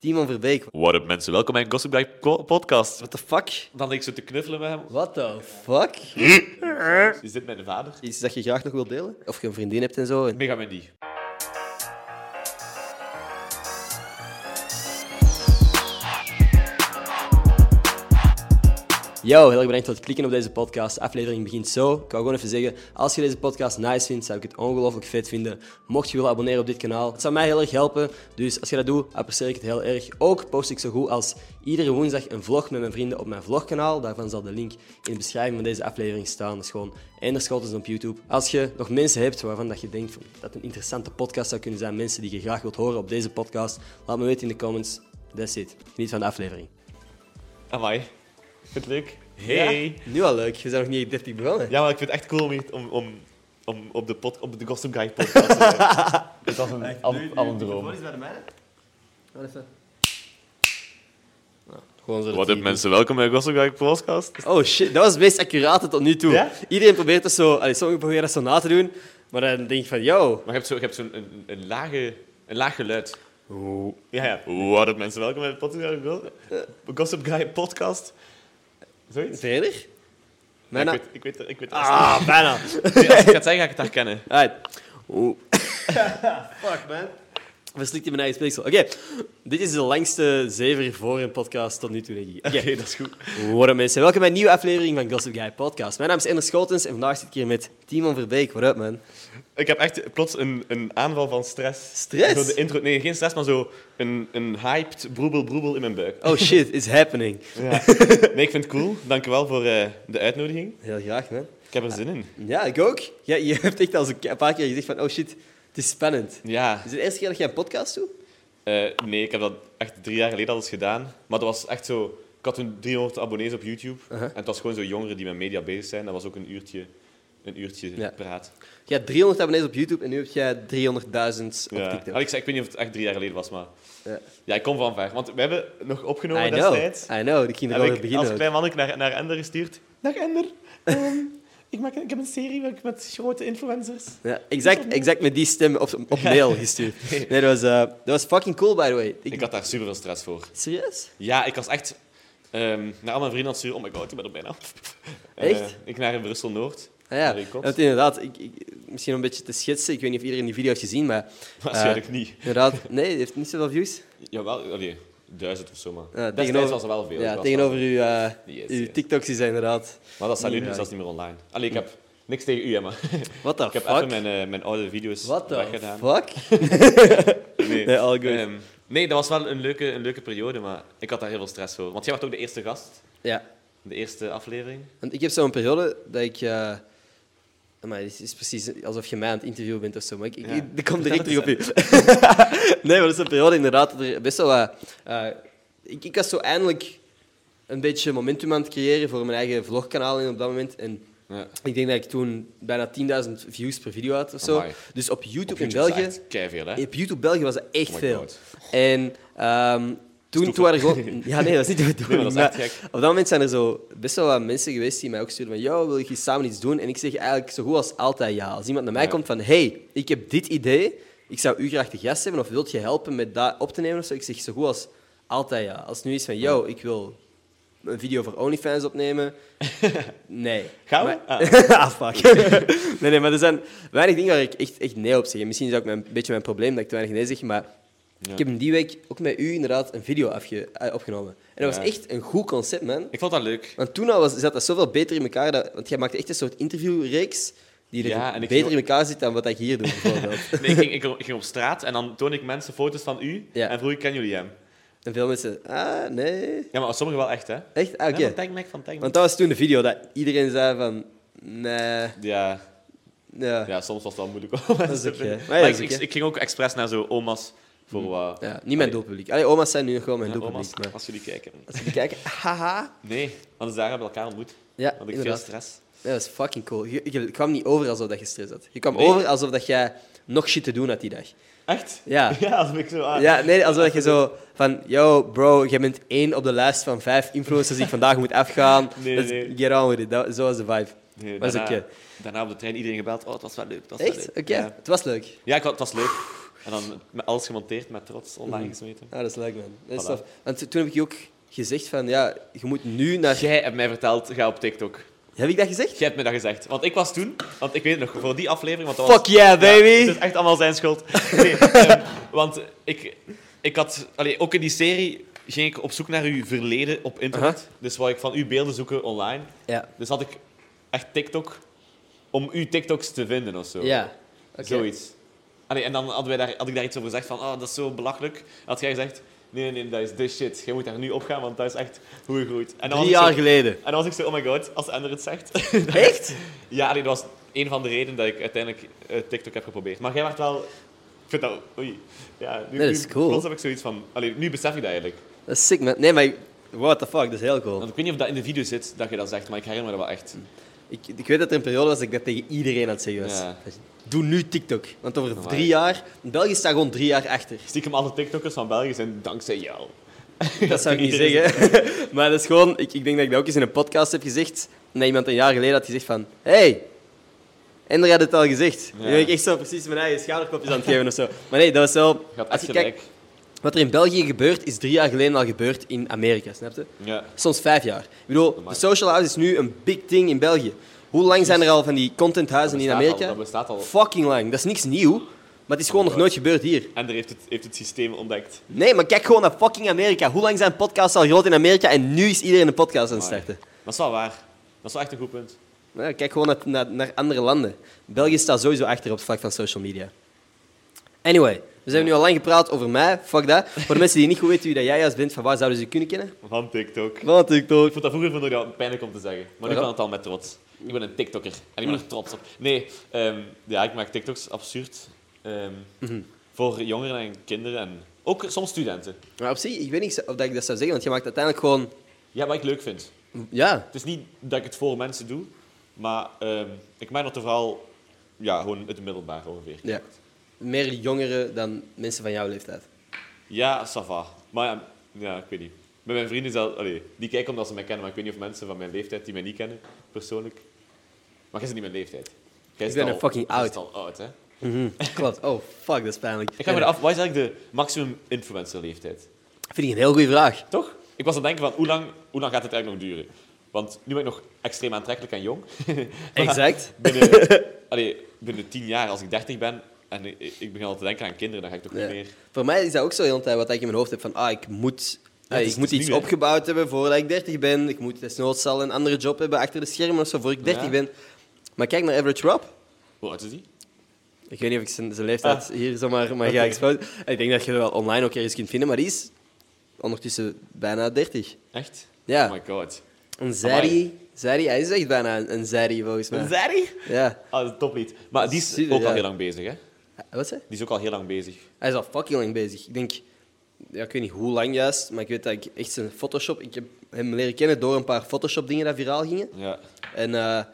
Timon Verbeek. What up mensen, welkom bij een Gossip Guy po- podcast. What the fuck? Dan lig ik zo te knuffelen met hem. What the fuck? Is dit mijn vader? Iets dat je graag nog wilt delen? Of je een vriendin hebt en zo. En Mega Mandy. Yo, heel erg bedankt voor het klikken op deze podcast. De aflevering begint zo. Ik wou gewoon even zeggen, als je deze podcast nice vindt, zou ik het ongelooflijk vet vinden. Mocht je willen abonneren op dit kanaal, het zou mij heel erg helpen. Dus als je dat doet, apprecieer ik het heel erg. Ook post ik zo goed als iedere woensdag een vlog met mijn vrienden op mijn vlogkanaal. Daarvan zal de link in de beschrijving van deze aflevering staan. Dat is gewoon Ender Scholtens op YouTube. Als je nog mensen hebt waarvan dat je denkt van, dat een interessante podcast zou kunnen zijn, mensen die je graag wilt horen op deze podcast, laat me weten in de comments. That's it. Geniet van de aflevering. Amai. Vind je het leuk? Hey. Ja. nu al leuk. We zijn nog niet echt 30 begonnen. maar ik vind het echt cool om, hier- om, om, om op, de pod, op de Gossip Guy podcast te zijn. Het was een, al, al een droom. Gewoon zo dat What die- up mensen, welkom bij een Gossip Guy podcast. Oh shit, dat was het meest accurate tot nu toe. Ja? Iedereen probeert dat zo, allee, sommigen proberen dat zo na te doen, maar dan denk ik van, yo. Maar je hebt zo'n zo een, een, een lage, een laag geluid. Ja, ja. What up mensen, welkom bij de podcast, Go- Gossip Guy podcast. Zoiets? Verder? Ja, ik Bijna. weet, ik weet, ik weet Ah, bijna. Als ik het ga zeggen, ga ik het herkennen. Alright. Oeh. Fuck, man. Verslikte mijn eigen speeksel. Oké, dit is de langste zever voor een podcast tot nu toe, denk ik. Oké, Oké, dat is goed. What up, mensen. Welkom bij een nieuwe aflevering van Gossip Guy Podcast. Mijn naam is Ender Schotens en vandaag zit ik hier met Timon Verbeek. What up, man? Ik heb echt plots een, een aanval van stress. Stress? Zo de intro, nee, geen stress, maar zo een, een hyped broebel broebel in mijn buik. Oh shit, it's happening. Nee, ik vind het cool. Dankjewel voor eh, de uitnodiging. Heel graag, man. Ik heb er zin in. Ja, ik ook. Ja, je hebt echt al zo een paar keer gezegd van, oh shit, het is spannend. Ja. Is het de eerste keer dat jij een podcast doet? Eh, nee, ik heb dat echt drie jaar geleden al eens gedaan. Maar dat was echt zo... Ik had toen 300 abonnees op YouTube. Uh-huh. En het was gewoon zo jongeren die met media bezig zijn. Dat was ook een uurtje, een uurtje Ja. praat. Je hebt 300 abonnees op YouTube en nu heb jij 300.000 op Ja. TikTok. Allee, ik, zei- ik weet niet of het echt drie jaar geleden was, maar... Ja. Ja, ik kom van ver. Want we hebben nog I opgenomen know, destijds. I know. Ik ging er Heb wel ik weer beginnen. als klein mannetje naar, naar Ender gestuurd. Dag Ender, ehm, ik, maak, ik heb een serie met- met grote influencers. Ja, exact, exact met die stem op, op mail gestuurd. Nee, dat was, eh, dat was fucking cool, by the way. Ik- Ik had daar super veel stress voor. Serieus? Ja, ik was echt ehm, naar al mijn vrienden aan het sturen. Oh my god, ik ben er bijna. Echt? Eh, ik naar Brussel-Noord. Ah, ja, Naar die kot. want inderdaad. Ik, ik- misschien om een beetje te schetsen. Ik weet niet of iedereen die video heeft gezien, maar Eh. Waarschijnlijk niet. inderdaad... Nee, het heeft niet zoveel views. Jawel, allee, duizend of zo maar. Ja, Destijds Eh, tegenover- was er wel veel. Ik ja, was tegenover wel- uw, eh, Yes, uw yes. TikToks is inderdaad... Maar dat staat nu Ja. zelfs niet meer online. Allee, ik heb niks tegen u, hè, maar What the ik heb even fuck? mijn, eh, mijn oude video's What the weggedaan. fuck? Nee, Nee, all good. Ehm, nee, dat was wel een leuke, een leuke periode, maar ik had daar heel veel stress voor. Want jij was ook de eerste gast, Ja. de eerste aflevering. Want ik heb zo'n periode dat ik. eh maar het is precies alsof je mij aan het interviewen bent of zo. Maar ik, ik, Ja. ik kom direct terug op je. nee, maar dat is een periode inderdaad dat er best wel wat. eh, ik, ik was zo eindelijk een beetje momentum aan het creëren voor mijn eigen vlogkanaal in op dat moment. En Ja. ik denk dat ik toen bijna 10.000 views per video had of zo. Amai. Dus op YouTube, Op YouTube in België. is echt keiveel, hè? Op YouTube België was dat echt Oh my veel. God. En ehm, toen, toen waren er gewoon... Ja, nee, dat is niet de Nee, bedoeling. maar dat is maar echt op dat moment zijn er zo best wel wat mensen geweest die mij ook stuurden van... Yo, wil je samen iets doen? En ik zeg eigenlijk zo goed als altijd ja. Als iemand naar mij Ja. komt van... Hey, ik heb dit idee. Ik zou u graag te gast hebben. Of wilt je helpen met dat op te nemen? Of zo. Ik zeg zo goed als altijd ja. Als het nu is van... Yo, ik wil een video voor OnlyFans opnemen. Nee. Gaan we? Maar- Ah. ah, fuck. nee, nee, maar er zijn weinig dingen waar ik echt, echt nee op zeg. En misschien is dat ook mijn, een beetje mijn probleem dat ik te weinig nee zeg. Maar ik heb hem die week ook met u inderdaad een video afge- eh, opgenomen. En dat Ja. was echt een goed concept, man. Ik vond dat leuk. Want toen al was, zat dat zoveel beter in elkaar. Dat, want jij maakte echt een soort interviewreeks die er Ja, en ik beter ging in elkaar zit dan wat ik hier doe, bijvoorbeeld. Nee, ik, ging, ik, ging op straat en dan toon ik mensen foto's van u Ja. en vroeg ik, kennen jullie hem? en veel mensen, ah, nee. Ja, maar sommigen wel echt, hè? Echt? Ah, oké. Ja, van TagMac, van TagMac. Want dat was toen de video dat iedereen zei van, nee, Ja, ja. ja, soms was het wel moeilijk om mensen te oké. vinden. Maar ja, dat Maar ik, is ik, oké. Hm. ik ging ook expres naar zo oma's voor wat... Ja, niet mijn doelpubliek. Allee, oma's zijn nu nog wel mijn Ja, doelpubliek. oma's, maar als jullie kijken. als jullie kijken, haha. Nee, anders daar hebben we elkaar ontmoet. Ja, Had ik inderdaad. veel stress. Nee, Dat was fucking cool. Je, je kwam niet over alsof dat je stress had. Je kwam Nee. over alsof dat jij nog shit te doen had die dag. Echt? Ja. Ja, als ik zo... ah, Ja, nee, alsof dat je zo van... Yo, bro, jij bent één op de lijst van vijf influencers die ik vandaag moet afgaan. Nee, Let's nee. Get on with it. Dat, zo was de vibe. Nee, was daarna, oké. Daarna op de trein iedereen gebeld. Oh, het was wel leuk. Het was wel Echt? leuk. Oké, Ja. het was leuk. Ja, ik had- het was leuk. En dan met alles gemonteerd met trots Mhm. online gesmeten. Ja, Ah, dat is leuk, man. Dat is Voilà. tof. Want toen heb ik je ook gezegd van, ja, je moet nu naar... Nou, Jij hebt mij verteld, ga op TikTok. Heb ik dat gezegd? Jij hebt me dat gezegd. Want ik was toen, want ik weet het nog, voor die aflevering... Want dat was, Fuck yeah, Ja, baby! het is echt allemaal zijn schuld. Nee, ehm, want ik, ik had... Allee, ook in die serie ging ik op zoek naar uw verleden op internet. Dus wou ik van uw beelden zoeken online. Ja. Dus had ik echt TikTok om uw TikToks te vinden of zo. Ja. Oké. Zoiets. Allee, en dan hadden wij daar, had ik daar iets over gezegd van, oh, dat is zo belachelijk. Had jij gezegd, nee, nee, nee, dat is de shit. Je moet daar nu op gaan, want dat is echt hoe je groeit. En Drie dan, was ik jaar zo, geleden. en dan was ik zo, oh my god, als de ander het zegt. Echt? ja, allee, dat was een van de redenen dat ik uiteindelijk eh, TikTok heb geprobeerd. Maar jij werd wel... Ik vind dat... Oei. Ja, nu, Nee, dat is nu- cool. plots heb ik zoiets van... Allee, nu besef ik dat eigenlijk. Dat is sick, man. Nee, maar... What the fuck, dat is heel cool. Want ik weet niet of dat in de video zit, dat je dat zegt, maar ik herinner me dat wel echt. Ik, ik weet dat er een periode was dat ik dat tegen iedereen aan het zeggen was. Ja. Doe nu TikTok. Want over Amai. drie jaar... België staat gewoon drie jaar achter. Stiekem alle TikTokkers van België zijn dankzij jou. Dat zou ik niet Iedereen zeggen. maar dat is gewoon... Ik, ik denk dat ik dat ook eens in een podcast heb gezegd. En dat iemand een jaar geleden had gezegd van... Hey, Ender had het al gezegd. Ja. Nu ben ik echt zo precies mijn eigen schouderklopjes aan het geven of zo. Maar nee, dat was wel... als Gaat echt je kijkt, gelijk. wat er in België gebeurt, is drie jaar geleden al gebeurd in Amerika, snap je? Ja. Soms vijf jaar. Ik bedoel, de social house is nu een big thing in België. Hoe lang zijn er al van die contenthuizen in Dat bestaat Amerika? al, dat bestaat al. Fucking lang. Dat is niks nieuw. Maar het is gewoon nog nooit gebeurd hier. En er heeft het, heeft het systeem ontdekt. Nee, maar kijk gewoon naar fucking Amerika. Hoe lang zijn podcasts al groot in Amerika en nu is iedereen een podcast aan het Maar- starten. Dat is wel waar. Dat is wel echt een goed punt. Nou, kijk gewoon naar, naar, naar andere landen. België staat sowieso achter op het vlak van social media. Anyway, we hebben nu al lang gepraat over mij. Fuck dat. Voor de mensen die niet goed weten wie dat jij juist bent, van waar zouden ze je kunnen kennen? Van TikTok. Ik Van TikTok. vond dat vroeger vond ik dat pijnlijk om te zeggen. Maar nu Waarom? kan het al met trots. Ik ben een TikToker. En ik ben er trots op. Nee, ehm, ja, ik maak TikToks absurd. ehm, Voor jongeren en kinderen. En ook soms studenten. Maar op zich, ik weet niet of dat ik dat zou zeggen, want je maakt uiteindelijk gewoon... Ja, wat ik leuk vind. Ja, Het is niet dat ik het voor mensen doe. Maar ehm, ik maak dat er vooral... Ja, gewoon het middelbaar ongeveer. ja. meer jongeren dan mensen van jouw leeftijd. Ja, sava. Maar ja, ja, ik weet niet. Met mijn vrienden is dat... Allee, die kijken omdat ze mij kennen, maar ik weet niet of mensen van mijn leeftijd die mij niet kennen, persoonlijk. Maar jij is niet mijn leeftijd. Jij Ik zit ben al- een fucking jij zit oud. al oud, hè. Klopt. Oh, fuck, dat is pijnlijk. Hm. Ik ga me af, wat is eigenlijk de maximum influencer leeftijd? Vind ik een heel goede vraag. Toch? Ik was aan het denken van, hoe lang, hoe lang gaat het eigenlijk nog duren? Want nu ben ik nog extreem aantrekkelijk en jong. Exact. binnen, allee, binnen tien jaar, als ik dertig ben, en ik, ik begin al te denken aan kinderen, dan ga ik toch Ja. niet meer... Voor mij is dat ook zo heel de tijd wat ik in mijn hoofd heb van ah, ik moet, eh, het is- ik moet het is iets nu, hè. opgebouwd hebben voordat ik 30 ben. Ik moet desnoods al een andere job hebben achter de schermen of zo voor ik 30 Ja. ben. Maar kijk naar Average Rob. Hoe oud is die? Ik weet niet of ik zijn, zijn leeftijd hier zomaar maar ga Ah. Oké. exposen. Ik denk dat je er wel online ook ergens kunt vinden, maar die is ondertussen bijna 30. Echt? Ja. Oh my god. Een Amai. Zeri. Zeri, hij is echt bijna een, een Zeri volgens mij. Zeri? Ja. Ah, dat is een toplied. Maar die is Zie je, ook ja. al heel lang bezig, hè? Wat zei? Die is ook al heel lang bezig. Hij is al fucking lang bezig. Ik denk, ja, ik weet niet hoe lang juist, maar ik weet dat ik echt zijn Photoshop. Ik heb hem leren kennen door een paar Photoshop-dingen die viraal gingen. Ja. En eh,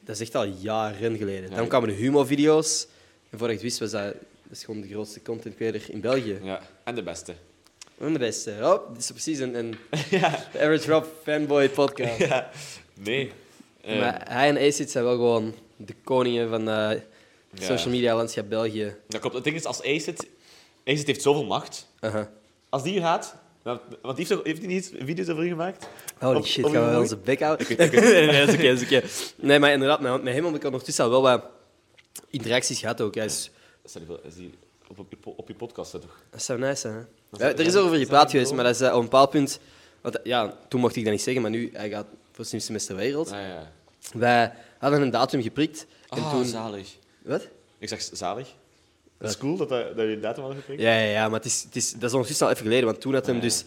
dat is echt al jaren geleden. Dan kwamen de Humo-video's. En voordat ik het wist, was dat, dat is gewoon de grootste content creator in België. ja. En de beste. En de beste. Oh, dit is precies een, een de Average Rob fanboy podcast. Ja. Nee. Eh, Maar hij en Acid zijn wel gewoon de koningen van eh, het Ja. social media landschap België. dat klopt. Het ding is, als Acid... Acid heeft zoveel macht. Aha. Als die hier gaat... dan- Want die heeft, toch, heeft hij niet video's over u gemaakt? Holy Op- Oh, shit, op gaan we uw wel onze moeder? bek houden? Ik weet- ik nee, nee, dat is oké, dat is oké. Nee, maar inderdaad, met, met hem heb ik ondertussen al wel wat interacties gehad ook. Hij is, Sorry, wel, is die op, op, je po- op je podcast, hè, toch? dat zou nice zijn, hè? Dat Ja, zou- er is zijn- over zijn gepraat die geweest, zo? maar dat is eh, op een bepaald punt... Want, eh, ja, toen mocht ik dat niet zeggen, maar nu, hij gaat voor het slimste mens ter wereld. Ah, ja. Wij hadden een datum geprikt. En Ah, toen... zalig. Wat? Ik zeg zalig. Dat is cool dat, dat, dat je datum had gekregen. Ja, ja, ja, maar het is, het is, dat is ondertussen al even geleden, want toen had hem Ah, ja. dus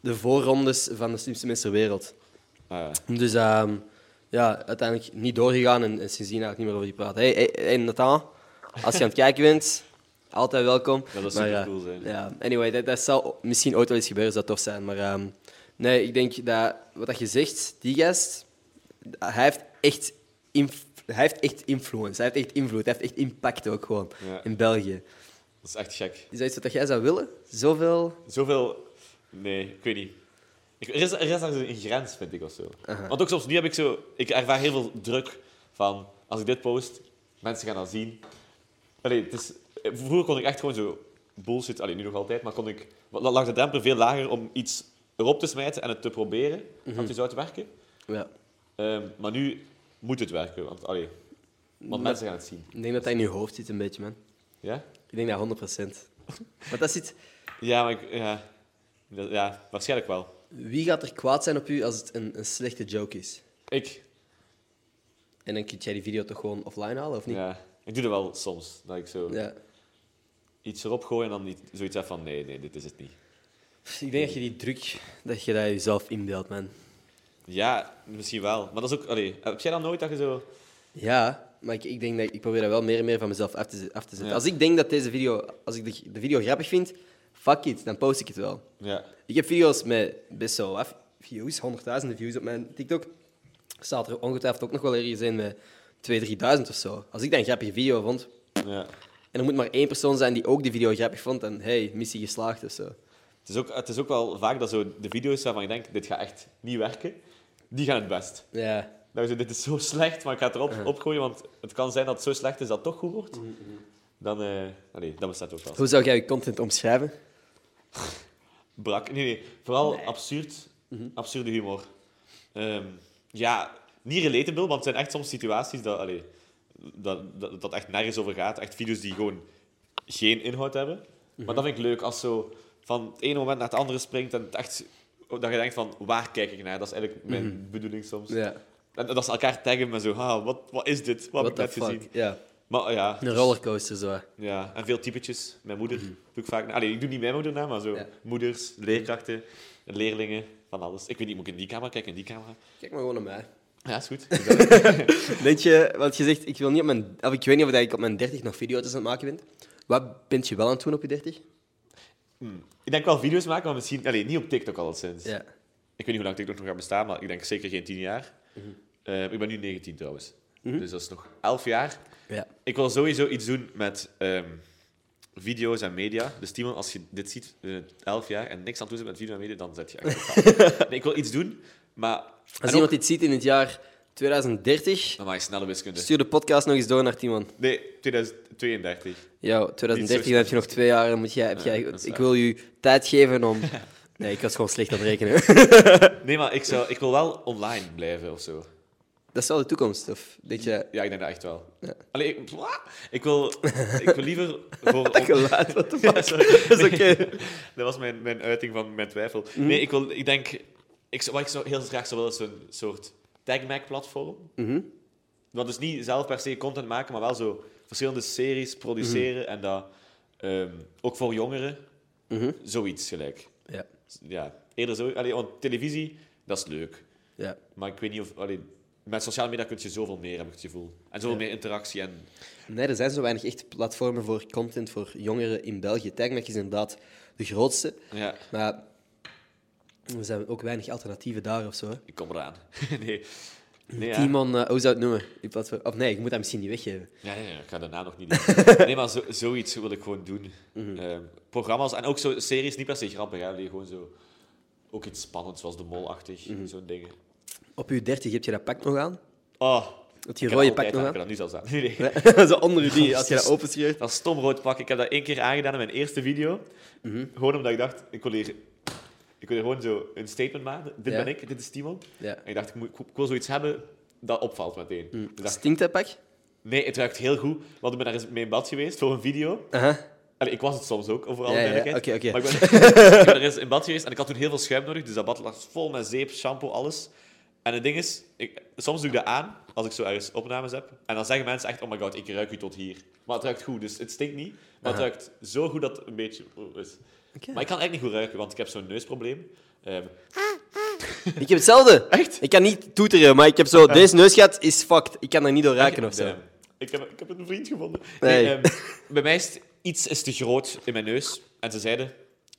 de voorrondes van de slimste mens ter wereld. Ah, ja. Dus ehm, ja, uiteindelijk niet doorgegaan en, en sindsdien eigenlijk niet meer over die praten. Hey, hey, hey Nathan, als je aan het kijken bent, altijd welkom. Dat zou Maar, eh, supercool zijn. Ja, anyway, dat, dat zal misschien ooit wel eens gebeuren, zou tof zijn. Maar ehm, nee, ik denk dat wat dat je zegt, die gast, hij heeft echt, inf- hij heeft echt influence, hij heeft echt invloed, hij heeft echt impact ook gewoon Ja. in België. Dat is echt gek. Is dat iets wat jij zou willen? Zoveel? Zoveel. Nee, ik weet niet. Ik, er, is, er is ergens een grens, vind ik of zo. Want ook soms, nu heb ik zo. Ik ervaar heel veel druk van. Als ik dit post, mensen gaan dat zien. Allee, het is, Vroeger kon ik echt gewoon zo bullshit, alleen nu nog altijd, maar kon ik, la- lag de drempel veel lager om iets erop te smijten en het te proberen. Want je zou het dus werken. Ja. Ehm, maar nu moet het werken, want, allee, want mensen gaan het zien. Ik denk dat dat in je hoofd zit een beetje, man. Ja? Ik denk dat 100%. Want dat zit... Ja, maar ik, ja. Dat- ja, waarschijnlijk wel. Wie gaat er kwaad zijn op u als het een, een slechte joke is? Ik, En dan kun jij die video toch gewoon offline halen, of niet? ja, ik doe dat wel soms. Dat ik zo Ja. iets erop gooi en dan niet, zoiets heb van nee, nee, dit is het niet. Pff, Ik denk dat je die druk, dat je dat jezelf inbeeldt, man. Ja, misschien wel. Maar dat is ook, allee, heb jij dan nooit dat je zo... Ja, maar ik, ik denk dat ik probeer dat wel meer en meer van mezelf af te, ze- af te zetten. Ja. Als ik denk dat deze video, als ik de, de video grappig vind, fuck it, dan post ik het wel. Ja, Ik heb video's met best wel af views, honderdduizenden views op mijn TikTok. Er staat er ongetwijfeld ook nog wel ergens in met 2.000, 3.000 of zo. Als ik dan een grappige video vond, ja. en er moet maar één persoon zijn die ook die video grappig vond, dan hey, missie geslaagd of zo. Het is, ook, het is ook wel vaak dat zo de video's waarvan je denkt, dit gaat echt niet werken, die gaan het best. Ja, Dat je zo, dit is zo slecht, maar ik ga het erop opgooien, want het kan zijn dat het zo slecht is dat het toch goed wordt. Dan, eh allee, dat bestaat ook wel. hoe zou jij je content omschrijven? Brak. Nee, nee. Vooral absurd. Mhm. Absurde humor. Ehm, ja, niet relatable, want het zijn echt soms situaties dat, allee, dat, dat, dat echt nergens over gaat. Echt video's die gewoon geen inhoud hebben. Mhm. Maar dat vind ik leuk als zo van het ene moment naar het andere springt en het echt, dat je denkt van waar kijk ik naar? Dat is eigenlijk mijn bedoeling soms. Mhm. Ja, En dat ze elkaar taggen met zo, ah, wat, wat is dit? Wat heb what ik the net fuck. gezien? Ja, Maar eh, ja, een rollercoaster zo. ja, en veel typetjes. Mijn moeder doe ik vaak na. Allee, ik doe niet mijn moeder na, maar zo. Mhm. Ja. Moeders, leerkrachten, leerlingen, van alles. Ik weet niet, moet ik in die camera kijken, in die camera? Kijk maar gewoon naar mij. Ja, is goed. Denk je, want je zegt, ik, wil niet op mijn, of ik weet niet of ik op mijn 30 nog video's aan het maken ben. Wat bent je wel aan het doen op je 30? ik denk wel video's maken, maar misschien... Allee, niet op TikTok alleszins. Ja. Ik weet niet hoe lang TikTok nog gaat bestaan, maar ik denk zeker geen tien jaar. Mhm. Eh, ik ben nu 19 trouwens. Dus dat is nog elf jaar. ja. Ik wil sowieso iets doen met ehm, video's en media. Dus Timon, als je dit ziet, eh, 11 jaar, en niks aan toe zit met video en media, dan zet je echt op taal. nee, Ik wil iets doen, maar... Als en ook- iemand dit ziet in het jaar 2030, Amai, snelle wiskunde. stuur de podcast nog eens door naar Timon. Nee, 2032. Ja, 2030 dan heb je nog twee jaar. Dan moet jij, heb jij, dat is ik waar. wil je tijd geven om... Nee, ik was gewoon slecht aan het rekenen. Nee, maar ik, zou, ik wil wel online blijven of zo. Dat is wel de toekomst, of denk je... Ja, ik denk dat echt wel. Ja. Allee, ik, Wa? ik, wil, ik wil liever voor. Dat geluid, wat de fuck? Ja, sorry. Dat is oké. Mhm. Dat was mijn, mijn uiting van mijn twijfel. Nee, ik, wil, ik denk. Ik, zou- wat ik zou, heel graag zou willen is een soort tagmac-platform. Mhm. Dat is niet zelf per se content maken, maar wel zo verschillende series produceren Mhm. en dat ehm, ook voor jongeren. Zoiets gelijk. Ja, Ja, eerder zo. Allee, want televisie, dat is leuk. ja. Maar ik weet niet of. allee, met sociale media kun je zoveel meer, heb ik het gevoel. En zoveel meer interactie. En, Nee, er zijn zo weinig echt platformen voor content voor jongeren in België. Tagmac is inderdaad de grootste. ja, Maar er zijn ook weinig alternatieven daar of zo. hè. ik kom eraan. nee. nee ja. Timon, eh, hoe zou je het noemen? Die platform. Of nee, ik moet dat misschien niet weggeven. Ja, ja, ja, ik ga daarna nog niet doen. Nee, maar zo, zoiets wil ik gewoon doen. Ehm, programma's en ook zo series, niet per se grappig. Hè. Allee, gewoon zo. Ook iets spannends, zoals De Mol-achtig, zo'n dingen. Op je 30 heb je dat pak nog aan. Oh, Dat je rode pak pakje nog Ik heb aan. dat nu zelfs aan. Nee, nee. zo onder je die, als je dat openschreeuwt. Dat stom rood pak. Ik heb dat één keer aangedaan in mijn eerste video. Gewoon omdat ik dacht, ik wil hier, ik wil hier gewoon zo een statement maken. Dit Ja. ben ik, dit is Timon. Ja. En ik dacht, ik, moet, ik wil zoiets hebben dat opvalt meteen. Dus ik dacht, Stinkt dat pak? nee, het ruikt heel goed. Want ik ben daar eens mee in bad geweest voor een video. Aha. Allee, ik was het soms ook, overal Ja, ja, duidelijkheid. oké, oké. Maar ik ben, ik ben er eens in bad geweest en ik had toen heel veel schuim nodig. Dus dat bad lag vol met zeep, shampoo, alles. En het ding is, ik, soms doe ik dat aan als ik zo ergens opnames heb. En dan zeggen mensen echt, oh my god, ik ruik u tot hier. Maar het ruikt goed, dus het stinkt niet. Maar het ruikt zo goed dat het een beetje oh, is. Oké. Maar ik kan echt niet goed ruiken, want ik heb zo'n neusprobleem. Ehm, Ik heb hetzelfde. Echt? Ik kan niet toeteren, maar ik heb zo... Deze neusgat is fucked. Ik kan er niet door raken of zo. Damn. Ik heb, ik heb een vriend gevonden. Nee. Nee. ehm, bij mij is het- iets is te groot in mijn neus. En ze zeiden...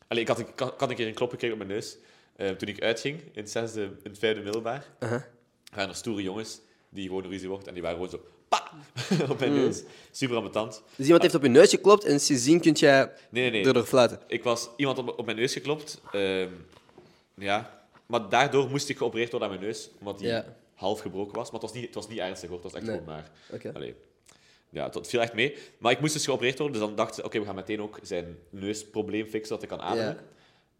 Allee, ik, had een, ik had- ik had een keer een klop gekregen op mijn neus. eh, toen ik uitging, in het, zesde, in het vijfde middelbaar, Uh-huh. waren er stoere jongens die gewoon ruzie wordt. En die waren gewoon zo... Pa! op Hmm. mijn neus. Super ambetant. Dus iemand heeft op je neus geklopt en sindsdien kun jij Nee, nee, nee. erdoor fluiten. Ik was iemand op, op mijn neus geklopt. ehm, ja. Maar daardoor moest ik geopereerd worden aan mijn neus. Omdat die Ja. half gebroken was. Maar het was niet, het was niet ernstig hoor. Het was echt Nee. gewoon maar... Oké. Allee. ja, dat viel echt mee. Maar ik moest dus geopereerd worden, dus dan dacht ze, oké, we gaan meteen ook zijn neusprobleem fixen, dat hij kan ademen.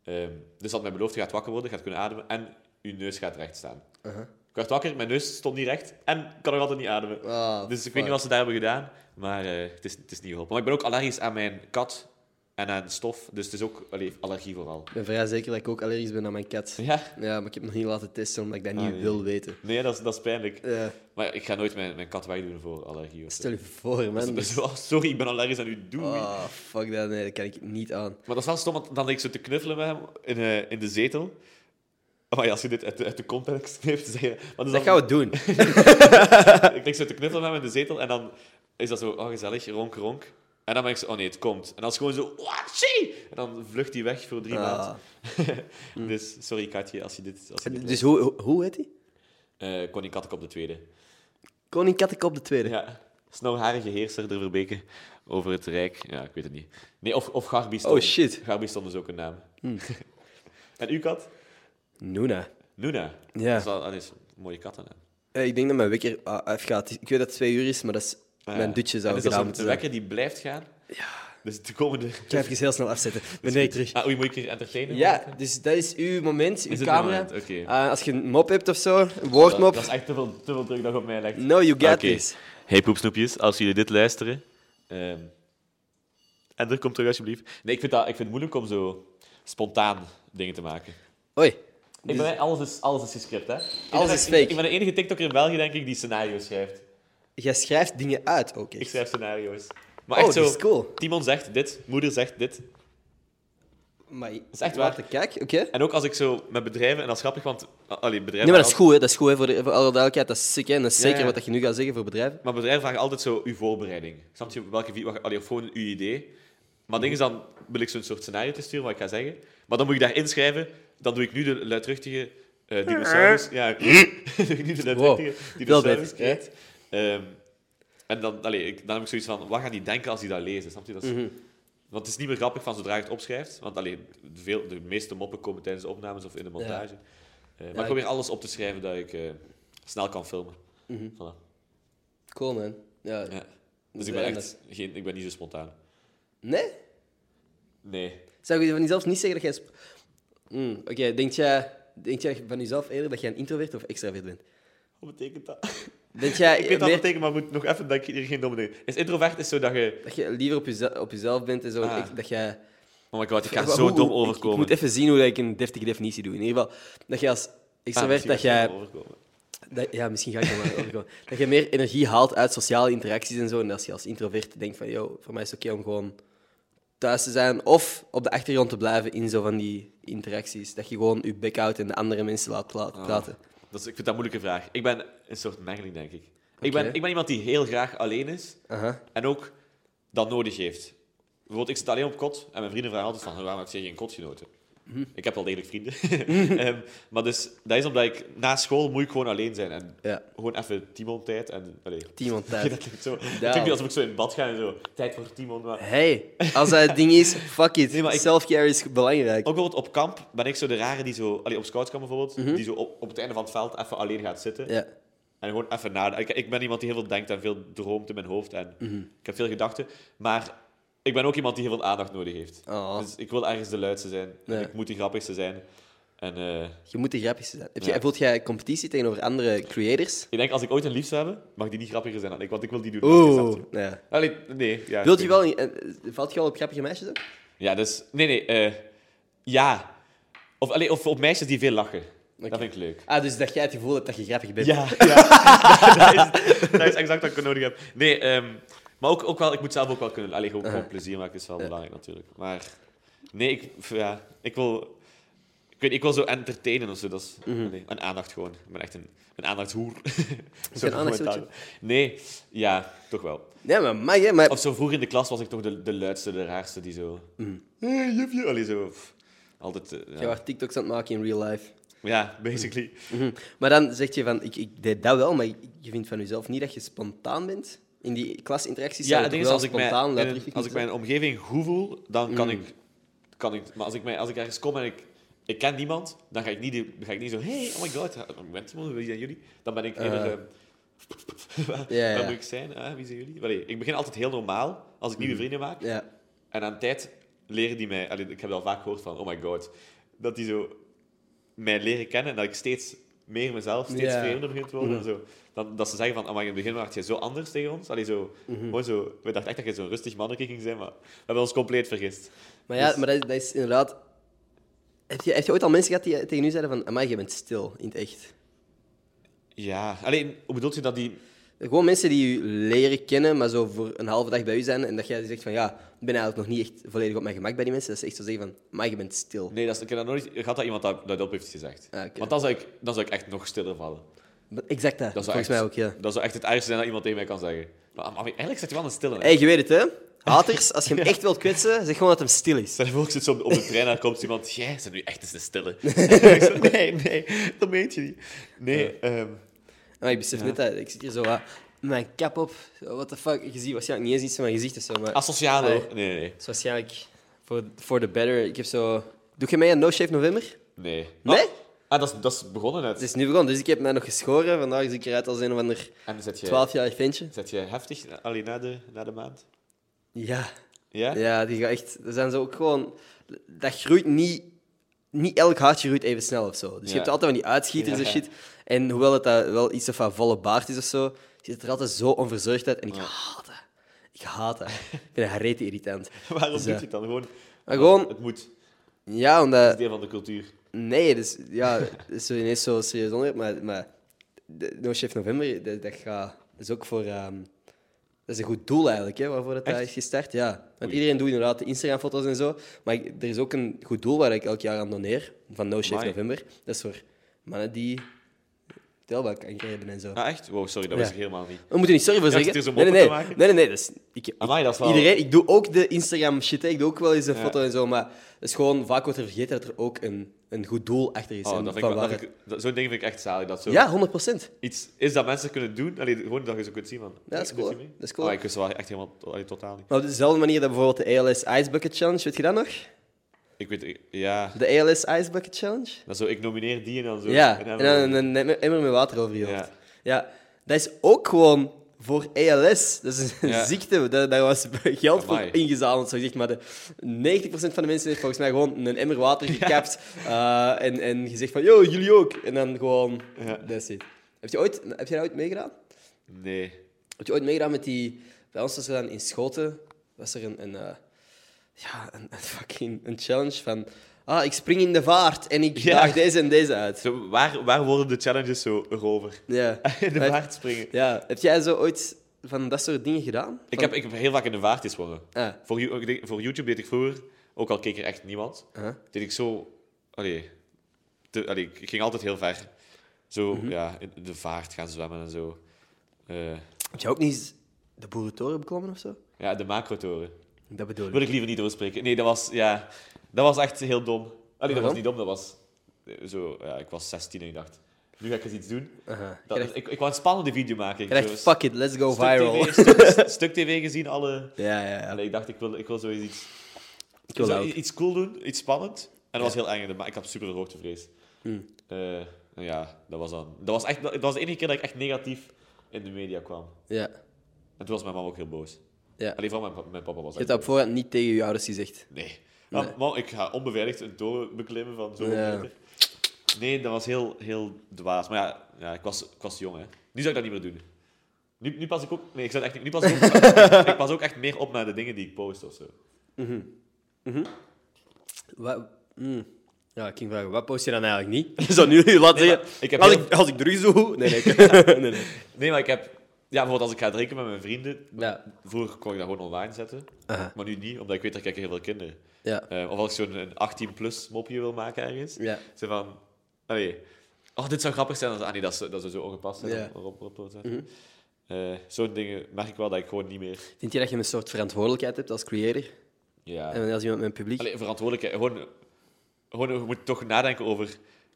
Ehm, dus dat mij beloofd, je gaat wakker worden, je gaat kunnen ademen en je neus gaat recht staan. Uh-huh. Ik werd wakker, mijn neus stond niet recht en ik kan nog altijd niet ademen. Ah, dus ik fuck. weet niet wat ze daar hebben gedaan, maar eh, het, is, het is niet geholpen. Maar ik ben ook allergisch aan mijn kat en aan stof, dus het is ook allee, allergie vooral. Ik ben vrij zeker dat ik ook allergisch ben aan mijn kat. Ja? Ja, maar ik heb nog niet laten testen omdat ik dat niet Ah, nee. wil weten. Nee, dat is, dat is pijnlijk. Eh, Maar ik ga nooit mijn, mijn kat wegdoen voor allergie of zo. stel je voor, man. Dus, oh, sorry, ik ben allergisch aan u, doei. Ah, fuck dat, nee, dat kan ik niet aan. Maar dat is wel stom, want dan lig ik zo te knuffelen met hem in, eh, in de zetel. Maar ja, als je dit uit de, uit de context knipt, zeg je... Want dus Dat dan, gaan we doen. Ik lig zo te knuffelen met hem in de zetel en dan is dat zo, oh gezellig, ronk, ronk. En dan ben ik zo, oh nee, het komt. En dan is het gewoon zo, watchie! En dan vlucht hij weg voor drie Ah. Mm. maanden. dus sorry Katje, als je dit... Als je dit Dus hoe, hoe- hoe heet die? Eh, Connie Kattek op de tweede. Koning Kattenkop de Tweede. Ja. Snauwharige heerser der Verbeke over het Rijk. Ja, ik weet het niet. Nee, of, of Garbiston. Oh shit. Hmm. Garbiston is ook een naam. en uw kat? Nuna. Nuna. Ja. Dat is, wel, dat is een mooie kattennaam. Eh, ik denk dat mijn wekker ah, afgaat. Ik weet dat het twee uur is, maar dat is Ah, ja. mijn dutje En zou is dat gedaan zo'n moeten de zijn. wekker die blijft gaan? Ja. Dus de komende... Ik ga even heel snel afzetten. Ben ik terug. Ah, oei, moet ik hier entertainen? Ja, dus dat is uw moment, uw Is het een camera. moment? Oké. Ah, als je een mop hebt of zo, een Dat, woordmop. dat is echt te veel, te veel druk dat op mij lijkt. No, you Oké. got this. Hey poepsnoepjes, als jullie dit luisteren... ehm, en er komt terug alsjeblieft. Nee, ik vind, dat, ik vind het moeilijk om zo spontaan dingen te maken. Hoi. Dus Ik ben, alles, is, alles is gescript, hè? Ik ben Alles de- is fake. Ik, ben de enige TikToker in België, denk ik, die scenario's schrijft. Jij schrijft dingen uit ook. Ik echt. schrijf scenario's. Maar Oh, echt zo, dat is cool. Timon zegt dit, moeder zegt dit. Maar dat is echt waar. Kijk, oké. En ook als ik zo met bedrijven, en dat is grappig, want... ah, Allee, bedrijven... Nee, maar dat is goed, hè. Dat is goed, hè. Voor, de, voor alle duidelijkheid. Dat is sick, hè. En dat is Ja, zeker ja. wat dat je nu gaat zeggen voor bedrijven. Maar bedrijven vragen altijd zo uw voorbereiding. Snap je welke vi- wat- allee, of gewoon uw idee. Maar ding is dan wil ik zo'n soort scenario te sturen wat ik ga zeggen. Maar dan moet ik daar inschrijven. Dan doe ik nu de luidruchtige eh dinosaurus. Ja, oké. doe ik nu de luidruchtige Wow, wel dinosaurus. beter, hè? Ehm, en dan, allee, ik, dan heb ik zoiets van, wat gaan die denken als die dat lezen? Snap je? Dat is- Mhm. Want het is niet meer grappig van zodra je het opschrijft. Want allee, veel, de meeste moppen komen tijdens de opnames of in de montage. Eh, maar Ja, ik probeer alles op te schrijven dat ik eh, snel kan filmen. Mhm. Voilà. Cool, man. Ja. Ja. Dus Dus ik ben en echt geen, ik ben niet zo spontaan. Nee? Nee. Zou je van jezelf niet zeggen dat jij... sp- Hmm, oké, denk jij... Denk jij van jezelf eerder dat jij een introvert of extravert bent? Wat betekent dat? Denk jij Ik weet dat meer- betekent, maar moet nog even dat ik hier geen domme dingen. Is introvert is zo dat je. dat je liever op, jeze- op jezelf bent en zo, Ah. ik- dat jij... Oh my god, ik ga Hoe- zo hoe- dom ik- Ik, overkomen. moet even zien hoe dat ik een deftige definitie doe. In ieder geval, dat jij als Ah, extravert, dat misschien ga jij... ik dom overkomen. dat- ja, misschien ga ik er maar overkomen. Dat jij meer energie haalt uit sociale interacties en zo. En als je als introvert denkt van, yo, voor mij is het oké om gewoon thuis te zijn. Of op de achtergrond te blijven in zo van die interacties. Dat je gewoon je bek houdt en de andere mensen laat pla- Ah. praten. Dat is, ik vind dat een moeilijke vraag. Ik ben een soort mengeling, denk ik. Ik, Oké. ben, ik ben iemand die heel graag alleen is Aha. en ook dat nodig heeft. Bijvoorbeeld, ik zit alleen op kot en mijn vrienden vragen altijd van waarom heb je geen kotgenoten? Ik heb wel degelijk vrienden. Ehm, maar dus, dat is omdat ik na school moet ik gewoon alleen zijn. En Ja. gewoon even Timon tijd en allee, Timon Ja, tijd. dat klinkt zo. Het Ja. klinkt niet alsof ik zo in bad ga en zo. Tijd voor Timon. Maar... Ook Hey, als dat het ding is, fuck it. maar ik- Oh. Self-care is belangrijk. bijvoorbeeld op kamp ben ik zo de rare die zo... Allee, op scoutskamp bijvoorbeeld. Die zo op, op het einde van het veld even alleen gaat zitten. Mhm. Ja. En gewoon even nadenken. Ik, ik ben iemand die heel veel denkt en veel droomt in mijn hoofd. En Mhm. ik heb veel gedachten. Maar ik ben ook iemand die heel veel aandacht nodig heeft. Oh. Dus ik wil ergens de luidste zijn. Ja. En ik moet de grappigste zijn. En eh, Je moet de grappigste zijn. Heb Ja. jij, voelt jij competitie tegenover andere creators? ik denk, als ik ooit een lief zou hebben, mag die niet grappiger zijn dan ik. Want ik wil die doen. Oeh. Ja. Allee, nee. Ja, Wilt ik je weet wel... in- eh, Valt je al op grappige meisjes ook? Ja, dus... Nee, nee. eh, ja. Of, allee, of op meisjes die veel lachen. Oké. Dat vind ik leuk. Ah, dus dat jij het gevoel hebt dat je grappig bent. Ja, ja. dat, is, dat is exact wat ik nodig heb. Nee, ehm, maar ook, ook wel, ik moet zelf ook wel kunnen... Allee, gewoon, gewoon plezier maken is wel belangrijk natuurlijk. Maar nee, ik, f- ja, ik wil... Ik, weet, niet, ik wil zo entertainen of zo. Dat is, nee, een aandacht gewoon. Ik ben echt een, Mhm. een aandachtshoer. Zo een aandachtshoertje? commentaar. Nee, ja, toch wel. Nee, maar mag hè, maar... Of zo vroeger in de klas was ik toch de, de luidste, de raarste die zo... Hey, jufje. Allee, zo... pff, Altijd... eh, Je ja. was TikToks aan het maken in real life. ja, basically. Mhm. Maar dan zeg je van, ik, ik deed dat wel, maar ik- je vindt van jezelf niet dat je spontaan bent? In die klasinteracties Ja, zou het je ding is, toch als ik, wel mij, spontaan in- luidruchtig als ik moeten mijn omgeving goed voel, dan kan, ik, kan ik... Maar als ik, mij, als ik ergens kom en ik, ik ken oh, niemand, dan ga ik niet, die- ga ik niet zo... Hey, oh my god, ik ben Timon, wie zijn jullie? Dan ben ik eerder... Eh. eh, Waar Ja, moet ja. ik zijn? Ah, wie zijn jullie? Allee, ik begin altijd heel normaal als ik nieuwe vrienden maak. ja. En aan tijd leren die mij... allee, ik heb dat al vaak gehoord van, oh my god. Dat die zo mij leren kennen en dat ik steeds meer mezelf, steeds Ja. Mhm. vreemder begin te worden. en zo. Dat, dat ze zeggen van, oh in het begin was je zo anders tegen ons. Allee, zo, Mhm. gewoon zo, we dachten echt dat je zo'n rustig mannetje ging zijn, maar we hebben ons compleet vergist. Maar Dus- ja, maar dat, is- dat is inderdaad... Heb je, heb je ooit al mensen gehad die tegen u zeiden van... Amai, je bent stil, in het echt. Ja, alleen, hoe bedoelt je dat die... Gewoon mensen die u leren kennen, maar zo voor een halve dag bij u zijn. En dat jij zegt van, ja, ik ben eigenlijk nog niet echt volledig op mijn gemak bij die mensen. Dat ze echt zo zeggen van, amai, je bent stil. Nee, dat is, ik heb dat nooit... Gaat dat iemand dat, dat op heeft gezegd? Ah, oké. Want dan zou, ik, dan zou ik echt nog stiller vallen. Exact dat, Dat volgens zou, echt, mij ook, ja. dat zou echt het ergste zijn dat iemand tegen mij kan zeggen. Maar, maar eigenlijk zit je wel een stille. Hey, je weet het, hè? Haters, als je hem echt wilt kwetsen, zeg gewoon dat hem stil is. Stel je voor, ik zit zo op de, op de trein en dan komt iemand... Jij bent nu echt eens een stille. Ik zo, nee, nee, dat meent je niet. Nee, Eh. ehm, Maar ik besef net dat, ik zit hier zo wat met mijn kap op. Zo, What the fuck, je ziet waarschijnlijk niet eens iets van mijn gezicht of zo, maar... asociaal Hey. hoor. oh, Nee, nee, nee. Het is waarschijnlijk voor, voor de better. Ik heb zo... Doe je mee aan No Shave November? Nee? Nee? Ah, ah, dat, is, dat is begonnen net. Het is nu begonnen, dus ik heb mij nog geschoren. Vandaag zie ik eruit als een of ander En zet je, 12-jarig ventje. zet je heftig alleen na de, na de maand? Ja. Ja? Ja, die gaat echt... Er zijn zo ook gewoon... Dat groeit niet... Niet elk haartje groeit even snel of zo. Dus je Ja. hebt altijd van die uitschieters Ja. en shit. En hoewel het dat wel iets of van volle baard is of zo, zit er altijd zo onverzorgd uit. En ik haat dat. Ik haat dat. ik vind dat rete irritant. Waarom Dus, doet je eh, het dan? Gewoon, Maar gewoon... het moet. Het Ja, omdat... is deel van de cultuur. Nee, dus ja, dat is zo ineens zo serieus onderwerp, maar, maar de- No Chef November, dat, dat, gaat, dat is ook voor... ehm, dat is een goed doel eigenlijk, hè, waarvoor dat, dat Echt? is gestart. Ja. Want Oei. iedereen doet inderdaad de Instagram-foto's en zo, maar ik- er is ook een goed doel waar ik elk jaar aan doneer, van No Chef Amai. November. Dat is voor mannen die telbakanker hebben en zo. Ah, echt? Wow, sorry, dat wist Ja. ik helemaal niet. We moeten niet sorry voor Ja, ik zeggen. zit hier zo nee, nee, moppen nee. te maken. nee, nee, nee. Dat is, ik, ik- Amai, dat is wel... Iedereen, ik doe ook de Instagram shit, hè. ik doe ook wel eens een Ja. foto en zo, maar het is gewoon vaak wordt er vergeten dat er ook een, een goed doel achter is. Oh, en dat vind van ik, wel- waar het- dat vind ik- dat- zo'n ding vind ik echt zalig. Dat zo Ja, 100 procent. iets is dat mensen kunnen doen. Allee, gewoon dat je zo kunt zien, man. dat is Doet cool, je hè? mee? Dat is cool. Oh, ik wist dat wel echt helemaal allee, totaal niet. Maar op dezelfde manier dat bijvoorbeeld de ALS Ice Bucket Challenge, weet je dat nog? Ik weet, ik- ja. De ALS Ice Bucket Challenge? Dan zo, ik nomineer die en dan zo. ja, en en dan- dan een, een emmer- emmer met water over je Ja. hoofd. Ja, dat is ook gewoon voor ALS. Dat is een Ja. ziekte, daar, daar was geld voor Amai. ingezameld, zo gezegd. Maar de 90% van de mensen heeft volgens mij gewoon een emmer water gekapt eh, en, en gezegd van, yo, jullie ook. En dan gewoon, Ja. that's it. Heb je, ooit, heb je dat ooit meegedaan? Nee. Heb je ooit meegedaan met die... Bij ons was er dan in Schoten was er een, een, eh, ja, een, een fucking een challenge van... Ah, ik spring in de vaart en ik Ja. daag deze en deze uit. Zo, waar, waar worden de challenges zo erover? Ja. In de Maar- vaart springen. Ja. Heb jij zo ooit van dat soort dingen gedaan? Ik heb, ik heb heel vaak in de vaart gesprongen. Ah. Voor, You- ik denk- voor YouTube deed ik vroeger, ook al keek er echt niemand, Huh? deed ik zo... Allee, te- allee, ik ging altijd heel ver. Zo, Mhm. ja, in de vaart gaan zwemmen en zo. Eh, Heb jij ook niet eens de boerentoren beklommen of zo? ja, de macrotoren. Dat bedoel ik. Wil ik liever niet doorspreken. Nee, dat was, ja, dat was echt heel dom. Allee, dat Waarom? was niet dom, dat was... eh, Zo, ja, ik was 16 en ik dacht, nu ga ik eens iets doen. Aha. Dat, je dacht, ik, ik wou een spannende video maken. Ik je dacht, zo- fuck it, let's go stuk viral. TV, stuk, stuk tv gezien, alle... Ja, ja, ja. Allee, ik dacht, ik wil, ik wil zoiets iets, Ik wil zo- dat ook. iets cool doen, iets spannend. En dat was heel eng, maar ik had super hoogtevrees. Hmm. Eh, nou ja, dat was dan... Dat was, echt, dat was de enige keer dat ik echt negatief in de media kwam. Ja. En toen was mijn mama ook heel boos. ja. Je Alleen vooral mijn, pa- mijn papa was hebt echt dat op voorhand niet tegen je ouders gezegd. Nee. Man, man, ik ga onbeveiligd een toren beklimmen van zo'n Ja. meter. Nee, dat was heel, heel dwaas. Maar ja, ja ik, was, ik was jong, hè. Nu zou ik dat niet meer doen. Nu, nu pas ik ook... Nee, ik zou het echt niet... Nu pas ik, ook, ik pas ook echt meer op naar de dingen die ik post of zo. Wat... mm. Ja, ik ging vragen, wat post je dan eigenlijk niet? Zo nu, je laat Nee, maar zeggen, ik heb als, heel- ik, als ik drugs doe... Nee, nee. ik- nee, nee. Nee, maar ik heb... Ja, bijvoorbeeld als ik ga drinken met mijn vrienden... Ja. Vroeger kon ik dat gewoon online zetten. Aha. Maar nu niet, omdat ik weet dat kijken heel veel kinderen. Ja. Eh, of als ik zo'n een 18-plus mopje wil maken ergens. Ja. Zo van... Allee. Oh, dit zou grappig zijn. als- Ah nee, dat is, dat is zo ongepast. zijn Ja. Mhm. om- om- om- om te zetten. Eh, Zo'n dingen merk ik wel dat ik gewoon niet meer... Vind je dat je een soort verantwoordelijkheid hebt als creator? Ja. En als iemand met een publiek? Allee, Mhm. verantwoordelijkheid. Gewoon, gewoon, je moet toch nadenken over...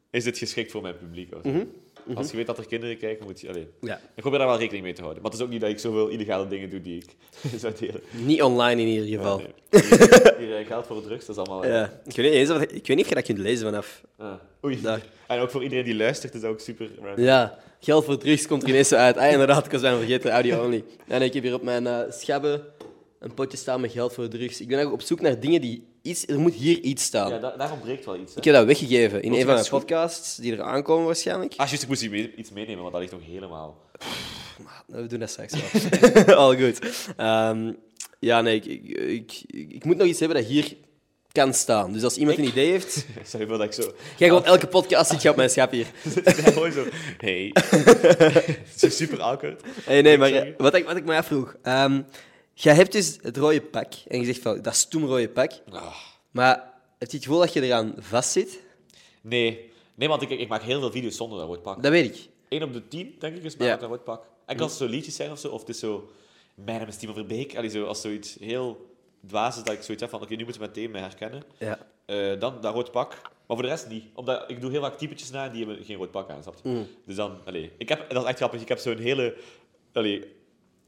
Is dit geschikt voor mijn publiek? of zo. Als je weet dat er kinderen kijken, moet je... Allee. Ja. Ik probeer daar wel rekening mee te houden. Maar het is ook niet dat ik zoveel illegale dingen doe die ik zou delen. Niet online in ieder geval. Nee. Hier, hier, eh, geld voor drugs, dat is allemaal... eh, Ja. Ik, weet niet eens of, ik weet niet of je dat kunt lezen vanaf. ah. Oei. Daar. En ook voor iedereen die luistert is dat ook super random. Ja, geld voor drugs komt er ineens zo uit. Ah, inderdaad, ik was bijna vergeten, audio only. En ik heb hier op mijn eh, schabben een potje staan met geld voor drugs. Ik ben eigenlijk op zoek naar dingen die iets... Er moet hier iets staan. Ja, da- daar ontbreekt wel iets. Hè. Ik heb dat weggegeven in een Moet je van dat mijn schoen- podcasts, die er aankomen waarschijnlijk. Ah, juist, ik moest hier mee- iets meenemen, want dat ligt nog helemaal. nou, We doen dat straks wel. Al goed. Ehm, ja, nee, ik, ik, ik, ik moet nog iets hebben dat hier kan staan. Dus als iemand een idee heeft, Sorry voor dat ik zo. jij gewoon elke podcast zit je op mijn schap hier. Ja, Mooi zo. Hey. Het is super awkward. Hey, nee, maar Sorry. eh, wat ik, wat ik me afvroeg. ehm, jij hebt dus het rode pak en je zegt van, dat stoemrode pak. Ah. Maar heb je het gevoel dat je eraan vastzit? Nee. Nee, want ik, ik maak heel veel video's zonder dat woordpak. Dat weet ik. 1 op de 10, denk ik, is maar Ja. met dat woordpak. En als het zo liedjes zijn of zo, of het is zo... Mijn naam is Timo Verbeek. Allee, zo, als zoiets heel dwaas is dat ik zoiets heb van... Oké, nu moeten meteen mij herkennen. Ja. Eh, dan dat rood pak. Maar voor de rest niet. Omdat ik doe heel vaak typetjes na die hebben geen rood pak aan, snap je? Mm. Dus dan, allee, ik heb, dat is echt grappig. Ik heb zo'n hele, allee,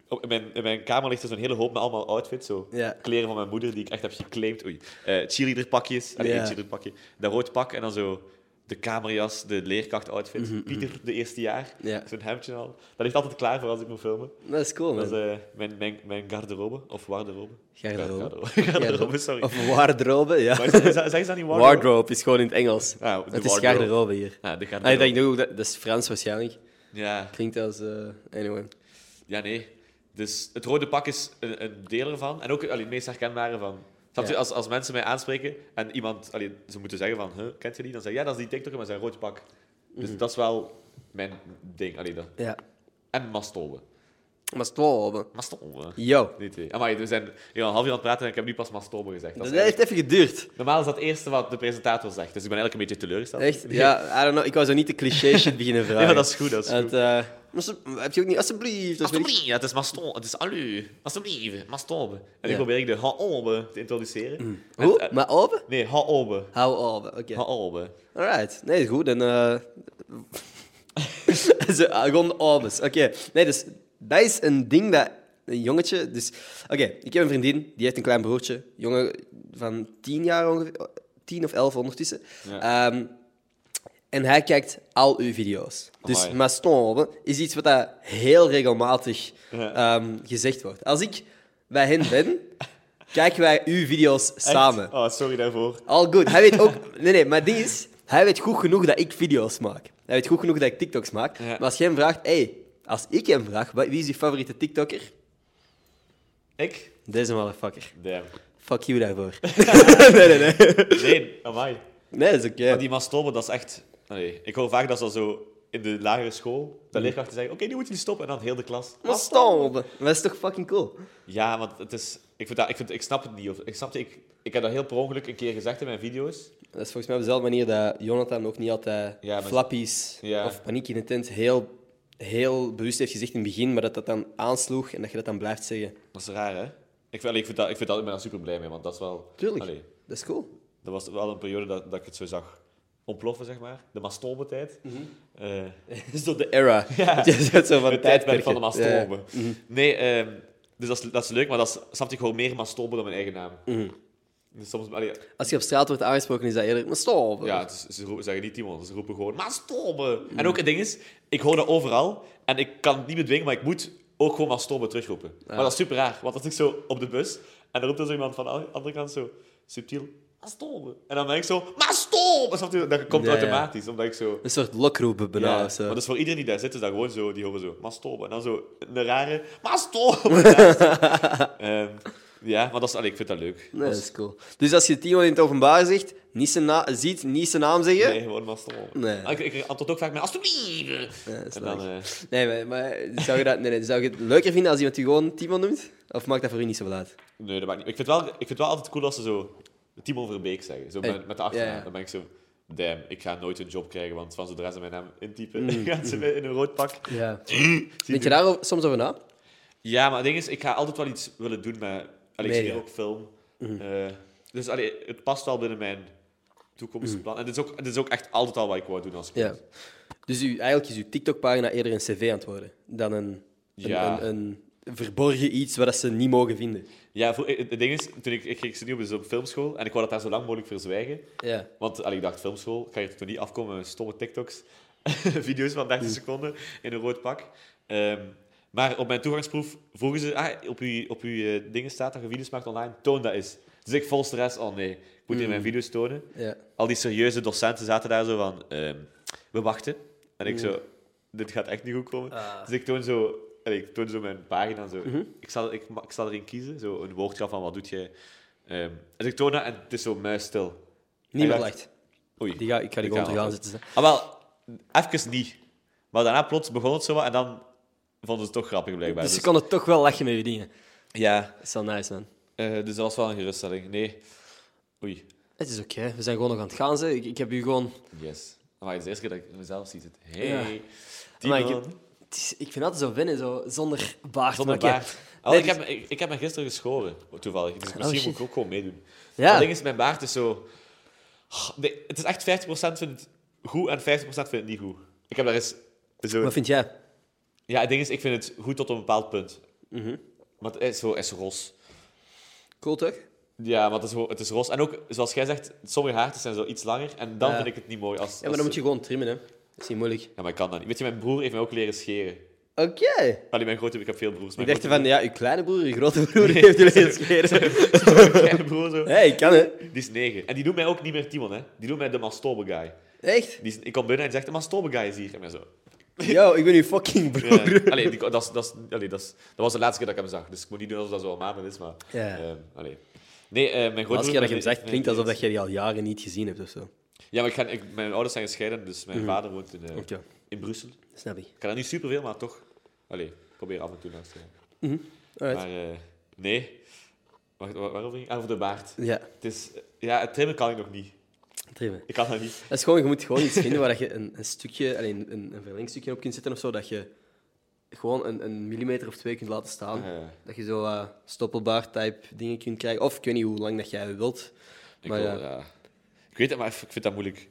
op, in, mijn, in mijn kamer ligt er zo'n hele hoop met allemaal outfits. Zo. Ja. Kleren van mijn moeder die ik echt heb geclaimd. Oei. Eh cheerleader pakjes. Allee, Ja. één cheerleader pakje. Dat rood pak en dan zo de kamerjas, de leerkracht outfit. Pieter, de eerste jaar. Mhm, Ja. Zo'n hemdje al. Dat ligt altijd klaar voor als ik moet filmen. Dat is cool, man. Dat is eh, mijn, mijn, mijn garderobe. Of waarderobe. Garderobe. Garderobe, garderobe sorry. Of wardrobe, ja. Maar is dat- is dat- Zeggen ze dat niet wardrobe? Wardrobe is gewoon in het Engels. Ah, de het is wardrobe. garderobe hier. Ja, de Ah, ik garderobe. denk ook dat, dat is Frans waarschijnlijk. ja. Klinkt als... eh, anyway. ja, nee. Dus het rode pak is een, een deel ervan. En ook allee, het meest herkenbare van. Snap je, Ja. als, als mensen mij aanspreken en iemand, allee, ze moeten zeggen van, huh, kent je die? Dan zeg ik, ja, dat is die TikToker met zijn rood pak. Dus Mhm. dat is wel mijn ding. Allee, dat. Ja. En mastolen. Maar stolpen. Mastolen. Yo. Die twee. Amai, we zijn hier al een half uur aan het praten en ik heb nu pas mastolen gezegd. Dat Dat is heeft even geduurd. eigenlijk- Normaal is dat het eerste wat de presentator zegt. Dus ik ben eigenlijk een beetje teleurgesteld. Echt? Nee. Ja, I don't know. Ik wou zo niet de cliché shit beginnen vragen. Nee, maar dat is goed, dat is Want, goed. eh, maar ze- heb je ook niet... Alsjeblieft. dat weet ik- Alsjeblieft, het is maston, het is alu. Alsjeblieft, maston. En Ja. Mm. ik probeer ik de ha-obe te introduceren. En- eh, Hoe? en- maar open? Nee, ha-obe. Hou open. Oké. Ha-obe. Alright. Nee, goed. Dan... eh Ze- ah, Gewoon opens. Oké. Nee, dus dat is een ding dat... Een jongetje, dus... Oké, ik heb een vriendin, die heeft een klein broertje. Jongen van tien jaar ongeveer. Tien of elf ondertussen. Ehm, en hij kijkt al uw video's. Dus Amai. mastombe is iets wat dat heel regelmatig Ja. ehm, gezegd wordt. Als ik bij hen ben, kijken wij uw video's samen. Echt? Oh, sorry daarvoor. All good. Hij weet ook... Nee, nee, maar het ding is... Hij weet goed genoeg dat ik video's maak. Hij weet goed genoeg dat ik TikToks maak. Ja. Maar als jij hem vraagt... hey, als ik hem vraag... wa- Wie is je favoriete TikToker? Ik? Deze motherfucker. Damn. Fuck you daarvoor. nee, nee, nee. Nee, amai. Nee, dat is oké. Maar die mastolen, dat is echt... Nee, ik hoor vaak dat ze dat zo in de lagere school, de leerkrachten zeggen, oké, nu moet je stoppen. En dan heel de klas. Ah. Mastombe. Maar dat is toch fucking cool? Ja, want het is... Ik, vind dat, ik, vind, ik snap het niet. Of, ik, snapte, ik, ik heb dat heel per ongeluk een keer gezegd in mijn video's. Dat is volgens mij op dezelfde manier dat Jonathan ook niet altijd Ja, maar- flappies Ja. of paniek in de tent heel, heel bewust heeft gezegd in het begin, maar dat dat dan aansloeg en dat je dat dan blijft zeggen. Dat is raar, hè? Ik, vind- allee, ik, vind dat, ik, vind dat, ik ben daar super blij mee, want dat is wel... Tuurlijk. Allee, Dat is cool. Dat was wel een periode dat, dat ik het zo zag ontploffen, zeg maar. De mastombe-tijd. Eh, Dat is toch de era. Ja. Dat zo van het tijdperk tijdperken. van de Ja. mastombe. Nee, ehm, dus dat is, dat is leuk, maar dat is, snap je, ik hoor meer mastombe dan mijn eigen naam. Mhm. Dus soms, allee, Als je op straat wordt aangesproken, is dat eerder... Maar stop. ja, het is- ze roepen, zeggen niet Timon, ze roepen gewoon mastombe. En ook het ding is, ik hoor dat overal en ik kan het niet bedwingen, maar ik moet ook gewoon mastombe terugroepen. Maar dat is super raar, want als ik zo op de bus en dan roept er zo iemand van de andere kant zo subtiel mastombe. En dan ben ik zo mastombe. Snap je? Dat komt Ja, ja. automatisch, omdat ik zo... Een soort lokroep bijna. Ja, of zo. maar dus voor iedereen die daar zit, is dat gewoon zo, die horen zo, mastobe. En dan zo een rare, mastobe. naast. Ehm, ja, maar dat is, allee, ik vind dat leuk. Nee, dat is cool. Dus als je Timo in het openbaar zegt, niet zijn na- ziet, niet zijn naam zeggen... Nee, gewoon mastobe. Nee. Ah, Ik, ik antwoord ook vaak met, alstublieft. Nee, dat is En dan, leuk. eh, Nee, maar, maar zou, je dat, nee, nee, zou je het leuker vinden als iemand je gewoon Timo noemt? Of maakt dat voor u niet zoveel uit? nee, dat maakt niet. Ik vind, wel, ik vind het wel altijd cool als ze zo Timon Verbeek zeggen, zo Hey, met, met de achternaam. ja, ja. Dan ben ik zo, damn, ik ga nooit een job krijgen, want van zodra ze mijn naam intypen, Mm. gaan ze mij in een rood pak. Ja. Denk je daar o- soms over na? Ja, maar het ding is, ik ga altijd wel iets willen doen met... Allee, ik Media. studeer ook film. Eh, dus allee, het past wel binnen mijn toekomstplan. En dit is, ook, dit is ook echt altijd al wat ik wou doen als kind. Ja. Dus u, eigenlijk is uw TikTok-pagina eerder een cv aan het worden dan een, een, Ja. een, een verborgen iets wat dat ze niet mogen vinden. Ja, voor, het het ding is, toen ik, ik ging studeren op zo'n filmschool en ik wou dat daar zo lang mogelijk verzwijgen. Ja. Want allee, ik dacht, filmschool, ik ga hier toch niet afkomen met stomme TikToks. Video's van 30 seconden in een rood pak. Ehm, maar op mijn toegangsproef vroegen ze, ah, op uw, op uw eh, dingen staat dat je video's maakt online, toon dat eens. Dus ik vol stress, oh nee, ik moet hier mijn video's tonen. Ja. Al die serieuze docenten zaten daar zo van, ehm, we wachten. En ik Hmm. zo, dit gaat echt niet goed komen. Ah. Dus ik toon zo, allee, ik toon zo mijn pagina. Zo. Mhm. ik, zal, ik, ma- ik zal erin kiezen, zo een woordgraf van wat doet jij. Ehm, dus ik toon dat en het is zo muisstil. Niemand Hij lacht. Oei. Die ga, ik ga die gewoon Ik ga terug wel. aanzetten. Ah, wel, even niet. Maar daarna plots begon het zo wat en dan vonden ze het toch grappig blijkbaar. Dus ze Dus- konden toch wel lachen met je dingen. Ja, Dat is wel nice, man. eh, dus dat was wel een geruststelling. Nee. Oei, Het is oké, we zijn gewoon nog aan het gaan. Ze. Ik, ik heb u gewoon. yes. Maar het is de eerste keer dat ik mezelf zie zitten. Hey, Ja. Timon. Maar ik, het is- ik vind altijd zo winnen, zo, zonder baard. Zonder Maar ik- baard. Wel, Nee, ik, dus- Oh, heb, ik, ik heb me gisteren geschoren, toevallig. Dus misschien shit. moet ik ook gewoon meedoen. Ja. Het ding is, mijn baard is zo... Oh, Nee, het is echt 50% vindt het goed en 50% vindt het niet goed. Ik heb daar eens... Zo... Wat vind jij? Ja, het ding is, ik vind het goed tot een bepaald punt. Mhm. Maar het is zo, het is ros. Cool toch? Ja, want het is, gewoon- het is ros. En ook, zoals jij zegt, sommige haartjes zijn zo iets langer. En dan Ja. vind ik het niet mooi. Als, Ja, maar dan moet je gewoon trimmen, hè? Dat is niet moeilijk. Ja, maar ik kan dat niet. Weet je, mijn broer heeft mij ook leren scheren. Oké. Allee, mijn grote... Ik heb veel broers. Ik maar dacht mijn van, ja, uw kleine broer, uw grote broer heeft jullie eens scheren. grote- kleine broer zo. Hé, ik kan hè? Die is negen. En die doet mij ook niet meer Timon, hè. Die doet mij de masturbe guy. Echt? Die is- ik kom binnen en die zegt, de masturbe guy is hier. En mij zo... Yo, ik ben uw fucking Ja. broer. Allee, die, dat, is, dat, is, allee, dat, is, dat was de laatste keer dat ik hem zag. Dus ik moet niet doen alsof dat zo al maanden is, maar... Ja. ehm, allee. Nee, eh, mijn De grote laatste keer dat je hem mijn- zegt, klinkt mijn- alsof dat je die al jaren niet gezien hebt of zo. Ja, maar ik ga, ik, mijn ouders zijn gescheiden, dus mijn vader woont in, eh, Mhm. Oké, in Brussel. snap ik. Ik kan dat niet superveel, maar toch. Allee, ik probeer af en toe langs te gaan. Alright. Maar eh, nee. Wacht, wa- waarover ging ik? Ah, over de baard. Ja, Het is... Ja, het trimmen kan ik nog niet. trimmen. Ik kan dat niet. Dat is gewoon, je moet gewoon iets vinden waar dat je een, een stukje, alleen een, een verlengstukje op kunt zetten of zo, dat je gewoon een, een millimeter of twee kunt laten staan. Eh, Dat je zo eh stoppelbaard-type dingen kunt krijgen. Of ik weet niet hoe lang dat jij wilt. ik, Maar wil, ja. ja. ik weet het, maar ik vind dat moeilijk.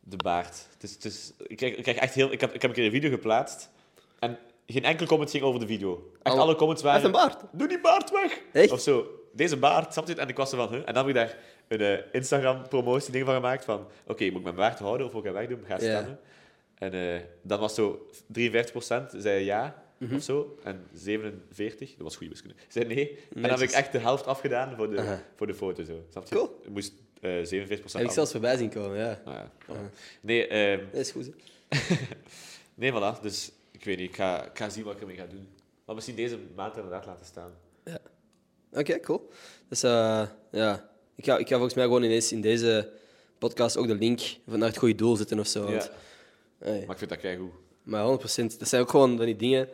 De baard. Het is, het is, ik, krijg, ik krijg echt heel... Ik heb, ik heb een keer een video geplaatst. En geen enkele comment ging over de video. Echt Alle- alle comments Hij heeft waren... een baard. Doe die baard weg! Echt? Of zo. Deze baard, snap je het? En ik was er van, huh? En dan heb ik daar een eh, Instagram-promotie-ding van gemaakt. Van, oké, moet ik mijn baard houden of moet ik hem wegdoen? Ga Ja. stemmen. En eh, dan was zo 53% zei ja, Mhm. of zo. En 47, dat was goede wiskunde, zei nee. En dan heb ik Netjes. echt de helft afgedaan voor de, Aha. voor de foto. Zo. Snap je? Cool. Ik moest eh 47% Heb ik af- zelfs voorbij zien komen, ja. Nou ja. Nee, ehm, Dat is goed. hè. nee, voilà. Dus ik weet niet, ik ga, ik ga zien wat ik ermee ga doen. Maar misschien deze maand inderdaad laten staan. Oké, cool. Dus eh, ja, ik ga, ik ga volgens mij gewoon ineens in deze podcast ook de link van naar het goede doel zetten of zo. want- Ja. Hey, Maar ik vind dat keigoed. maar 100%, dat zijn ook gewoon van die dingen.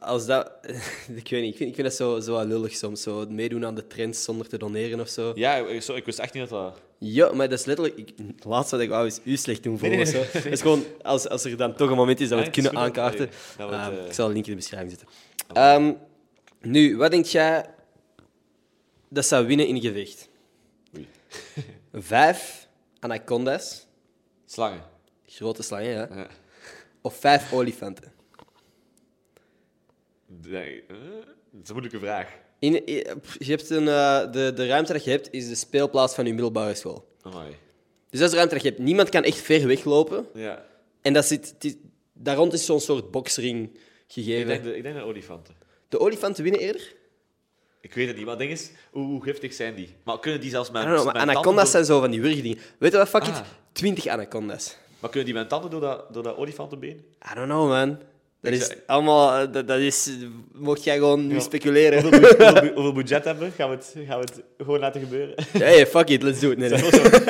Als dat. ik weet niet, ik vind, ik vind dat zo, zo wat lullig soms. Zo, het meedoen aan de trends zonder te doneren of zo. Ja, ik, zo, ik wist echt niet dat dat... Ja, maar dat is letterlijk. Ik, het laatste wat ik wou is u slecht doen voelen. Nee, of nee, zo. nee. Dat is gewoon als, als er dan toch een moment is dat we het Ja, het is kunnen goed dat- aankaarten. nee, dat we het, Ehm, eh, Ik zal een link in de beschrijving zetten. Ehm, nu, wat denk jij dat zou winnen in gewicht? Oei. Vijf anacondas, Slangen. grote slangen, ja, Ja. of vijf olifanten? Nee, eh, dat is een moeilijke vraag. In, in- pff, je hebt een, eh, de, de ruimte dat je hebt is de speelplaats van je middelbare school. Amai. Dus dat is de ruimte dat je hebt. Niemand kan echt ver weglopen. Ja. En dat zit, het is- daar rond is zo'n soort boksring Ik gegeven. denk, de, ik denk aan olifanten. De olifanten winnen eerder? Ik weet het niet, maar het ding is, hoe, hoe giftig zijn die? Maar kunnen die zelfs I mijn, don't know, maar mijn anacondas tanden zijn zo van die wurgdingen. Weet je wat, fuck it? Ah. 20 anacondas. door, Maar kunnen die mijn tanden door dat, door dat olifantenbeen? I don't know, man. Dat Ik is zou- allemaal... eh, Dat, dat is... eh, Mocht jij gewoon nu Ja. speculeren. Hoeveel, bu- hoeveel bu- hoeveel budget hebben we? Gaan we het, gaan we het gewoon laten gebeuren? Hey, fuck it, let's do it. Nee, nee.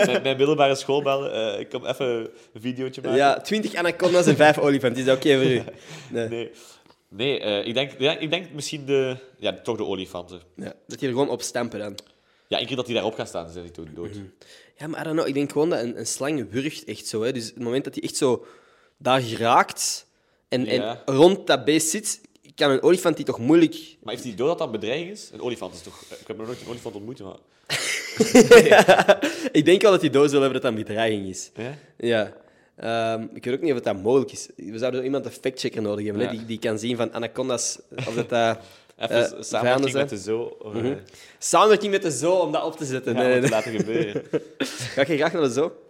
mijn, mijn middelbare school bellen, eh, ik kom even een videootje maken. Ja, 20 anacondas en 5 olifanten. Is dat oké voor u? Nee. Nee, nee eh, ik, denk, ja, ik denk misschien de... Ja, toch de olifanten. Ja, dat die er gewoon op stampen dan. Ja, ik keer dat die daarop gaan staan, zijn die toen dood. Ja, maar I don't know. Ik denk gewoon dat een, een slang wurgt echt zo. Hè. Dus het moment dat hij echt zo daar raakt en, Ja. en rond dat beest zit, kan een olifant die toch moeilijk... Maar heeft hij door dat dat een bedreiging is? Een olifant is toch... Ik heb nog nooit een olifant ontmoet, maar... ik denk wel dat die doos wil hebben dat dat een bedreiging is. Ja? Ja. Ehm, ik weet ook niet of dat mogelijk is. We zouden zo iemand een factchecker nodig hebben, hè, Ja. die, die kan zien van anacondas of dat dat... eh, Even vijanden samenwerking zijn. met de zo. Of, eh, Samenwerking met de zoo om dat op te zetten. ja, nee, om nee. het te laten gebeuren. Ga je graag naar de zoo?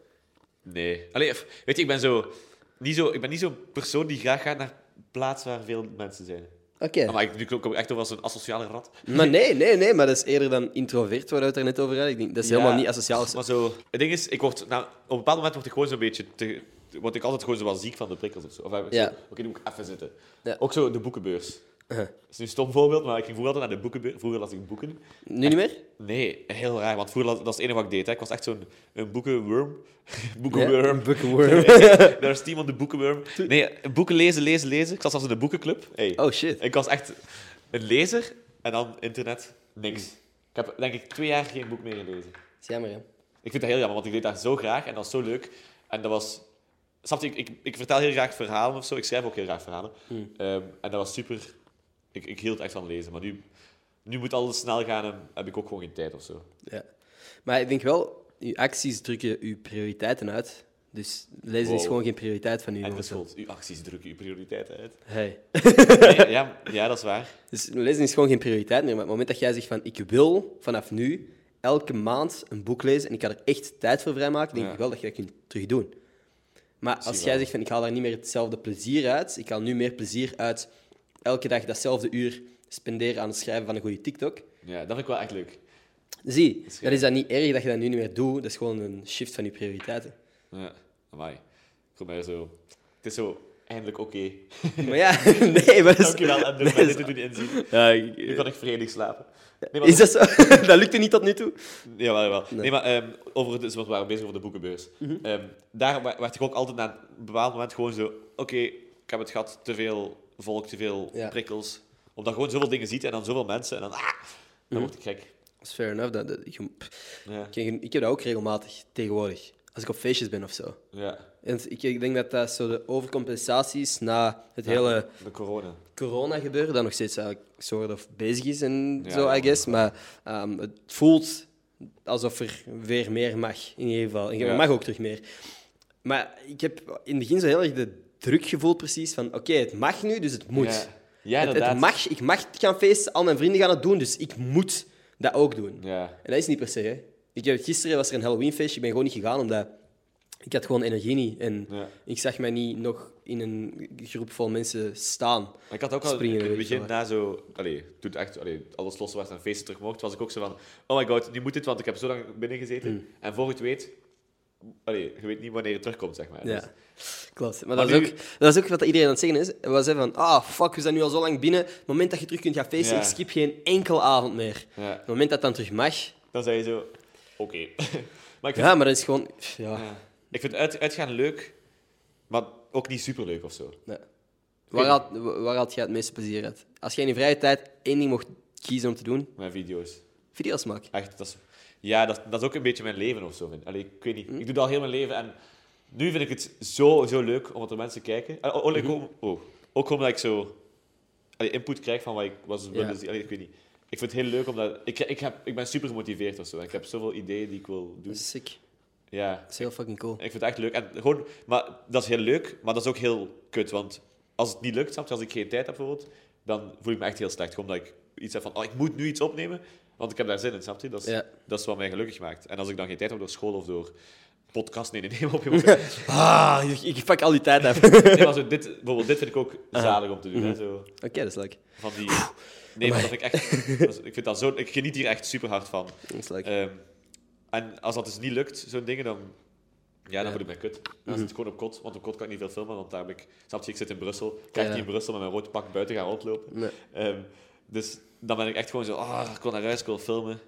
Nee. Allee, f- weet je, ik ben zo... Niet zo ik ben niet zo'n persoon die graag gaat naar plaatsen waar veel mensen zijn. Oké. Ah, Maar ik, nu kom ik echt over als een asociale rat. Maar nee, nee, nee, maar dat is eerder dan introvert, waar we het er net over hadden. Ik denk, dat is helemaal Ja, niet asociaal. Maar zo, het ding is, ik word, nou, op een bepaald moment word ik gewoon zo'n beetje. Te, word ik altijd gewoon zo wel ziek van de prikkels of zo. Of, eh, Ja. zo, Oké, nu moet ik even zitten. Ja. Ook zo de boekenbeurs. Dat is nu een stom voorbeeld, maar ik ging vroeger altijd naar de boekenbeurs. Vroeger las ik boeken. Nu niet meer? Nee, heel raar, want vroeger las, dat is het enige wat ik deed. Hè. Ik was echt zo'n een boekenworm. Ja, boekenworm. een boekenworm. Daar is iemand de boekenworm. Nee, boeken lezen, lezen, lezen. Ik zat zelfs in de boekenclub. Hey. Oh shit. Ik was echt een lezer en dan internet, niks. Ik heb denk ik twee jaar geen boek meer gelezen. is jammer, hè? Ik vind dat heel jammer, want ik deed dat zo graag en dat was zo leuk. En dat was... Snap je, ik, ik, ik vertel heel graag verhalen of zo. Ik schrijf ook heel graag verhalen. Hmm. Ehm, en dat was super... Ik, ik hield echt van lezen, maar nu, nu moet alles snel gaan en heb ik ook gewoon geen tijd of zo. Ja. Maar ik denk wel, uw acties drukken uw prioriteiten uit. Dus lezen Wow. is gewoon geen prioriteit van u. En momenteel. schuld, uw acties drukken uw prioriteiten uit. Hey. Nee, ja, ja, dat is waar. Dus lezen is gewoon geen prioriteit meer. Maar op het moment dat jij zegt van ik wil vanaf nu elke maand een boek lezen en ik ga er echt tijd voor vrijmaken, denk Ja. ik wel dat je dat kunt terug doen. Maar als jij je wel. zegt van ik haal daar niet meer hetzelfde plezier uit, ik haal nu meer plezier uit elke dag datzelfde uur spenderen aan het schrijven van een goede TikTok. Ja, dat vind ik wel echt leuk. Zie, Misschien. dat is dat niet erg dat je dat nu niet meer doet. Dat is gewoon een shift van je prioriteiten. Ja, amai. Ik voel mij zo... Het is zo eindelijk oké. Maar ja, nee, maar dat is... Dankjewel, en dat de is- dit doen inzien. Ja, ik- Nu kan ik vredig slapen. Nee, maar Is dat zo? dat lukte niet tot nu toe. Jawel, jawel. Nee, maar ehm, over, dus, want we waren bezig over de boekenbeurs. Ehm, daar wa- werd ik ook altijd na een bepaald moment gewoon zo... Oké, ik heb het gehad. Te veel volk, te veel Ja. prikkels. Omdat je gewoon zoveel dingen ziet en dan zoveel mensen. En dan... Ah, dan word ik gek. Dat is fair enough. Dat, dat- je- Ja. Ik, heb- ik heb dat ook regelmatig tegenwoordig. Als ik op feestjes ben of zo. ja. En ik, ik denk dat dat zo de overcompensaties na het hele De corona. corona-gebeuren, dat nog steeds eigenlijk soort of bezig is en Ja, zo, ja, I guess. Maar ehm, het voelt alsof er weer meer mag, in ieder geval. En je Ja. mag ook terug meer. Maar ik heb in het begin zo heel erg de druk gevoeld precies van... Oké, het mag nu, dus het moet. Ja, ja Het- het, inderdaad. mag, ik mag gaan feesten, al mijn vrienden gaan het doen, dus ik moet dat ook doen. Ja. En dat is niet per se. Hè. Ik heb, gisteren was er een Halloweenfeestje, ik ben gewoon niet gegaan omdat ik had gewoon energie niet. En Ja. ik zag mij niet nog in een groep vol mensen staan. Maar Ik had ook al Springen, in het weet je begin na zo... Allee, toen het echt allee, alles los was en feesten terug mocht, was ik ook zo van... Oh my god, nu moet dit, want ik heb zo lang binnen gezeten. Hmm. En voor je het weet... Allee, je weet niet wanneer het terugkomt, zeg maar. Dus- Ja. Klopt. Maar, Maar dat, is nu- ook, dat is ook wat iedereen aan het zeggen is. Het Was hè, van, ah, fuck, we zijn nu al zo lang binnen. Het moment dat je terug kunt gaan feesten, Ja. ik skip geen enkel avond meer. ja. Het moment dat dan terug mag, Dan zei je zo, oké. maar ik vind, ja, maar dat is gewoon... pff, Ja. ja. ik vind uit, uitgaan leuk, maar ook niet superleuk of zo. Nee. Waar, haalt, wa- waar haalt jij het meeste plezier uit? Als jij in je vrije tijd één ding mocht kiezen om te doen, Mijn video's. video's maken. Echt, dat is, ja, dat, dat is ook een beetje mijn leven of zo. Vind. ik. Allee, ik weet niet. Ik doe dat al heel mijn leven en nu vind ik het zo, zo leuk omdat er mensen kijken. Eh, oh, oh, ik ook- oh, ook omdat ik zo allee, input krijg van wat ik was willen zien. Allee, ik weet niet. Ik vind het heel leuk omdat ik, ik, heb, ik ben super gemotiveerd of zo. Ik heb zoveel ideeën die ik wil doen. Dat is sick. Ja. Dat is heel fucking cool. Ik vind het echt leuk. En gewoon, maar dat is heel leuk, maar dat is ook heel kut. Want als het niet lukt, snap je, als ik geen tijd heb bijvoorbeeld, dan voel ik me echt heel slecht. Gewoon omdat ik iets heb van, oh, ik moet nu iets opnemen, want ik heb daar zin in, snap je? Dat is, Ja. dat is wat mij gelukkig maakt. En als ik dan geen tijd heb door school of door podcast, nee, nee, nee, op je Ah, ik- ik pak al die tijd af. Oké, nee, maar zo, dit, bijvoorbeeld, dit vind ik ook zalig om te doen. Hè, zo, dat is leuk. van die... Nee, maar dat vind ik echt... dat is- ik, vind dat zo, ik geniet hier echt super hard van. Dat is leuk. Ehm, en als dat dus niet lukt, zo'n dingen, dan, ja, dan Ja. Mhm. voel ik mij kut. Dan zit ik gewoon op kot, want op kot kan ik niet veel filmen, want daar heb ik... Snap je, ik zit in Brussel. Ik kan Ja. echt niet in Brussel met mijn rood pak buiten gaan rondlopen. Nee. Ehm, dus dan ben ik echt gewoon zo, ah, ik wil naar huis, ik wil filmen.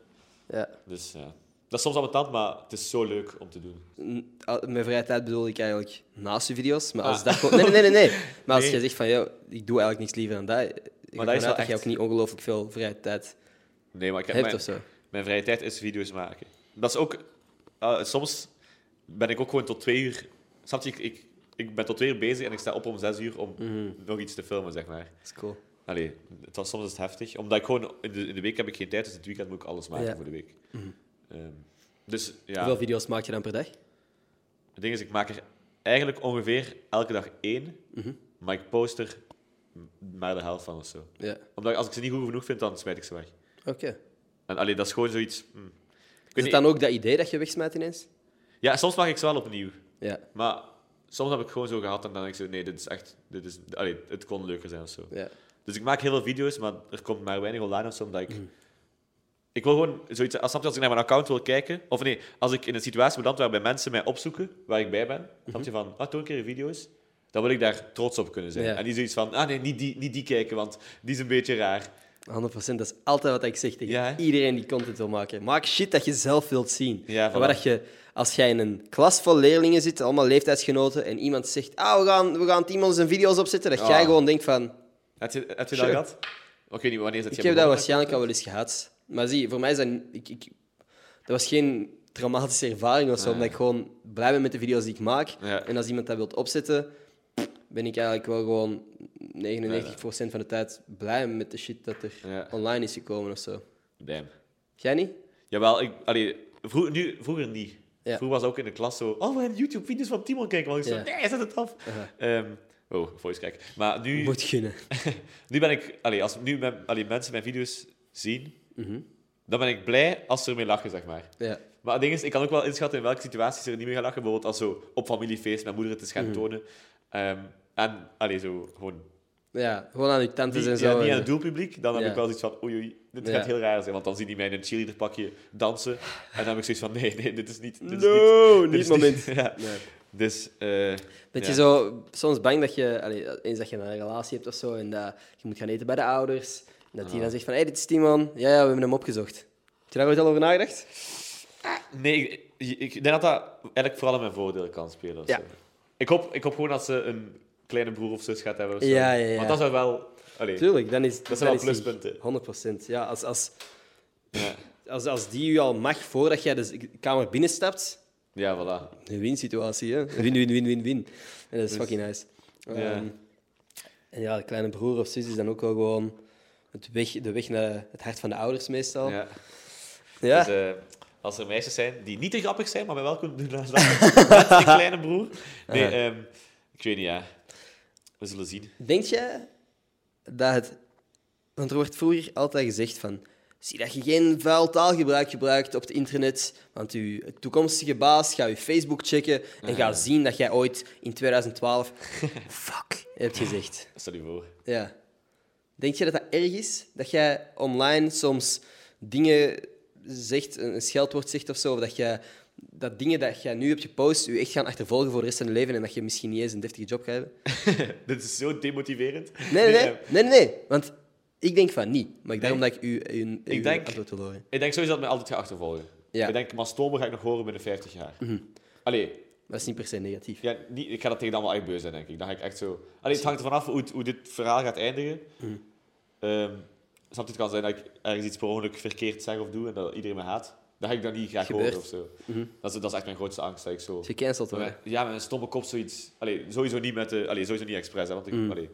Ja. Dus ja, dat is soms ambetant, maar het is zo leuk om te doen. N- al- Mijn vrije tijd bedoel ik eigenlijk naast je video's. Maar als Ah. dat gewoon... nee, nee, nee, nee. Maar als Nee. je zegt van, joh, ik doe eigenlijk niks liever dan dat. Ik Maar maar dat is wel dat je echt- ook niet ongelooflijk veel vrije tijd Nee, maar ik heb hebt mijn, of zo. mijn vrije tijd is video's maken. Dat is ook... eh, soms ben ik ook gewoon tot twee uur... Snap je, ik, ik, ik ben tot twee uur bezig en ik sta op om zes uur om Mhm. nog iets te filmen, zeg maar. Dat is cool. Allee, het was soms is het heftig. Omdat ik gewoon... In de, in de week heb ik geen tijd, dus in het weekend moet ik alles maken Ja. Mhm. voor de week. Ehm, dus ja, Hoeveel video's maak je dan per dag? het ding is, ik maak er eigenlijk ongeveer elke dag één, Mhm. maar ik post er maar de helft van of zo. Ja. Omdat als ik ze niet goed genoeg vind, dan smijt ik ze weg. Oké. En alleen dat is gewoon zoiets. hm. Ik Is weet het niet- dan ook dat idee dat je wegsmijt ineens? Ja, soms maak ik ze wel opnieuw. Ja. Maar soms heb ik gewoon zo gehad en dan denk ik zo, nee, dit is echt, dit is, allee, het kon leuker zijn of zo. ja. Dus ik maak heel veel video's, maar er komt maar weinig online of zo, omdat ik... Mm. Ik wil gewoon zoiets... Als, snap je, als ik naar mijn account wil kijken... Of nee, als ik in een situatie beland waarbij mensen mij opzoeken, waar ik bij ben, Mhm. snap je, van, ah, toon een keer je video's, dan wil ik daar trots op kunnen zijn. Ja. En niet zoiets van, ah nee, niet die, niet die kijken, want die is een beetje raar. 100%, dat is altijd wat ik zeg tegen Ja, hè? iedereen die content wil maken. Maak shit dat je zelf wilt zien. Ja, en voilà. waar dat je, als jij in een klas vol leerlingen zit, allemaal leeftijdsgenoten, en iemand zegt, ah, we gaan, we gaan het iemand zijn video's opzetten, dat jij Ah. gewoon denkt van, Heb je, heb je Sure. dat gehad? Ik weet niet, wanneer is dat ik jij heb dat begonnen? waarschijnlijk al wel eens gehad. Maar zie, voor mij is dat, ik, ik, dat was geen traumatische ervaring of zo, omdat ik gewoon blij ben met de video's die ik maak. Ah. Ja. En als iemand dat wilt opzetten, ben ik eigenlijk wel gewoon 99% van de tijd blij met de shit dat er Ja. online is gekomen of zo. Damn. Jij niet? Jawel, ik, allee, vroeg, nu, vroeger niet. Ja. Vroeger was ook in de klas zo... Oh, we gaan YouTube-video's van Timon kijken. Want ik Ja. Uh-huh. zo, nee, zet het af. Ehm, oh, voice crack. Maar nu, Moet gunnen. nu ben ik... Allee, als nu mijn, allee, mensen mijn video's zien, Mhm. dan ben ik blij als ze ermee lachen, zeg maar. Ja. Maar het ding is, ik kan ook wel inschatten in welke situaties ze er niet meer gaan lachen. Bijvoorbeeld als zo op familiefeest mijn moeder het is gaan Mhm. tonen. Ehm, en, allee, zo gewoon... ja, gewoon aan je tantes Die, en ja, zo. niet aan en het doelpubliek, dan heb Ja. ik wel iets van oei, oei, dit Ja. gaat heel raar zijn. Want dan zien die mij in een cheerleaderpakje dansen. En dan heb ik zoiets van, nee, nee, dit is niet... Dit is niet No, dit niet is het moment. ja. Nee. Dus, eh, Dat ja. je zo soms bang dat je, allee, eens dat je een relatie hebt of zo, en dat je moet gaan eten bij de ouders, en Ah. dat die dan zegt van, hé, dit is Timon, ja, ja, we hebben hem opgezocht. Heb je daar ooit al over nagedacht? Nee, ik, ik- ik denk dat dat eigenlijk vooral in mijn voordeel kan spelen. of Ja. zo. Ik, hoop, ik hoop gewoon dat ze een kleine broer of zus gaat hebben. Of zo. Ja, ja, ja. Want dat zou wel... Allee, Tuurlijk, dan is Dat zijn dan wel is die pluspunten. 100%. Ja, als, als, ja. als, als die je al mag voordat jij de kamer binnenstapt, ja, voilà. Een win-situatie, hè? Win, win, win, win, win. En dat is fucking nice. Dus- Ja. Ehm, en ja, de kleine broer of zus is dan ook wel gewoon het weg, de weg naar het hart van de ouders meestal. Ja, Ja. Dus, eh, als er meisjes zijn die niet te grappig zijn, maar mij wel kunnen doen lachen met die kleine broer. Nee, Aha. ehm, ik weet niet, ja. We zullen zien. Denk jij dat het... Want er wordt vroeger altijd gezegd van... Zie dat je geen vuil taalgebruik gebruikt op het internet, want je toekomstige baas gaat je Facebook checken en gaat zien dat jij ooit in 2012 fuck hebt gezegd. Stel je voor. Ja. Denk je dat dat erg is? Dat jij online soms dingen zegt, een een scheldwoord zegt of zo, of dat, jij, dat dingen dat jij nu hebt gepost, je echt gaan achtervolgen voor de rest van je leven en dat je misschien niet eens een deftige job gaat hebben? Dit is zo demotiverend. Nee, nee, nee. ehm, nee, nee, nee. Want ik denk van niet. Maar ik daarom dat ik u een Ik denk- antwoord wil horen. Ik denk sowieso dat mij altijd gaat achtervolgen. Ja. Mhm. Ik denk, Mastomo ga ik nog horen binnen 50 jaar. Allee, Dat is niet per se negatief. Ja, niet, ik ga dat tegen dan wel echt beu zijn, denk ik. Dan ga ik echt zo... Allee, het hangt ervan af hoe, het- hoe dit verhaal gaat eindigen. Mm. Ehm, snap je, het kan zijn dat ik ergens iets per ongeluk verkeerd zeg of doe en dat iedereen me haat. Dan ga ik dat niet graag Gebeurt. horen of zo. Dat, is, dat is echt mijn grootste angst, dat ik zo... Als je cancelt Ja, hoor. met- Ja, met een stomme kop zoiets... Allee, sowieso niet met de... Allee, sowieso niet expres, hè, want ik... Mm. Allee,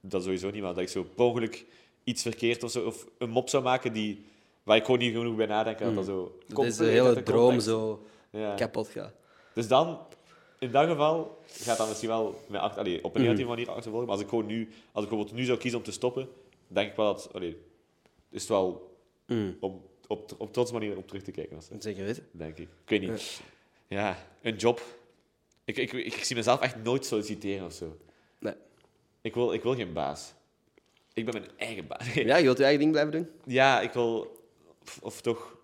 dat sowieso niet, maar dat ik zo per ongeluk iets verkeerd of zo... Of een mop zou maken die... Waar ik gewoon niet genoeg bij nadenk. en Dat, dat zo... Mm. Dat is de compleet uit de hele droom context- zo Ja. kapot gaat. Dus dan, in dat geval, gaat dat misschien wel met acht, allee, op een negatieve manier achtervolgen. Maar als ik gewoon nu, als ik bijvoorbeeld nu zou kiezen om te stoppen, denk ik wel dat, allee, is het wel om op, op trotse manier op terug te kijken. als- Zeker weten. Denk ik. Ik weet niet. Ja, een job. Ik, ik, ik, zie mezelf echt nooit solliciteren of zo. Nee. Ik wil, ik wil geen baas. Ik ben mijn eigen baas. Ja, je wilt je eigen ding blijven doen? Ja, ik wil, of, of toch,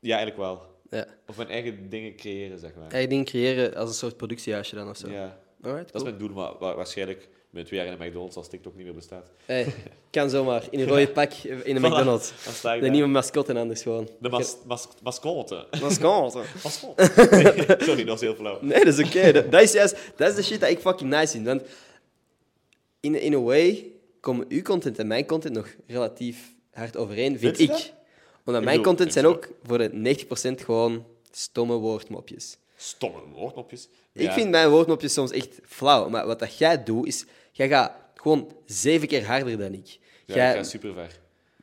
ja, eigenlijk wel. Ja. Of mijn eigen dingen creëren, zeg maar. Eigen ding creëren als een soort productiehuisje dan of zo. Ja. Alright, cool. Dat is mijn doel, maar wa- waarschijnlijk binnen twee jaar in de McDonald's als TikTok niet meer bestaat. Hey, kan zomaar. In een rode pak eh, in de McDonald's. Dan sta ik De daar. nieuwe mascotte en anders gewoon. De mas mas mascotte. mascotte. Mascotte. Nee, sorry, dat was heel flauw. Nee, dat is oké. Dat, dat is juist dat is de shit dat ik fucking nice vind. Want in, in a way komen uw content en mijn content nog relatief hard overeen, vind Vind je ik. dat? Omdat mijn bedoel, content vind zijn je ook voor de 90% gewoon stomme woordmopjes. Stomme woordnopjes. Ik vind mijn woordmopjes soms echt flauw. Maar wat dat jij doet, is... Jij gaat gewoon zeven keer harder dan ik. Ja, Jij- ik ga super ver.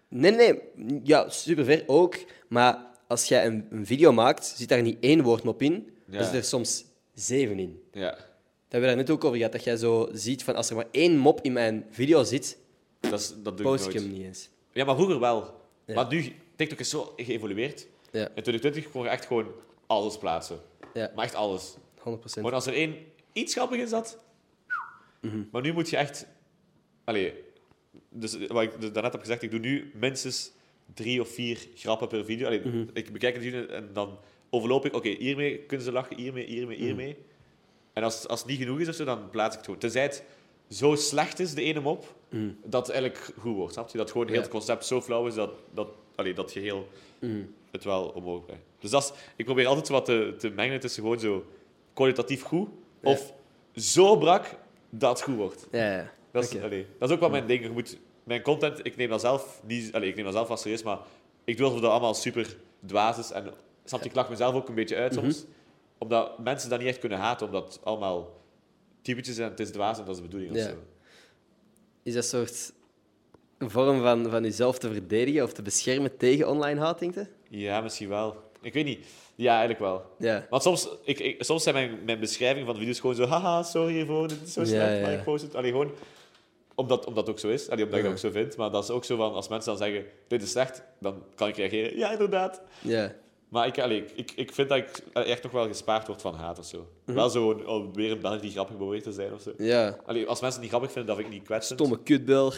Nee, nee. Ja, super ver ook. Maar als jij een, een video maakt, zit daar niet één woordmop in, Ja. dan zit er soms zeven in. Ja. Dat hebben we daar net ook over gehad, dat jij zo ziet van als er maar één mop in mijn video zit, Dat, is, dat doe ik post ik nooit. hem niet eens. Ja, maar vroeger wel. Maar nu, TikTok is zo geëvolueerd. Ja, In 2020 kon je echt gewoon alles plaatsen. Ja. Maar echt alles. 100%. Gewoon als er één iets grappig in zat. Mhm. Maar nu moet je echt... Allee, dus wat ik dus daarnet heb gezegd, ik doe nu minstens drie of vier grappen per video. Allee, Mhm. Ik bekijk het video en dan overloop ik, oké, hiermee kunnen ze lachen, hiermee, hiermee, Mhm. hiermee. En als, als het niet genoeg is of zo, dan plaats ik het gewoon. Tenzij het zo slecht is, de ene mop, dat het eigenlijk goed wordt. Snap je? Dat gewoon heel Mhm. Ja. Mhm. het concept zo flauw is dat, dat, allee, dat geheel het wel omhoog brengt. Dus dat is, ik probeer altijd zo wat te, te mengen tussen gewoon zo kwalitatief goed Ja. of zo brak dat het goed wordt. Ja, ja. Dat is, Oké. allee, dat is ook wel mijn ding. Je moet, mijn content, ik neem dat zelf niet... Allee, ik neem dat zelf als serieus, maar ik doe alsof dat allemaal super dwaas is. En snap je, ik lach mezelf ook een beetje uit Mhm. soms. Omdat mensen dat niet echt kunnen haten, omdat het allemaal typetjes en het is dwaas en dat is de bedoeling Ja. of zo. Is dat soort een vorm van, van jezelf te verdedigen of te beschermen tegen online haat, denk je? Ja, misschien wel. Ik weet niet. Ja, eigenlijk wel. Ja. Want soms, ik, ik- soms zijn mijn, mijn beschrijvingen van de video's gewoon zo... Haha, sorry Yvonne, het is zo Ja, slecht, maar ja. ik post het. Allee, gewoon... Omdat, omdat het ook zo is. Allee, omdat ik Ja. dat ook zo vind. Maar dat is ook zo van... Als mensen dan zeggen, dit is slecht, dan kan ik reageren. Ja, inderdaad. Ja. Maar ik, allee, ik- ik, ik vind dat ik echt nog wel gespaard word van haat of zo. Mhm. Wel zo een- oh, weer een Belg die grappig probeert te zijn of zo. Ja. Allee, als mensen het niet grappig vinden, dat vind ik niet kwetsend. Stomme kutbel.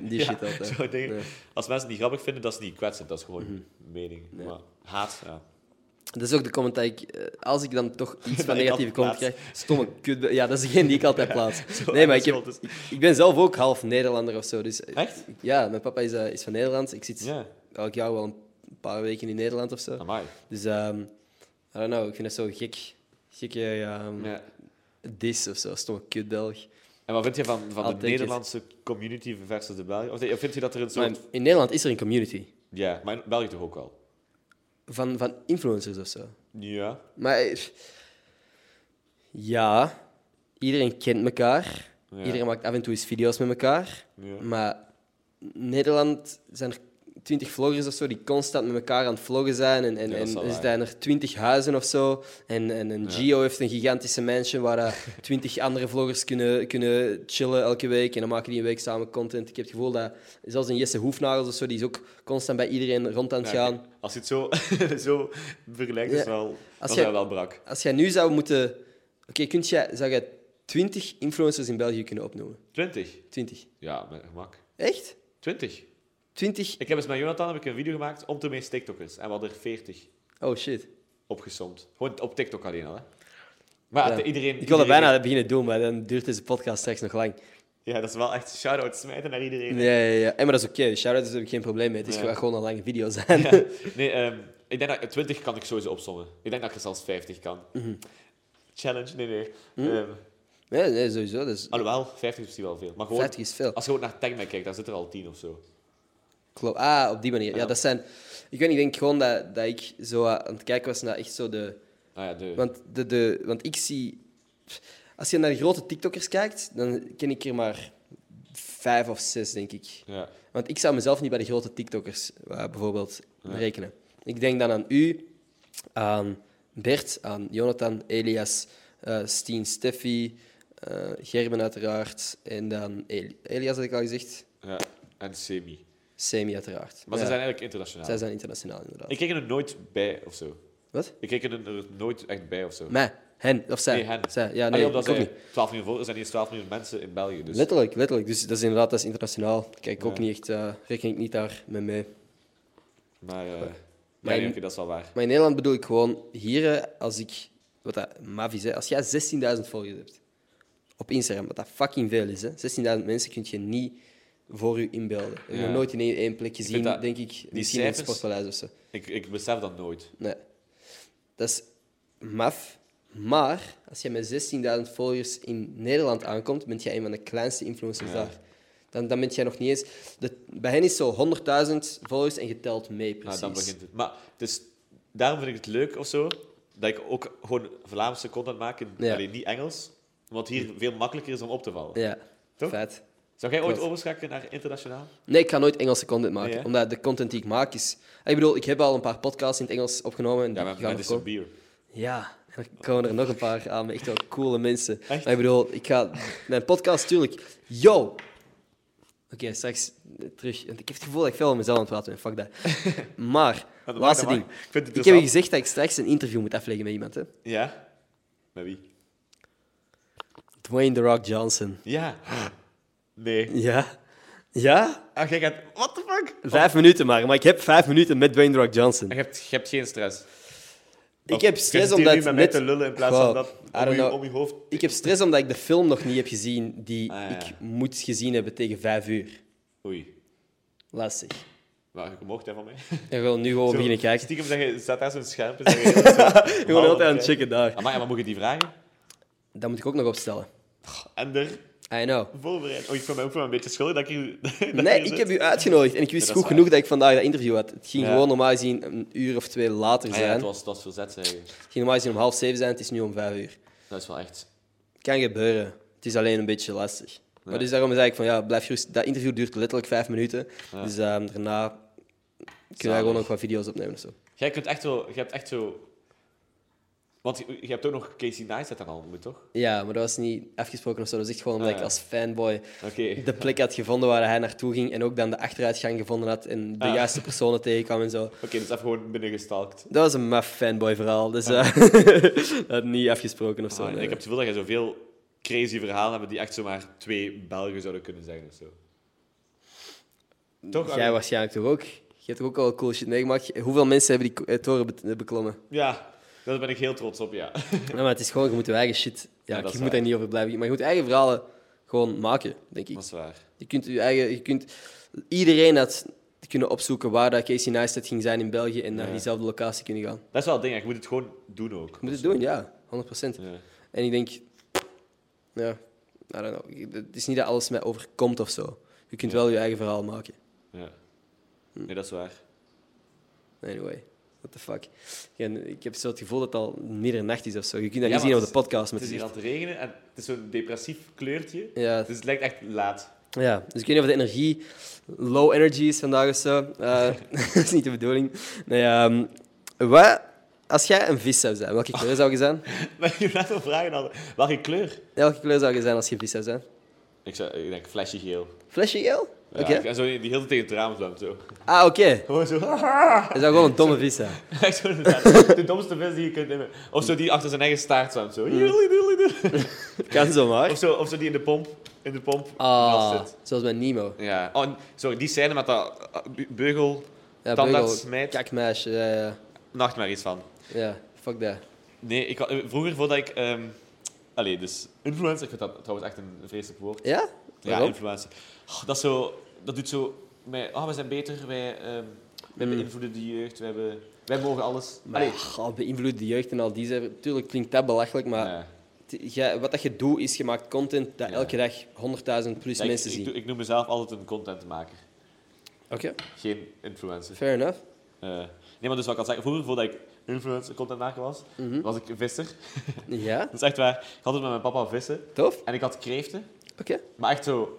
Die Ja, shit altijd. zo'n ding. Ja. Als mensen het niet grappig vinden, dat is niet kwetsend. Dat is gewoon Mhm. mening. Maar haat, ja. Dat is ook de comment dat ik, eh, als ik dan toch iets van ik negatieve altijd comment plaats. krijg, stomme kut. Ja, dat is degene die ik altijd plaats. zo nee, maar ik, erg heb, is dat ik, ik ben zelf ook half Nederlander of zo. Dus, eh, Echt? ik- ja, mijn papa is, eh, is van Nederlands. Ik zit Ja, elk jaar wel een paar weken in Nederland of zo. amai. Dus, ehm I don't know, ik vind dat zo gek. Gekke ehm, Ja. dis of zo, stomme kut Belg. En wat vind je van, van I'll de take it. Nederlandse community versus de Belgen? Of nee, vind je dat er een soort... Maar in Nederland is er een community Ja, maar in België toch ook wel? van, van influencers of zo. Ja. Maar eh, ja, iedereen kent elkaar. Ja. Iedereen maakt af en toe eens video's met elkaar. Ja. Maar in Nederland zijn er twintig vloggers of zo die constant met elkaar aan het vloggen zijn. En, en, Ja, dat is en wel er waar. zijn er twintig huizen of zo. En, en een Gio heeft een gigantische mansion waar twintig andere vloggers kunnen, kunnen chillen elke week. En dan maken die een week samen content. Ik heb het gevoel dat zelfs een Jesse Hoefnagels of zo, die is ook constant bij iedereen rond aan het Ja, gaan. Als je het zo, zo vergelijkt, is Ja. wel, dan je- zijn we wel brak. Als jij nu zou moeten... Oké, kunt jij, zou jij 20 influencers in België kunnen opnoemen? 20? 20. Ja, met gemak. Echt? 20? 20? Ik heb eens met Jonathan heb ik een video gemaakt om te meest TikTokkers. En we hadden er 40 Oh shit. opgesomd. Gewoon op TikTok alleen al. Hè. Maar Ja. het- iedereen. Ik wil dat iedereen- bijna beginnen doen, maar dan duurt deze podcast straks nog lang. Ja, dat is wel echt shout-out smijten naar iedereen. Ja, ja, ja. En maar dat is oké. Shout-out is er geen probleem mee. Het is Ja. gewoon- gewoon een lange video zijn. Nee, ehm, ik denk dat 20 kan ik sowieso opsommen. Ik denk dat je zelfs 50 kan. Mhm. Challenge, nee, nee. Ehm, Nee, nee, sowieso. Dus alhoewel, 50 is misschien wel veel. Maar gewoon, 50 is veel. als je gewoon naar TechMag kijkt, dan zit er al 10 of zo. Klopt. Ah, op die manier. Ja, Ja. dat zijn... Ik weet niet, ik denk gewoon dat, dat ik zo eh, aan het kijken was naar echt zo de... Ah ja, de... Want, de, de, want ik zie... Als je naar de grote TikTokkers kijkt, dan ken ik er maar vijf of zes, denk ik. Ja. Want ik zou mezelf niet bij de grote TikTokkers eh, bijvoorbeeld Ja. rekenen. Ik denk dan aan u, aan Bert, aan Jonathan, Elias, eh Steen, Steffi, eh, Gerben uiteraard. En dan Eli- Elias had ik al gezegd, ja, en semi. Semi uiteraard. Maar Ja, ze zijn eigenlijk internationaal. zij zijn internationaal inderdaad. Ik kijk er nooit bij of zo. Wat? Ik kijk er er nooit echt bij of zo. Mij, hen of zij. Nee, hen. Zij. Ja, Allee, Ah, nee, omdat ik ook zij niet. 12 miljoen volgers zijn hier 12 miljoen mensen in België. Dus. Letterlijk, letterlijk. Dus dat is inderdaad dat is internationaal. Kijk, ik ook Ja. niet echt, eh, reken ik niet daar mee mee. Maar, eh, Maar ja, in- nee, oké, dat is wel waar. Maar in Nederland bedoel ik gewoon hier, eh, als ik, wat dat maf is, hè, als jij 16.000 volgers hebt op Instagram, wat dat fucking veel is, hè, 16.000 mensen kun je niet voor je inbeelden. Ik heb Ja. nog nooit in één, één plek gezien, vind dat- denk ik, misschien in het cijfers- Sportpaleis of zo. Ik, ik besef dat nooit. Nee. Dat is maf. Maar als je met 16.000 volgers in Nederland aankomt, ben jij een van de kleinste influencers Ja. daar. Dan, dan ben jij nog niet eens... De, bij hen is zo 100.000 volgers en geteld mee, Nou, precies. dan begint het. Maar het is- daarom vind ik het leuk of zo, dat ik ook gewoon Vlaamse content maak, in, Ja. allee, niet Engels. Omdat hier veel makkelijker is om op te vallen. Ja, Toch? vet. Zou jij ooit Klopt. overschakelen naar internationaal? Nee, ik ga nooit Engelse content maken. Nee, hè? omdat de content die ik maak is... Ah, Ik bedoel, ik heb al een paar podcasts in het Engels opgenomen. En Ja, die maar gaan met er is een komen. bier. Ja, er komen er nog een paar aan met echt wel coole mensen. Echt? Maar ik bedoel, ik ga... Mijn podcast, tuurlijk. Yo! Oké, straks terug. Want ik heb het gevoel dat ik veel aan mezelf aan het praten ben. Fuck dat. Maar, dat mag, laatste dat ding. mag. Ik vind het ik heb je interessant. gezegd dat ik straks een interview moet afleggen met iemand, hè? Ja? Met wie? Dwayne The Rock Johnson. Ja. Nee. Ja? Ja? Ah, jij gaat... What the fuck? Vijf minuten maar. Maar ik heb vijf minuten met Dwayne The Rock Johnson. En Je hebt, je hebt geen stress. Ik Of heb je stress Oh, zit hier omdat... nu met mij net- te lullen in plaats Goh, van dat I om don't je, know. om je hoofd... Ik heb stress omdat ik de film nog niet heb gezien die Ah, ja. ik moet gezien hebben tegen vijf uur. Oei. Lastig. Maar je mocht hè, van mij. En gewoon nu gewoon Zo, beginnen kijken. Stiekem zeg je, zet daar zo'n schermpje. zeg je- Gewoon altijd aan het checken daar. Amai, Ah, maar moet je die vragen? Dat moet ik ook nog opstellen. En er I know. voorbereid. Oh, ik voel me ook wel een beetje schuldig dat ik hier... dat ik Nee, hier ik zit. heb u uitgenodigd en ik wist Ja, dat is goed genoeg dat ik vandaag dat interview had. Het ging Ja. gewoon normaal gezien een uur of twee later Ah, ja, het zijn. was, het was verzet, zeg je. Het ging normaal gezien om half zeven zijn, het is nu om vijf uur. Dat is wel echt... Kan gebeuren. Het is alleen een beetje lastig. Maar dus daarom zei ik van ja, blijf gerust. Dat interview duurt letterlijk vijf minuten. Dus ehm, daarna kunnen Zalig. we gewoon ook wat video's opnemen of zo. Jij kunt echt wel... Je hebt echt zo... Want je, je hebt ook nog Casey Neistat aan de hand, moet toch? Ja, maar dat was niet afgesproken of zo. Dat is echt gewoon omdat Ah, ja. ik als fanboy Oké. de plek had gevonden waar hij naartoe ging. En ook dan de achteruitgang gevonden had en de Ah. juiste personen tegenkwam en zo. Oké, dus even gewoon binnengestalkt. Dat was een maf fanboy verhaal. Dus eh, dat had niet afgesproken of zo. Ah, nee. ik heb het gevoel dat jij zoveel crazy verhalen hebt die echt zomaar twee Belgen zouden kunnen zeggen of zo. Toch? Jij Arjen? waarschijnlijk toch ook? Je hebt toch ook al cool shit meegemaakt? Hoeveel mensen hebben die ko- eh, toren be- beklommen? Ja, daar ben ik heel trots op, ja. Ja, maar het is gewoon, je moet je eigen shit... Ja, Ja, dat je is moet daar waar. niet over blijven. Maar je moet je eigen verhalen gewoon maken, denk ik. Dat is waar. Je kunt je eigen... Je kunt, iedereen had kunnen opzoeken waar dat Casey Neistat ging zijn in België en naar Ja. diezelfde locatie kunnen gaan. Dat is wel het ding, hè. je moet het gewoon doen ook. Je moet het doen, ja. 100 Ja. En ik denk... Ja, I don't know. Het is niet dat alles mij overkomt of zo. Je kunt wel je eigen verhaal maken. ja. Nee, dat is waar. Anyway, what the fuck. En ik heb zo het gevoel dat het al middernacht is of zo. Je kunt dat Ja, niet zien maar op de het podcast. Het Met is hier aan het regenen en het is zo'n depressief kleurtje. ja, Dus het lijkt echt laat. ja, dus ik weet niet of de energie low energy is vandaag of zo. Eh, dat is niet de bedoeling. Nee, ehm, wat, als jij een vis zou zijn, welke kleur zou je zijn? Maar je laat me vragen dan, welke kleur? Welke kleur zou je zijn als je een vis zou zijn? Ik, zou, ik denk flesje geel. Flesje geel? Ja, Oké. ik- En zo die heel tegen het raam zwemt zo. Ah, oké. Gewoon zo. Dat zou gewoon een domme vis zijn. Echt zo inderdaad. de domste vis die je kunt nemen. Of zo die achter zijn eigen staart zwemt. Zo. Joelie, joelie, joelie. Kan zomaar. Hm. Of zo, of zo die in de pomp. In de pomp. Ah, vastzit. zoals bij Nemo. Ja. Oh, en- sorry, die scène met dat eh, bu- beugel, Ja, tandarts, Beugel, smijt. Kakmeisje, ja, ja. nachtmerries van. Ja, fuck dat. Nee, ik, wa- eh, vroeger voordat ik... ehm allee, dus influencer, ik vind dat trouwens echt een vreselijk woord. Ja? Ja, Waarom? influencer. Oh, dat, is zo, dat doet zo... Wij, oh, we zijn beter, wij, ehm wij Mm. beïnvloeden de jeugd, wij, hebben, wij mogen alles. Maar Allee. ja, al beïnvloed de jeugd en al die zeven. Tuurlijk klinkt dat belachelijk, maar Ja. t- jij- wat dat je doet is, je maakt content dat Ja. elke dag 100.000 plus Ja, ik- dus mensen ik, zien. doe- ik noem mezelf altijd een contentmaker, Oké, geen influencer. fair enough. Eh, nee, maar dus wat ik al zeggen, vroeger voordat ik influencer contentmaker was, Mhm. was ik visser. Ja, Dat is echt waar. Ik had het met mijn papa vissen tof. en ik had kreeften, Oké. maar echt zo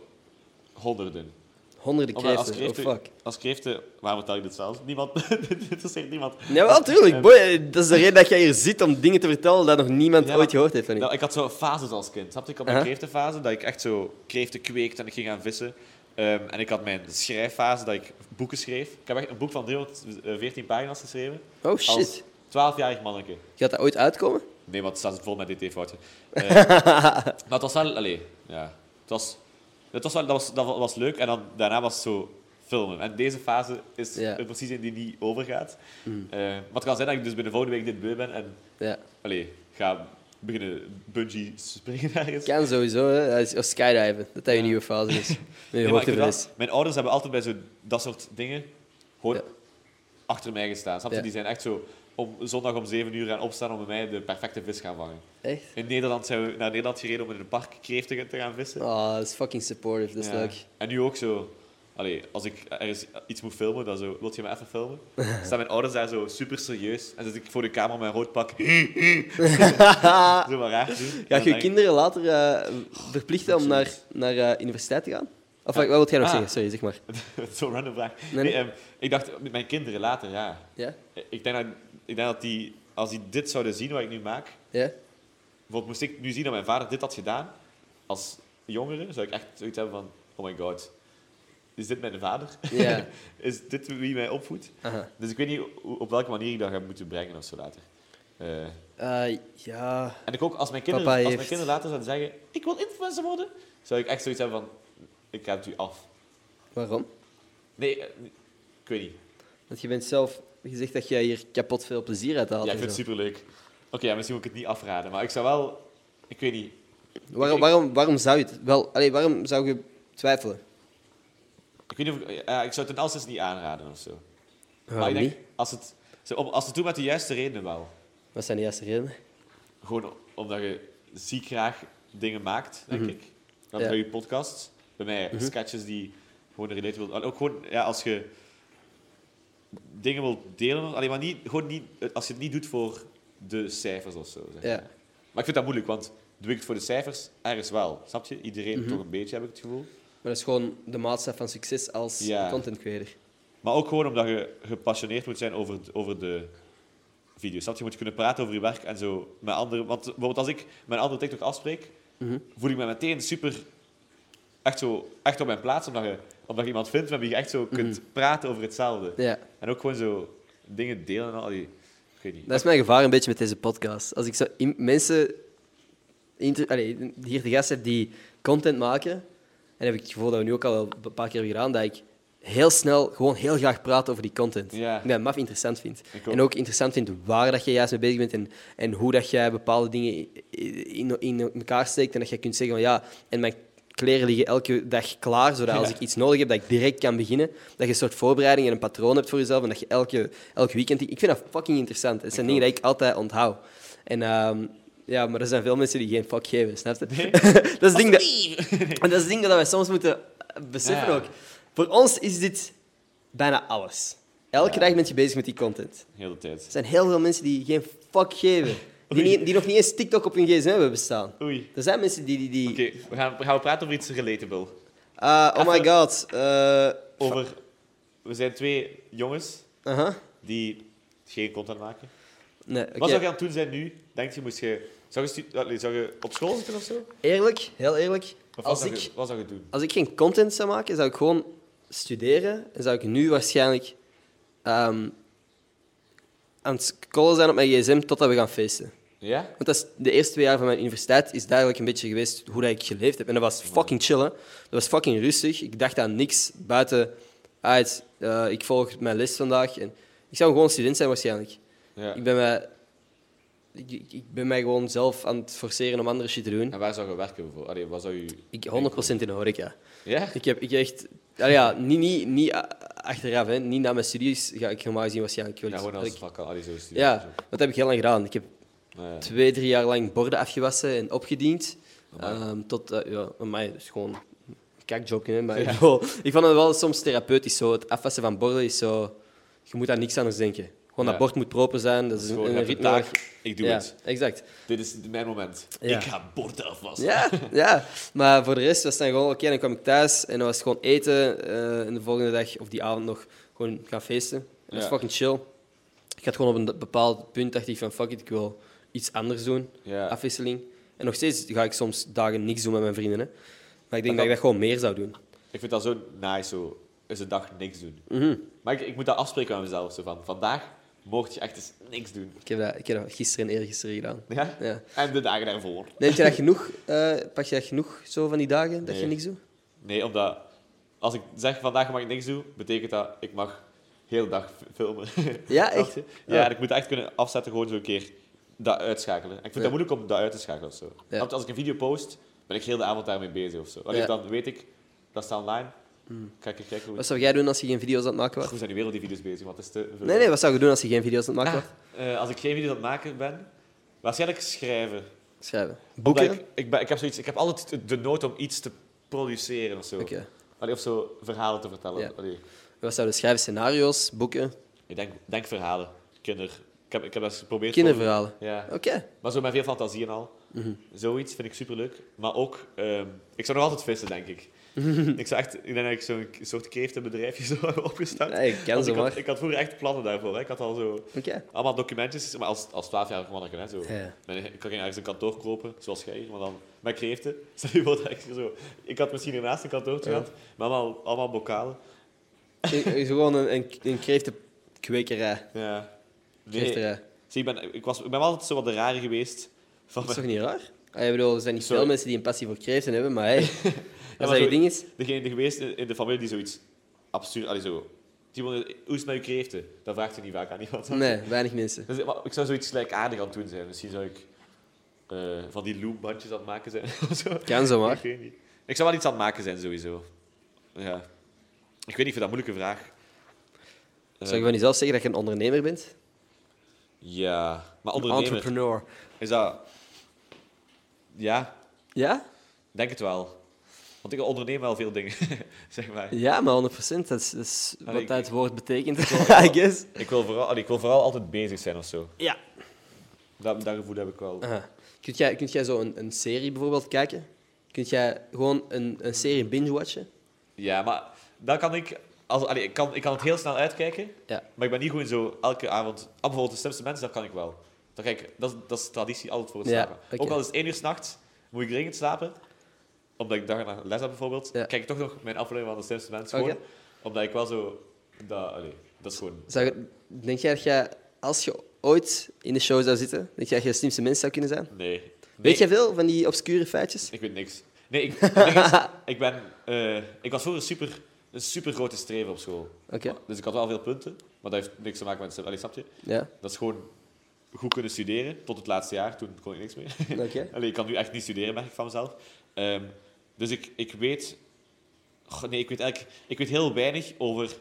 honderden. Honderden Omdat kreeften. Oh, fuck. eh, als kreeften, waarom vertel ik dit zelf? Niemand, dit interesseert niemand. Eh, Nee, wel, tuurlijk. Boy, dat is de reden dat jij hier zit om dingen te vertellen dat nog niemand Ja, maar- ooit gehoord heeft van je. Nou, ik had zo fases als kind. Snap je? Ik had mijn Aha. kreeftenfase, dat ik echt zo kreeften kweekte en ik ging gaan vissen. Ehm, en ik had mijn schrijffase, dat ik boeken schreef. Ik heb echt een boek van 314 pagina's geschreven. Oh shit. Als 12-jarig manneke. Gaat dat ooit uitkomen? Nee, want het staat vol met dt-foutje. maar het was wel... Allee, ja. Het was, het was wel, dat, was, dat was leuk. En dan, daarna was het zo filmen. En deze fase is Ja. Hmm. er precies in die niet overgaat. Eh, maar het kan zijn dat ik dus binnen volgende week dit beu ben en Ja. allee, ga beginnen bungee springen ergens. Kan sowieso, hè. Dat is, of skydiven. Dat dat je nieuwe fase is. Met je Nee, maar ik vind wel- hoogtevrees. mijn ouders hebben altijd bij zo dat soort dingen gewoon Ja. achter mij gestaan. Snap je? Ja. Die zijn echt zo om, zondag om 7 uur gaan opstaan om bij mij de perfecte vis gaan vangen. Echt? In Nederland zijn we naar Nederland gereden om in een park kreeften te gaan vissen. Oh, dat is fucking supportive. Dat is Ja. leuk. En nu ook zo. Allee, als ik ergens iets moet filmen, dan zo, wil je me even filmen? Staan mijn ouders daar zo super serieus en zit ik voor de camera met een rood pak. zo maar raar te doen. Ga En je je dan denk ik, kinderen later eh, verplichten om naar, naar eh, universiteit te gaan? Of wat, wat wil jij nog Ah. zeggen? Sorry, zeg maar. Zo'n random vraag. Nee, Nee, nee. ehm, ik dacht, met mijn kinderen later, ja. Ja? Ik denk dat, ik denk dat die, als die dit zouden zien wat ik nu maak... Ja? Bijvoorbeeld moest ik nu zien dat mijn vader dit had gedaan, als jongere, zou ik echt zoiets hebben van... Oh my god, is dit mijn vader? Ja. is dit wie mij opvoedt? Aha. Dus ik weet niet hoe- op welke manier ik dat ga moeten brengen of zo later. Eh, Eh, ja. en ik ook, als mijn kinderen, Papa als mijn heeft- kinderen later zouden zeggen... Ik wil influencer worden, zou ik echt zoiets hebben van... Ik ga het u af. Waarom? Nee, eh, ik weet niet. Want je bent zelf... Je zegt dat jij hier kapot veel plezier uit haalt. Ja, ik en vind het zo. superleuk. Oké, ja, misschien moet ik het niet afraden, maar ik zou wel... Ik weet niet. Waarom, waarom, waarom zou je het wel... Allee, waarom zou je twijfelen? Ah, Ik, weet niet of ik, ja, ik zou het ten alste niet aanraden of zo. maar ik Waarom denk, niet? als het, zo, om- als het doet met de juiste redenen wel. Wat zijn de juiste redenen? Gewoon omdat je ziek graag dingen maakt, denk ik. Dan Mhm. Ja. Mhm. bij je podcast. Bij mij sketches die gewoon relatable... en Ook gewoon, ja, als je dingen wilt delen... Alleen maar niet, gewoon niet... Als je het niet doet voor de cijfers of zo. zeg Ja. maar. Maar ik vind dat moeilijk, want doe ik het voor de cijfers? Ergens wel. Snap je? Iedereen Mhm. toch een beetje, heb ik het gevoel. Maar dat is gewoon de maatstaf van succes als Ja. content creator. Maar ook gewoon omdat je gepassioneerd moet zijn over, over de video's. Snap je? Je moet kunnen praten over je werk en zo met anderen. Want bijvoorbeeld als ik mijn andere TikTok afspreek, Mhm. voel ik me meteen super... Echt, zo, echt op mijn plaats, omdat je, omdat je iemand vindt met wie je echt zo Mhm. kunt praten over hetzelfde. Ja. En ook gewoon zo dingen delen en al die... Ik weet niet. Dat is mijn gevaar een beetje met deze podcast. Als ik zo in- mensen inter- allee, hier de gast heb die content maken, en heb ik het gevoel dat we nu ook al wel een paar keer hebben gedaan, dat ik heel snel gewoon heel graag praat over die content. Ja. Ik ben maf interessant vind. Ik ook. En ook interessant vind waar dat je juist mee bezig bent en, en hoe dat jij bepaalde dingen in, in, in elkaar steekt. En dat je kunt zeggen van ja, en mijn kleren liggen elke dag klaar, zodat als Ja. ik iets nodig heb, dat ik direct kan beginnen. Dat je een soort voorbereiding en een patroon hebt voor jezelf en dat je elke, elk weekend... Ik vind dat fucking interessant. Het zijn Ik dingen die ik altijd onthoud. En ehm, ja, maar er zijn veel mensen die geen fuck geven, snap je? Nee. dat is het ding dat... En dat is het ding dat wij soms moeten eh, beseffen Ja. ook. Voor ons is dit bijna alles. Elke Ja. dag ben je bezig met die content. Heel de tijd. Er zijn heel veel mensen die geen fuck geven. Die, Oei. niet- die nog niet eens TikTok op hun gsm hebben bestaan. Oei. Er zijn mensen die... die, die Oké, we gaan, gaan we praten over iets relatable. Ah, oh my Even- Oh. god. eh, Over... We zijn twee jongens aha. die geen content maken. Nee, oké. Wat zou je aan het doen zijn nu? Denk je, moest je... Zou je, stu- allee, zou je op school zitten of zo? Of Eerlijk, heel eerlijk. wat, als zou ik, je, wat zou je doen? als ik geen content zou maken, zou ik gewoon studeren. En zou ik nu waarschijnlijk ehm, aan het scrollen zijn op mijn gsm totdat we gaan feesten. Ja? Want dat is, de eerste twee jaar van mijn universiteit is duidelijk een beetje geweest hoe dat ik geleefd heb. En dat was fucking chillen. Dat was fucking rustig. Ik dacht aan niks buiten uit. eh, ik volg mijn les vandaag. En ik zou gewoon student zijn waarschijnlijk. ja. Ik, ben mij, ik, ik- ik ben mij gewoon zelf aan het forceren om andere shit te doen. En waar zou je werken bijvoorbeeld? Allee, wat zou je... Ik 100% in de horeca. Ja? Ik heb ik echt... ah ja, niet, niet, niet a- achteraf, hè. niet na mijn studies ga ik normaal gezien waarschijnlijk wel Ja, iets- gewoon als dat ik- vak al. Allee, zo studeren. ja, dat heb ik heel lang gedaan. Ik heb Zo. Ja. twee, drie jaar lang borden afgewassen en opgediend. Amai. Ehm, tot, eh, ja, mij dus gewoon een kakjobje. hè, Maar ik bedoel, ik vond het wel soms therapeutisch. Zo. Het afwassen van borden is zo... Je moet aan niks anders denken. Gewoon Ja. dat bord moet proper zijn. Dat is Gewoon, een, je een hebt een ritme. waar- taak. Ik doe ja, het. exact. Dit is mijn moment. Ja. Ik ga borden afwassen. Ja, ja, maar voor de rest was het dan gewoon oké. dan kwam ik thuis en dan was het gewoon eten. eh, en de volgende dag of die avond nog gewoon gaan feesten. En dat is Ja. fucking chill. Ik had gewoon op een bepaald punt dacht ik van fuck it, ik wil iets anders doen. Ja. Afwisseling. En nog steeds ga ik soms dagen niks doen met mijn vrienden. Hè. Maar ik denk dat, kan- ik dat gewoon meer zou doen. Ik vind dat zo nice, zo. Is een dag niks doen. Mhm. Maar ik, ik moet dat afspreken met mezelf. Zo van, vandaag mocht je echt eens niks doen. Ik heb dat, ik heb dat gisteren en eergisteren gedaan. Ja? Ja. En de dagen daarvoor. Neemt je dat genoeg? eh, pak je dat genoeg zo van die dagen dat je Nee. niks doet? Nee, omdat als ik zeg vandaag mag ik niks doen, betekent dat ik mag heel de dag f- filmen. Ja, Snap echt? je? Ja. Ja, en ik moet dat echt kunnen afzetten, gewoon zo'n keer dat uitschakelen. Ik vind Ja. dat moeilijk om dat uit te schakelen of zo. Ja. Want als ik een video post, ben ik heel de avond daarmee bezig of zo. Allee, Ja. Hmm. dan weet ik, dat staat online. Ga ik even kijken hoe, Wat zou jij doen als je geen video's aan het maken was? hoe zijn die wereld die video's bezig, want het is te veel. Nee, nee, wat zou je doen als je geen video's aan het maken Ah, was? eh, als ik geen video's aan het maken ben, waarschijnlijk schrijven. Schrijven. Omdat Boeken? Ik, ik, ben, ik, heb zoiets, ik heb altijd de nood om iets te produceren of zo. Oké. Allee, of zo verhalen te vertellen. Ja. Allee. Wat zouden schrijven? Scenario's, boeken, Ik denk, denk verhalen. Kinder. Ik heb, ik heb dat eens geprobeerd. kinderverhalen. Mhm. Ja. Oké. Maar zo met veel fantasie en al. Zoiets vind ik superleuk. Maar ook, ehm, ik zou nog altijd vissen, denk ik. Mhm. ik, zou echt, ik denk dat ik zo'n k- soort kreeftenbedrijfje zou hebben opgestart. Ja, ik ken Want ze ik, maar. had, ik had vroeger echt plannen daarvoor. Hè. Ik had al zo Oké. allemaal documentjes, maar als, als 12-jarig mannetje. Hè, zo. Ja. Ben ik ik kan ergens een kantoor kopen, zoals jij hier, maar dan met kreeften. Stel je voor dat ik zo... Ik had misschien ernaast een kantoortje Ja. gehad, maar allemaal, allemaal bokalen. Het is gewoon een, een, een kreeftenkwekerij. Ja. Nee, Kreefterij. zie, ik, ben, ik, was, ik ben wel altijd zo wat de rare geweest. Van Dat is toch niet raar? Ah, ik bedoel, er zijn niet Sorry. veel mensen die een passie voor kreeften hebben, maar hey, als maar dat je zo- ding is... degene geweest in, in de familie die zoiets absurd... Allee, zo... Timon, hoe is het met je kreeften? Dat vraagt je niet vaak aan iemand. Nee, weinig mensen. Dus, maar ik zou zoiets gelijkaardig aan het doen zijn. Misschien zou ik eh, van die loombandjes aan het maken zijn. of zo. Kan zomaar. Ik weet niet. Ik zou wel iets aan het maken zijn, sowieso. Ja. Ik weet niet, ik vind dat een moeilijke vraag. Eh, Zou je van jezelf zeggen dat je een ondernemer bent? Ja. Maar Een ondernemer, entrepreneur. is dat... Ja, Ja? denk het wel. Want ik onderneem wel veel dingen, zeg maar. Ja, maar 100%. Dat is, dat is wat Allee, ik- dat het woord betekent, wil- I guess. Ik wil, vooral, allee, ik wil vooral altijd bezig zijn of zo. Ja. Dat, dat gevoel heb ik wel. Aha. Kunt jij, kunt jij zo een, een serie bijvoorbeeld kijken? Kunt jij gewoon een, een serie binge-watchen? Ja, maar dan kan ik... Als, allee, ik, kan, ik kan het heel snel uitkijken, Ja. maar ik ben niet goed in zo elke avond... Ah, bijvoorbeeld de slimste mensen, dat kan ik wel. Dan kijk, ik- dat, is- dat is traditie, altijd voor het Ja, slapen. oké. Ook al is het één uur s'nachts, moet ik dringend slapen. Omdat ik dag en nacht les heb bijvoorbeeld. Ja. Kijk ik toch nog mijn aflevering van de slimste mensen Oké. gewoon. Omdat ik wel zo... Dat, allee, dat is gewoon... Zou je- denk jij dat jij, als je ooit in de show zou zitten, denk jij dat je de slimste mens zou kunnen zijn? Nee. nee. Weet jij veel van die obscure feitjes? Ik weet niks. Nee, ik, het ding is, ik ben... eh, ik was vroeger super, een super grote streven op school. Oké, Dus ik had wel veel punten, maar dat heeft niks te maken met... Allee, snap je? ja. Dat is gewoon goed kunnen studeren. Tot het laatste jaar, toen kon ik niks meer. Oké. Allee, ik kan nu echt niet studeren, merk ik van mezelf. Ehm, dus ik, ik weet... Goh, nee, ik weet eigenlijk... Ik weet heel weinig over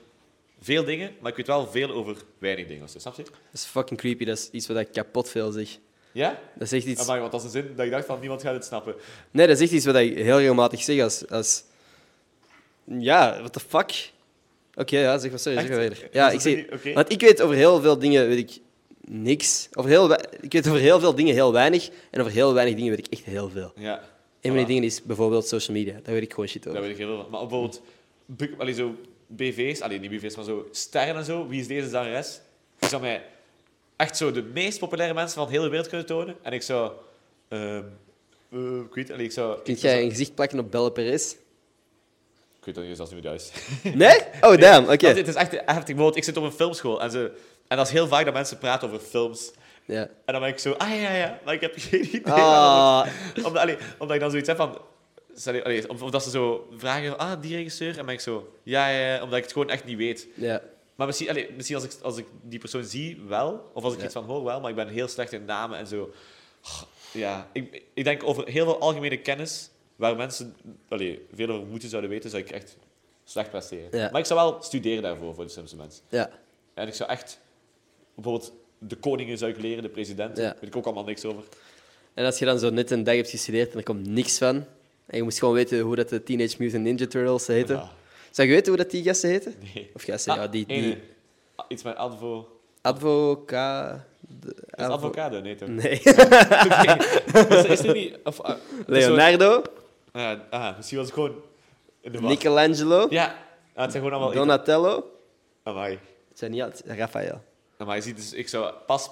veel dingen, maar ik weet wel veel over weinig dingen. of zo, Snap je? Dat is fucking creepy, dat is iets wat ik kapot veel zeg. Ja? Dat is echt iets... Amai, want dat is een zin dat ik dacht van, niemand gaat het snappen. Nee, dat is echt iets wat ik heel regelmatig zeg als... als... Ja, what the fuck? Oké, ja, zeg maar sorry, zeg maar Echt? verder. Ja, ik Is dat zeg... niet- oké. Want ik weet over heel veel dingen, weet ik niks. Over heel wei- ik weet over heel veel dingen heel weinig. En over heel weinig dingen weet ik echt heel veel. Ja. Een van die Voilà. dingen is bijvoorbeeld social media. Daar weet ik gewoon shit Daar over. weet ik heel veel van. Maar bijvoorbeeld, b- allee, zo BV's, allee, niet BV's, maar zo sterren en zo. Wie is deze zangeres? Ik zou mij echt zo de meest populaire mensen van de hele wereld kunnen tonen. En ik zou... ehm, eh, ik weet allee, ik zou... Kun ik, zou- jij een gezicht plakken op Belle Perez? ik weet dat niet, zelfs niet meer thuis. Nee? Oh, damn, oké. Want Het is echt heftig. Bijvoorbeeld, ik zit op een filmschool en, ze, en dat is heel vaak dat mensen praten over films. Ja. En dan ben ik zo, ah ja, ja, maar ik heb geen idee. Ah, Omdat, allee, omdat ik dan zoiets heb van... sorry, allee, of, of dat ze zo vragen, ah, die regisseur? En dan ben ik zo, ja, ja, ja, omdat ik het gewoon echt niet weet. ja. Maar misschien, allee, misschien als, ik, als ik die persoon zie, wel. Of als ik Ja. iets van hoor, wel. Maar ik ben heel slecht in namen en zo. Oh, Ja, ik, ik denk over heel veel algemene kennis, waar mensen allee, veel over moeten zouden weten, zou ik echt slecht presteren. Ja. Maar ik zou wel studeren daarvoor, voor de slimste mensen. Ja. En ik zou echt... Bijvoorbeeld de koningen zou ik leren, de presidenten. Ja. Weet ik ook allemaal niks over. En als je dan zo net een dag hebt gestudeerd en er komt niks van, en je moest gewoon weten hoe dat de Teenage Mutant Ninja Turtles heten. Ja. Zou je weten hoe dat die gasten heten? Ah, Nee. Of gasten, ja, Ah, die... ene. die Ah, Iets met advo... advoca... de- Is advo- avocado? Nee, toch? Nee. Is, is er niet... Of, ah, Leonardo, zo- ah, ah, misschien was ik gewoon... in de war. Michelangelo, Ja, ah, het zijn gewoon allemaal... Donatello. Amai. Het zijn niet altijd... Raphaël. Amai, je ziet, dus ik zou pas...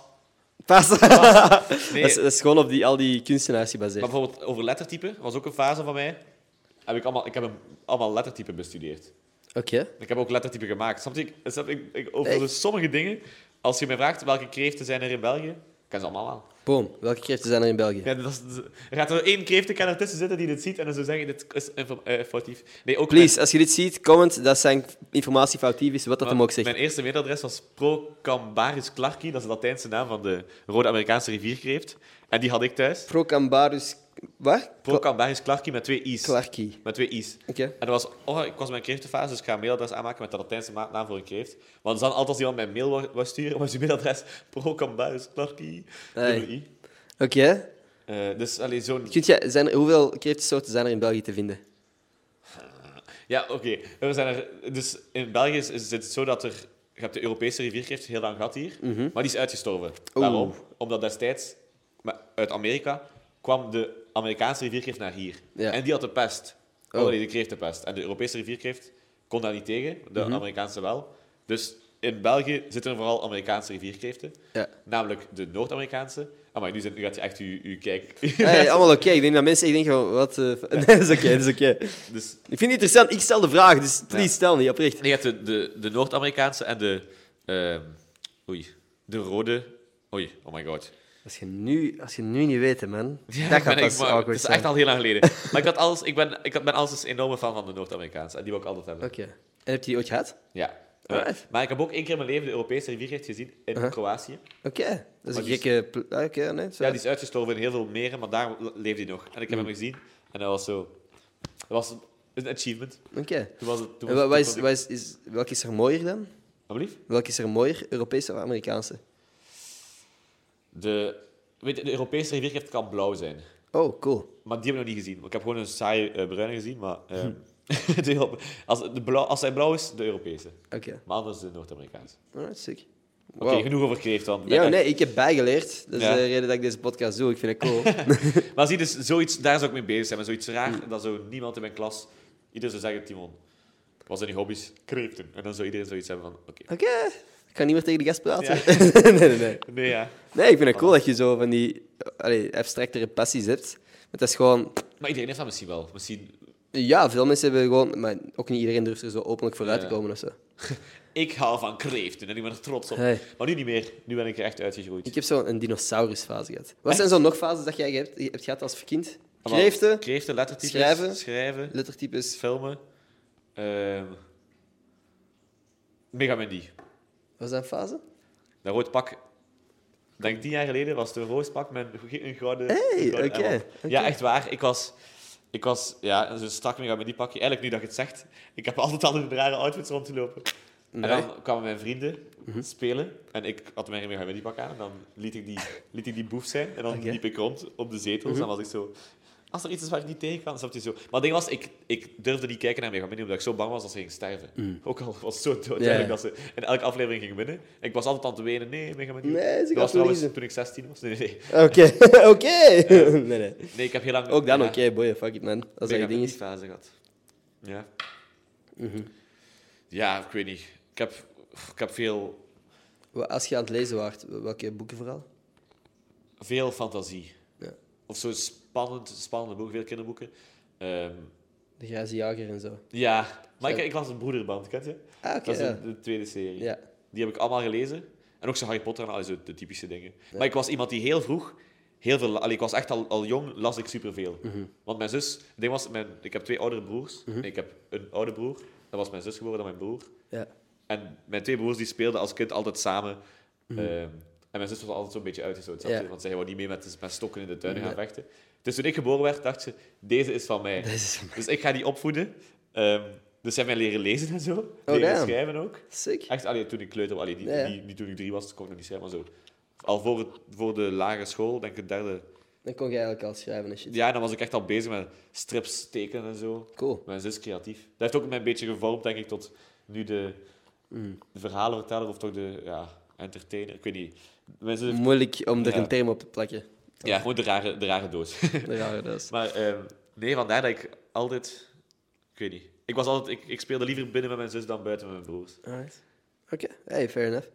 Pas. Nee, dat, is, dat is gewoon op die, al die kunstenaars maar gebaseerd. bijvoorbeeld over lettertypen, was ook een fase van mij. Heb ik, allemaal, ik heb hem- allemaal lettertypen bestudeerd. Oké. Ik heb ook lettertypen gemaakt. Snap je? Ik, snap je? ik, ik, over Echt? dus sommige dingen, als je mij vraagt welke kreeften zijn er in België, ik ken ze allemaal aan. Boom. Welke kreeften zijn er in België? Ja, dat is, dat is- er gaat er één kreeftenkenner tussen zitten die dit ziet en dan zou zeggen, dit is info- eh, foutief. Nee, ook Please, als je dit ziet, comment dat zijn informatie foutief is, wat dat mijn, hem ook zegt. Mijn eerste mailadres was Procambarus clarki, dat is de Latijnse naam van de rode Amerikaanse rivierkreeft. En die had ik thuis. Procambarus... Wat? Procambarus clarki met twee i's. Clarkie. Met twee i's. Oké. En dat was, oh, ik was in mijn kreeftenfase, dus ik ga een mailadres aanmaken met de Latijnse ma- naam voor een kreeft. Want dan altijd als iemand mij een mail wou- wou sturen, was je mailadres Procambarus clarki. Hey. dubbel i. Oké. Eh, dus alleen zo'n Kunt jij- zijn er- hoeveel kreeftensoorten zijn er in België te vinden? Ah, Ja, oké. We zijn er... Dus in België is, is het zo dat er... Je hebt de Europese rivierkreeft heel Mhm. lang gehad hier, maar die is uitgestorven. Waarom? Omdat destijds maar uit Amerika kwam de Amerikaanse rivierkreeft naar hier. Ja. En die had de pest. Oh. Oh. nee, de kreeft de pest. En de Europese rivierkreeft kon daar niet tegen, de Mhm. Amerikaanse wel. Dus in België zitten er vooral Amerikaanse rivierkreeften. Ja. Namelijk de Noord-Amerikaanse. Maar nu, zijn, nu gaat je echt uw, uw kijk... Hey, Eh, allemaal oké. Ik denk dat mensen... Ik denk gewoon, wat... eh, nee, dat is oké, dat is oké. dus Ik vind het interessant. Ik stel de vraag, dus please Ja. stel niet, oprecht. Nee, je hebt de, de, de Noord-Amerikaanse en de... ehm, oei. De rode... Oei, oh my god. Als je nu, als je nu niet weet, hè, man. Ja, dat ik ben gaat echt- pas maar awkward Het is zijn. echt al heel lang geleden. Maar ik, had alles, ik, ben, ik had- ben alles een enorme fan van de Noord-Amerikaanse. En die wil ik altijd hebben. Oké. En heb je die ooit gehad? Ja. Eh, Alright. Uh-huh. Maar ik heb ook één keer in mijn leven de Europese riviergeeft gezien in Kroatië. Oké. Dat is Maar een die is- gekke... pl- ah, Oké, nee. zo. Ja, die is uitgestorven in heel veel meren, maar daar leefde hij nog. En Hmm. ik heb hem gezien. En dat was zo... Dat was een achievement. Oké. Toen was het... Toen En was- wa- wat is, toen wat is, is, welke is er mooier dan? vond ik- Alsjeblieft. Welke is er mooier, Europese of Amerikaanse? De, weet je, de Europese riviergeeft kan blauw zijn. Oh, cool. Maar die heb ik nog niet gezien. Ik heb gewoon een saaie eh, bruine gezien, maar... ehm, de Euro- als, de blauw, als hij blauw is, de Europese. Oké. Maar anders de Noord-Amerikaanse. Alright, sick. Oké, Wow. genoeg over kreeft dan. ja, nee, ik heb bijgeleerd. Dat is Ja. de reden dat ik deze podcast doe. Ik vind het cool. Maar zie, dus zoiets, daar zou ik mee bezig zijn. Maar zoiets raar, Hmm. dat zo niemand in mijn klas... Iedereen zou zeggen, Timon, wat zijn je hobby's? Kreeften. En dan zou iedereen zoiets hebben van, oké. Oké, ik ga niet meer tegen de gast praten. Ja. nee, nee, nee. Nee, ja. Nee, ik vind het cool dat je zo van die allee, abstractere passies hebt. Want dat is gewoon... Maar iedereen heeft dat misschien wel. Misschien... Ja, veel mensen hebben gewoon... Maar ook niet iedereen durft er zo openlijk voor uit te Ja. komen of zo. Ik hou van kreeften en ik ben er trots op. Hey. Maar nu niet meer. Nu ben ik er echt uitgegroeid. Ik heb zo'n dinosaurusfase gehad. Wat zijn zo nog fases dat jij hebt, hebt gehad als kind? Maar- Kreeften, Kreeften, lettertypes. Schrijven. Schrijven. lettertypes... filmen. Ehm Mega Man D. Wat zijn fasen? Dat rood pak, denk ik tien jaar geleden, was het een roos pak met een g- een gouden. Hey, een gouden oké, envelop. oké. Ja, echt waar. Ik was, ik was ja, zo'n strak Mega Man D pakje. Eigenlijk, nu dat je het zegt, ik heb altijd al in rare outfits rond te lopen. En dan kwamen mijn vrienden Mhm. spelen en ik had mijn Mega Man D pak aan. En dan liet ik die, liet ik die boef zijn en dan Oké. Mhm. liep ik rond op de zetels. En was ik zo. Als er iets is waar ik niet tegen kan, snap je zo. Maar het ding was, ik, ik durfde niet kijken naar Mega Man D, omdat ik zo bang was dat ze ging sterven. Ook al was het zo dood Mm. Ja. eigenlijk dat ze in elke aflevering ging winnen. Ik was altijd aan het wenen, nee, Mega Man D. Nee, ze gaat dat was trouwens verliezen. toen ik 16 was. Nee, nee, nee. Oké, oké. Nee, nee. Nee, ik heb heel lang... Ook dan ja, oké, boy, fuck it man. Als dat Mega je Man ding D is. Mhm. fase gehad. Ja. Ja, ik weet niet. Ik heb, ik heb veel, Wa- Als je aan het lezen waart, welke boeken vooral? veel fantasie. Ja. Of zo'n spannend, spannende boeken, veel kinderboeken. Ehm, De Grijze Jager en zo. ja, maar ik, Zo. ik las een broederband, kent je? Ah, oké. Dat is ja. de, de tweede serie. ja. Die heb ik allemaal gelezen. En ook zo Harry Potter en al zo de typische dingen. Maar ik was iemand die heel vroeg, heel veel, allee, ik was echt al, al jong, las ik superveel. Mhm. Want mijn zus, het ding was, mijn, ik heb twee oudere broers. Nee, ik heb een oude broer, dat was mijn zus geworden dan mijn broer. Ja. En mijn twee broers die speelden als kind altijd samen. Ehm, en mijn zus was altijd zo'n beetje uitgestoten, snap je? Mhm. Ja. want zij wou niet mee met, met stokken in de tuin gaan Nee. vechten. Dus toen ik geboren werd, dacht ze, deze is van mij. Dat is Dus ik ga die opvoeden. Ehm, dus zij hebben mij leren lezen en zo. leren Oh, damn. schrijven ook. sick. Echt, allee, toen ik kleuter, allee, niet, Ja, ja. niet, niet toen ik drie was, kon ik nog niet schrijven, maar zo. Al voor, het- voor de lagere school, denk ik het derde. Dan kon je eigenlijk al schrijven en shit. Ja, dan was ik echt al bezig met strips tekenen en zo. Cool. Mijn zus creatief. Dat heeft ook mij een beetje gevormd, denk ik, tot nu de, de verhalenverteller of toch de ja, entertainer. Ik weet niet. Mijn zus heeft- Moeilijk om er Ja. een thema op te plakken. ja, gewoon de rare, de rare doos. De rare dat is. maar ehm, nee, vandaar dat ik altijd... Ik weet niet. Ik, was altijd, ik, ik speelde liever binnen met mijn zus dan buiten met mijn broers. Alright. Oké, hey, fair enough.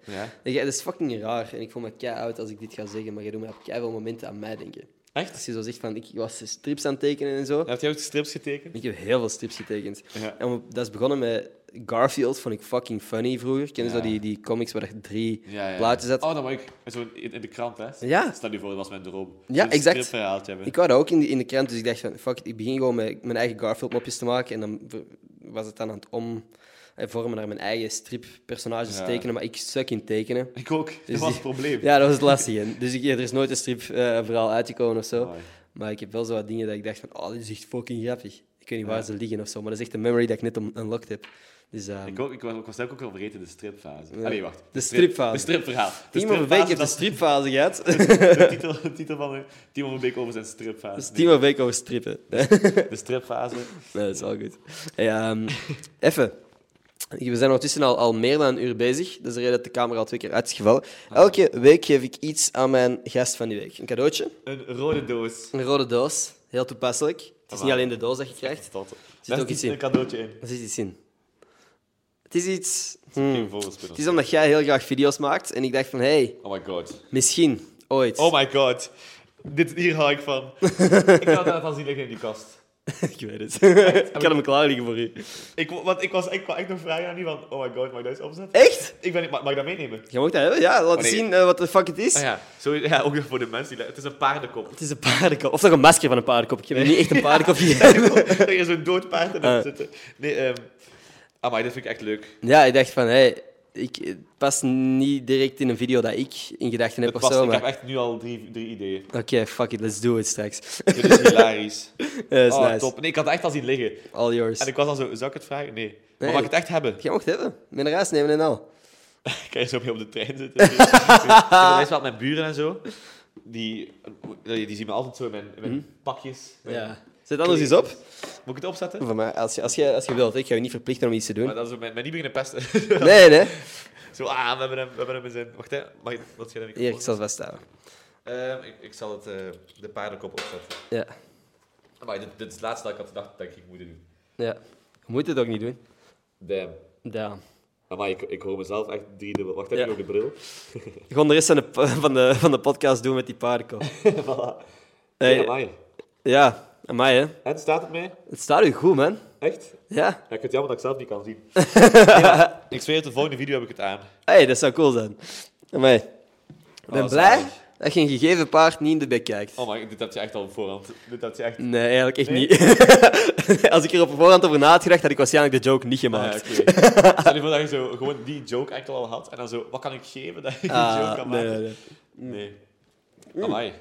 Ja. Het is fucking raar en ik voel me kei oud als ik dit ga zeggen, maar je doet me op kei veel momenten aan mij denken. Echt? Als je zo zegt van ik was strips aan het tekenen en zo. Heb jij ook strips getekend? Ik heb heel veel strips getekend. Ja. En we- dat is begonnen met Garfield, vond ik fucking funny vroeger. Ken je Ja. zo die, die comics waar er drie Ja, ja. plaatjes uit? Oh, dan wou ik zo in, in de krant, hè? Ja. Stel je voor, dat was mijn droom. Ja, exact. Een verhaaltje hebben. Ik wou dat ook in de, in de krant, dus ik dacht van, fuck it, ik begin gewoon met mijn eigen Garfield-mopjes te maken. En dan v- was het dan aan het om eh, vormen naar mijn eigen strip-personages Ja. tekenen, maar ik suk in tekenen. Ik ook. dat was Dus die- het probleem. Ja, dat was het lastige. Dus ik, er is nooit een strip eh, verhaal uitgekomen of zo. Amai. Maar ik heb wel zo wat dingen dat ik dacht van, oh, dit is echt fucking grappig. Ik weet niet waar ze liggen of zo, maar dat is echt een memory dat ik net on- unlocked heb. Dus ehm, Ik, ook, ik, was, ik was eigenlijk ook al vergeten de stripfase. Ja. Allee, wacht. De stripfase. De stripverhaal. Dus De Dus Timo van Beek heeft een stripfase, stripfase gehad. dat is de titel, de titel van de, Timo van Beek over zijn stripfase. Dus Timo van Beek over strippen. Nee, de stripfase. Nee, dat is wel goed. Hey, ehm, even. We zijn ondertussen al, al meer dan een uur bezig. Dat is de reden dat de camera al twee keer uit is gevallen. Elke week geef ik iets aan mijn gast van die week. Een cadeautje, Een rode doos. een rode doos. Heel toepasselijk. Het is Ah, niet alleen de doos dat je krijgt. Dat. Er ook iets in. een cadeautje in. Er zit iets in. Het is iets... hmm. Geen Het vogelspinnen. is omdat jij heel graag video's maakt. En ik dacht van, hé, hey, Oh my god. misschien, ooit. Oh my god. Dit, hier hou ik van. ik had dat van zien liggen in die kast. ik weet het. ik kan hem klaar liggen voor u. Ik, wo- want ik was ik kwam echt nog vragen aan die van, oh my god, mag ik dat eens opzetten? Echt? Ik ben, mag, mag ik dat meenemen? Je mag dat hebben? Ja, laat Oh, nee. zien eh, wat de fuck het is. Ah ja, zo, ja, ook nog voor de mensen. Die, het is een paardenkop. Het is een paardenkop. Of toch een masker van een paardenkop. Ik heb niet echt een paardenkop gegeven. er is een dood paard in Ah. zitten. Nee, ehm amai, dit vind ik echt leuk. Ja, ik dacht van, hé, hey, ik het past niet direct in een video dat ik in gedachten heb Het of past, zo. ik maar- heb echt nu al drie, drie ideeën. Oké, fuck it, let's do it straks. Dat Dit is hilarisch. is oh, nice. top. Nee, ik had het echt al zien liggen. All yours. En ik was al zo, zou ik het vragen? Nee. Maar Nee. mag ik het echt hebben? Jij mocht het hebben. Met een reis nemen en al. Ik kan je zo mee op de trein zitten. ik heb wel eens wat mijn buren en zo. Die, eh, die die zien me altijd zo in mijn, in mijn pakjes. Mijn- Hm? Ja. Zet anders eens op. Moet ik het opzetten? Van mij, als je, als je, als je wilt. Ik ga je niet verplichten om iets te Maar doen. dat is mij, mij niet beginnen pesten. Nee, nee. zo, ah, we hebben hem, we hebben hem in zijn. Wacht, hè. Mag ik, wat jij dan? Hier, ik zal het vasthouden. Ehm, ik, ik zal het, eh, de paardenkop opzetten. Ja. Maar dit, dit is het laatste dat ik had gedacht dat ik ging moeten doen. ja. Je moet het ook niet doen. Damn. Damn. Maar ik, ik hoor mezelf echt drie dubbel. Wacht, heb Ja. je nog de bril? Gewoon de rest van de, van de, van de podcast doen met die paardenkop. voilà. Hey. Ja, amai. Ja, amai hè. En staat het mij? Het staat u goed, man. Echt? Ja. Ja, ik vind het jammer dat ik zelf niet kan zien. ik zweer het, de volgende video heb ik het aan. hey, dat zou cool zijn. Amai. Ik ben Oh, blij zalig. dat je een gegeven paard niet in de bek kijkt. Oh my, dit had je echt al op voorhand. Dit had je echt... Nee, eigenlijk echt Nee? niet. Als ik er op voorhand over na had gedacht, had ik waarschijnlijk de joke niet Ah, gemaakt. ja, oké. Stel je voor dat je zo gewoon die joke echt al had en dan zo, wat kan ik geven dat je die Ah, joke kan nee, maken? nee, nee. Mm. Nee. Amai. Nee,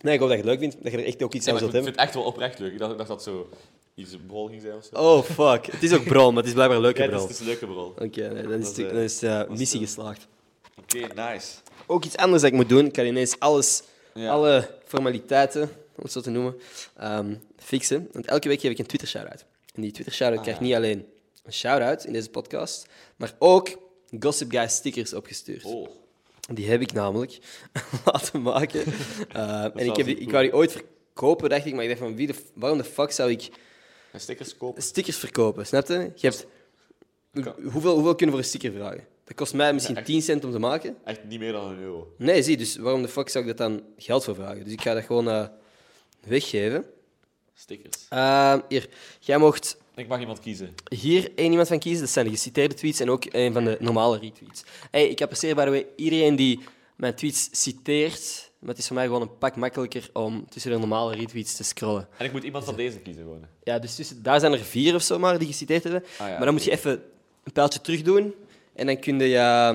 Nee, ik hoop dat je het leuk vindt, dat je er echt ook iets maar aan ik zult vind hebben. het echt wel oprecht leuk. Ik dacht, ik dacht dat zo iets brol ging zijn of zo. Oh, dus- fuck. Het is ook brol, maar het is blijkbaar een leuke ja, het is, brol. het is een leuke brol. Oké, nee, dan is, Dat, het- eh, dan is eh, was, missie eh, geslaagd. Oké, nice. Ook iets anders dat ik moet doen. Ik kan ineens alles, Ja. alle formaliteiten, om het zo te noemen, ehm, fixen. Want elke week geef ik een Twitter shout-out. En die Twitter shout-out krijgt Ah, ja. niet alleen een shout-out in deze podcast, maar ook Gossip Guy stickers opgestuurd. Oh. Die heb ik namelijk laten maken. Eh, en ik, wel heb die, ziek ik wou die ooit verkopen, dacht ik. Maar ik dacht van, wie de, f- waarom de fuck zou ik En stickers kopen. stickers verkopen? Snap je? Je hebt... kan. Hoeveel, hoeveel kunnen we voor een sticker vragen? Dat kost mij misschien Ja, echt. 10 cent om te maken. Echt niet meer dan een euro. Nee, zie, dus waarom de fuck zou ik dat dan geld voor vragen? Dus ik ga dat gewoon eh, weggeven. Stickers. Eh, hier, jij mocht Ik mag iemand kiezen. hier één iemand van kiezen. Dat zijn de geciteerde tweets en ook een van de normale retweets. Hey, ik apprecieer by the way iedereen die mijn tweets citeert. Maar het is voor mij gewoon een pak makkelijker om tussen de normale retweets te scrollen. En ik moet iemand van deze kiezen gewoon. Ja, dus tussen, daar zijn er vier of zo maar die geciteerd hebben. ja, maar dan moet je even een pijltje terug doen. En dan kun je ja,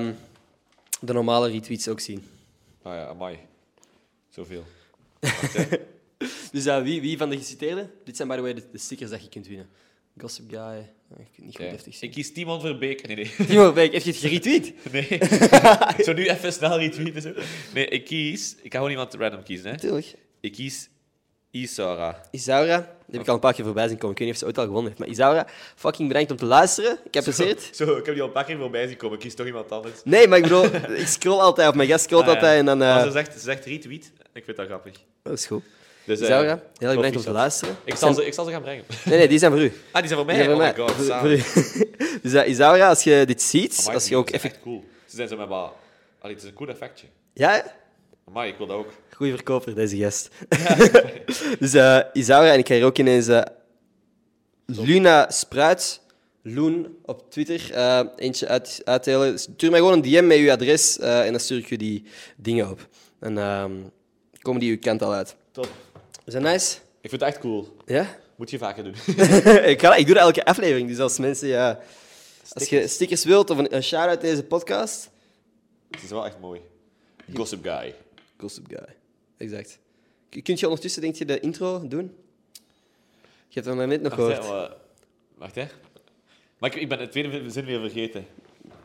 de normale retweets ook zien. Oh ja, amai. Zoveel. Dus ja, wie, wie van de geciteerden? Dit zijn by the way de, de stickers dat je kunt winnen. Gossip Guy. Oh, Ik kan het niet goed Oké. heftig Ik zien. kies Timon Verbeek. Nee, nee. Timo Beek, heeft je het geretweet? nee. zo nu even snel retweeten. Zo. Nee, ik kies... Ik ga gewoon iemand random kiezen, hè. Natuurlijk. Ik kies Isara. Isaura, die heb ik al een paar keer voorbij zien komen. Ik weet niet of ze ooit al gewonnen heeft. Maar Isaura, fucking bedankt om te luisteren. Ik heb het. Zo, ik heb die al een paar keer voorbij zien komen. Ik kies toch iemand anders. Nee, maar ik bedoel, ik scroll altijd, of mijn gast scrolt Ah, ja. altijd en dan... eh, Maar ze, zegt, ze zegt retweet. Ik vind dat grappig. Dat is goed. Dus, eh, Isaura, heel erg tof, bedankt om te Isara. luisteren. Ik zal, ze, ik zal ze gaan brengen. Nee, nee, die zijn voor u. Die Ah, die zijn voor mij? zijn voor oh mij. my god, Oh Voor- samen. voor u. Dus eh, Isaura, als je dit ziet, Amai, als je die ook is even... echt cool. Ze zijn zo met wat... Allee, het is een cool effectje. Ja? Amai, ik wil dat ook. Goeie verkoper, deze gast. dus eh Isaura en ik ga hier ook ineens eh, Luna Spruit, Loen op Twitter, eh, eentje uit, uitdelen. Dus Stuur mij gewoon een DM met uw adres eh, en dan stuur ik je die dingen op. En ehm, komen die uw kant al uit. Top. Is dat nice? Ik vind het echt cool. Ja? Moet je vaker doen. ik, ga, ik doe dat elke aflevering, dus als mensen... Ja, als je stickers wilt of een, een shout-out deze podcast... het is wel echt mooi. Gossip Guy. Gossip Guy. Exact. K- Kunt je ondertussen, denk je, de intro doen? Je hebt hem maar net nog Wacht, hè, gehoord. maar- wacht hè. Maar ik, ik ben het tweede zin weer vergeten.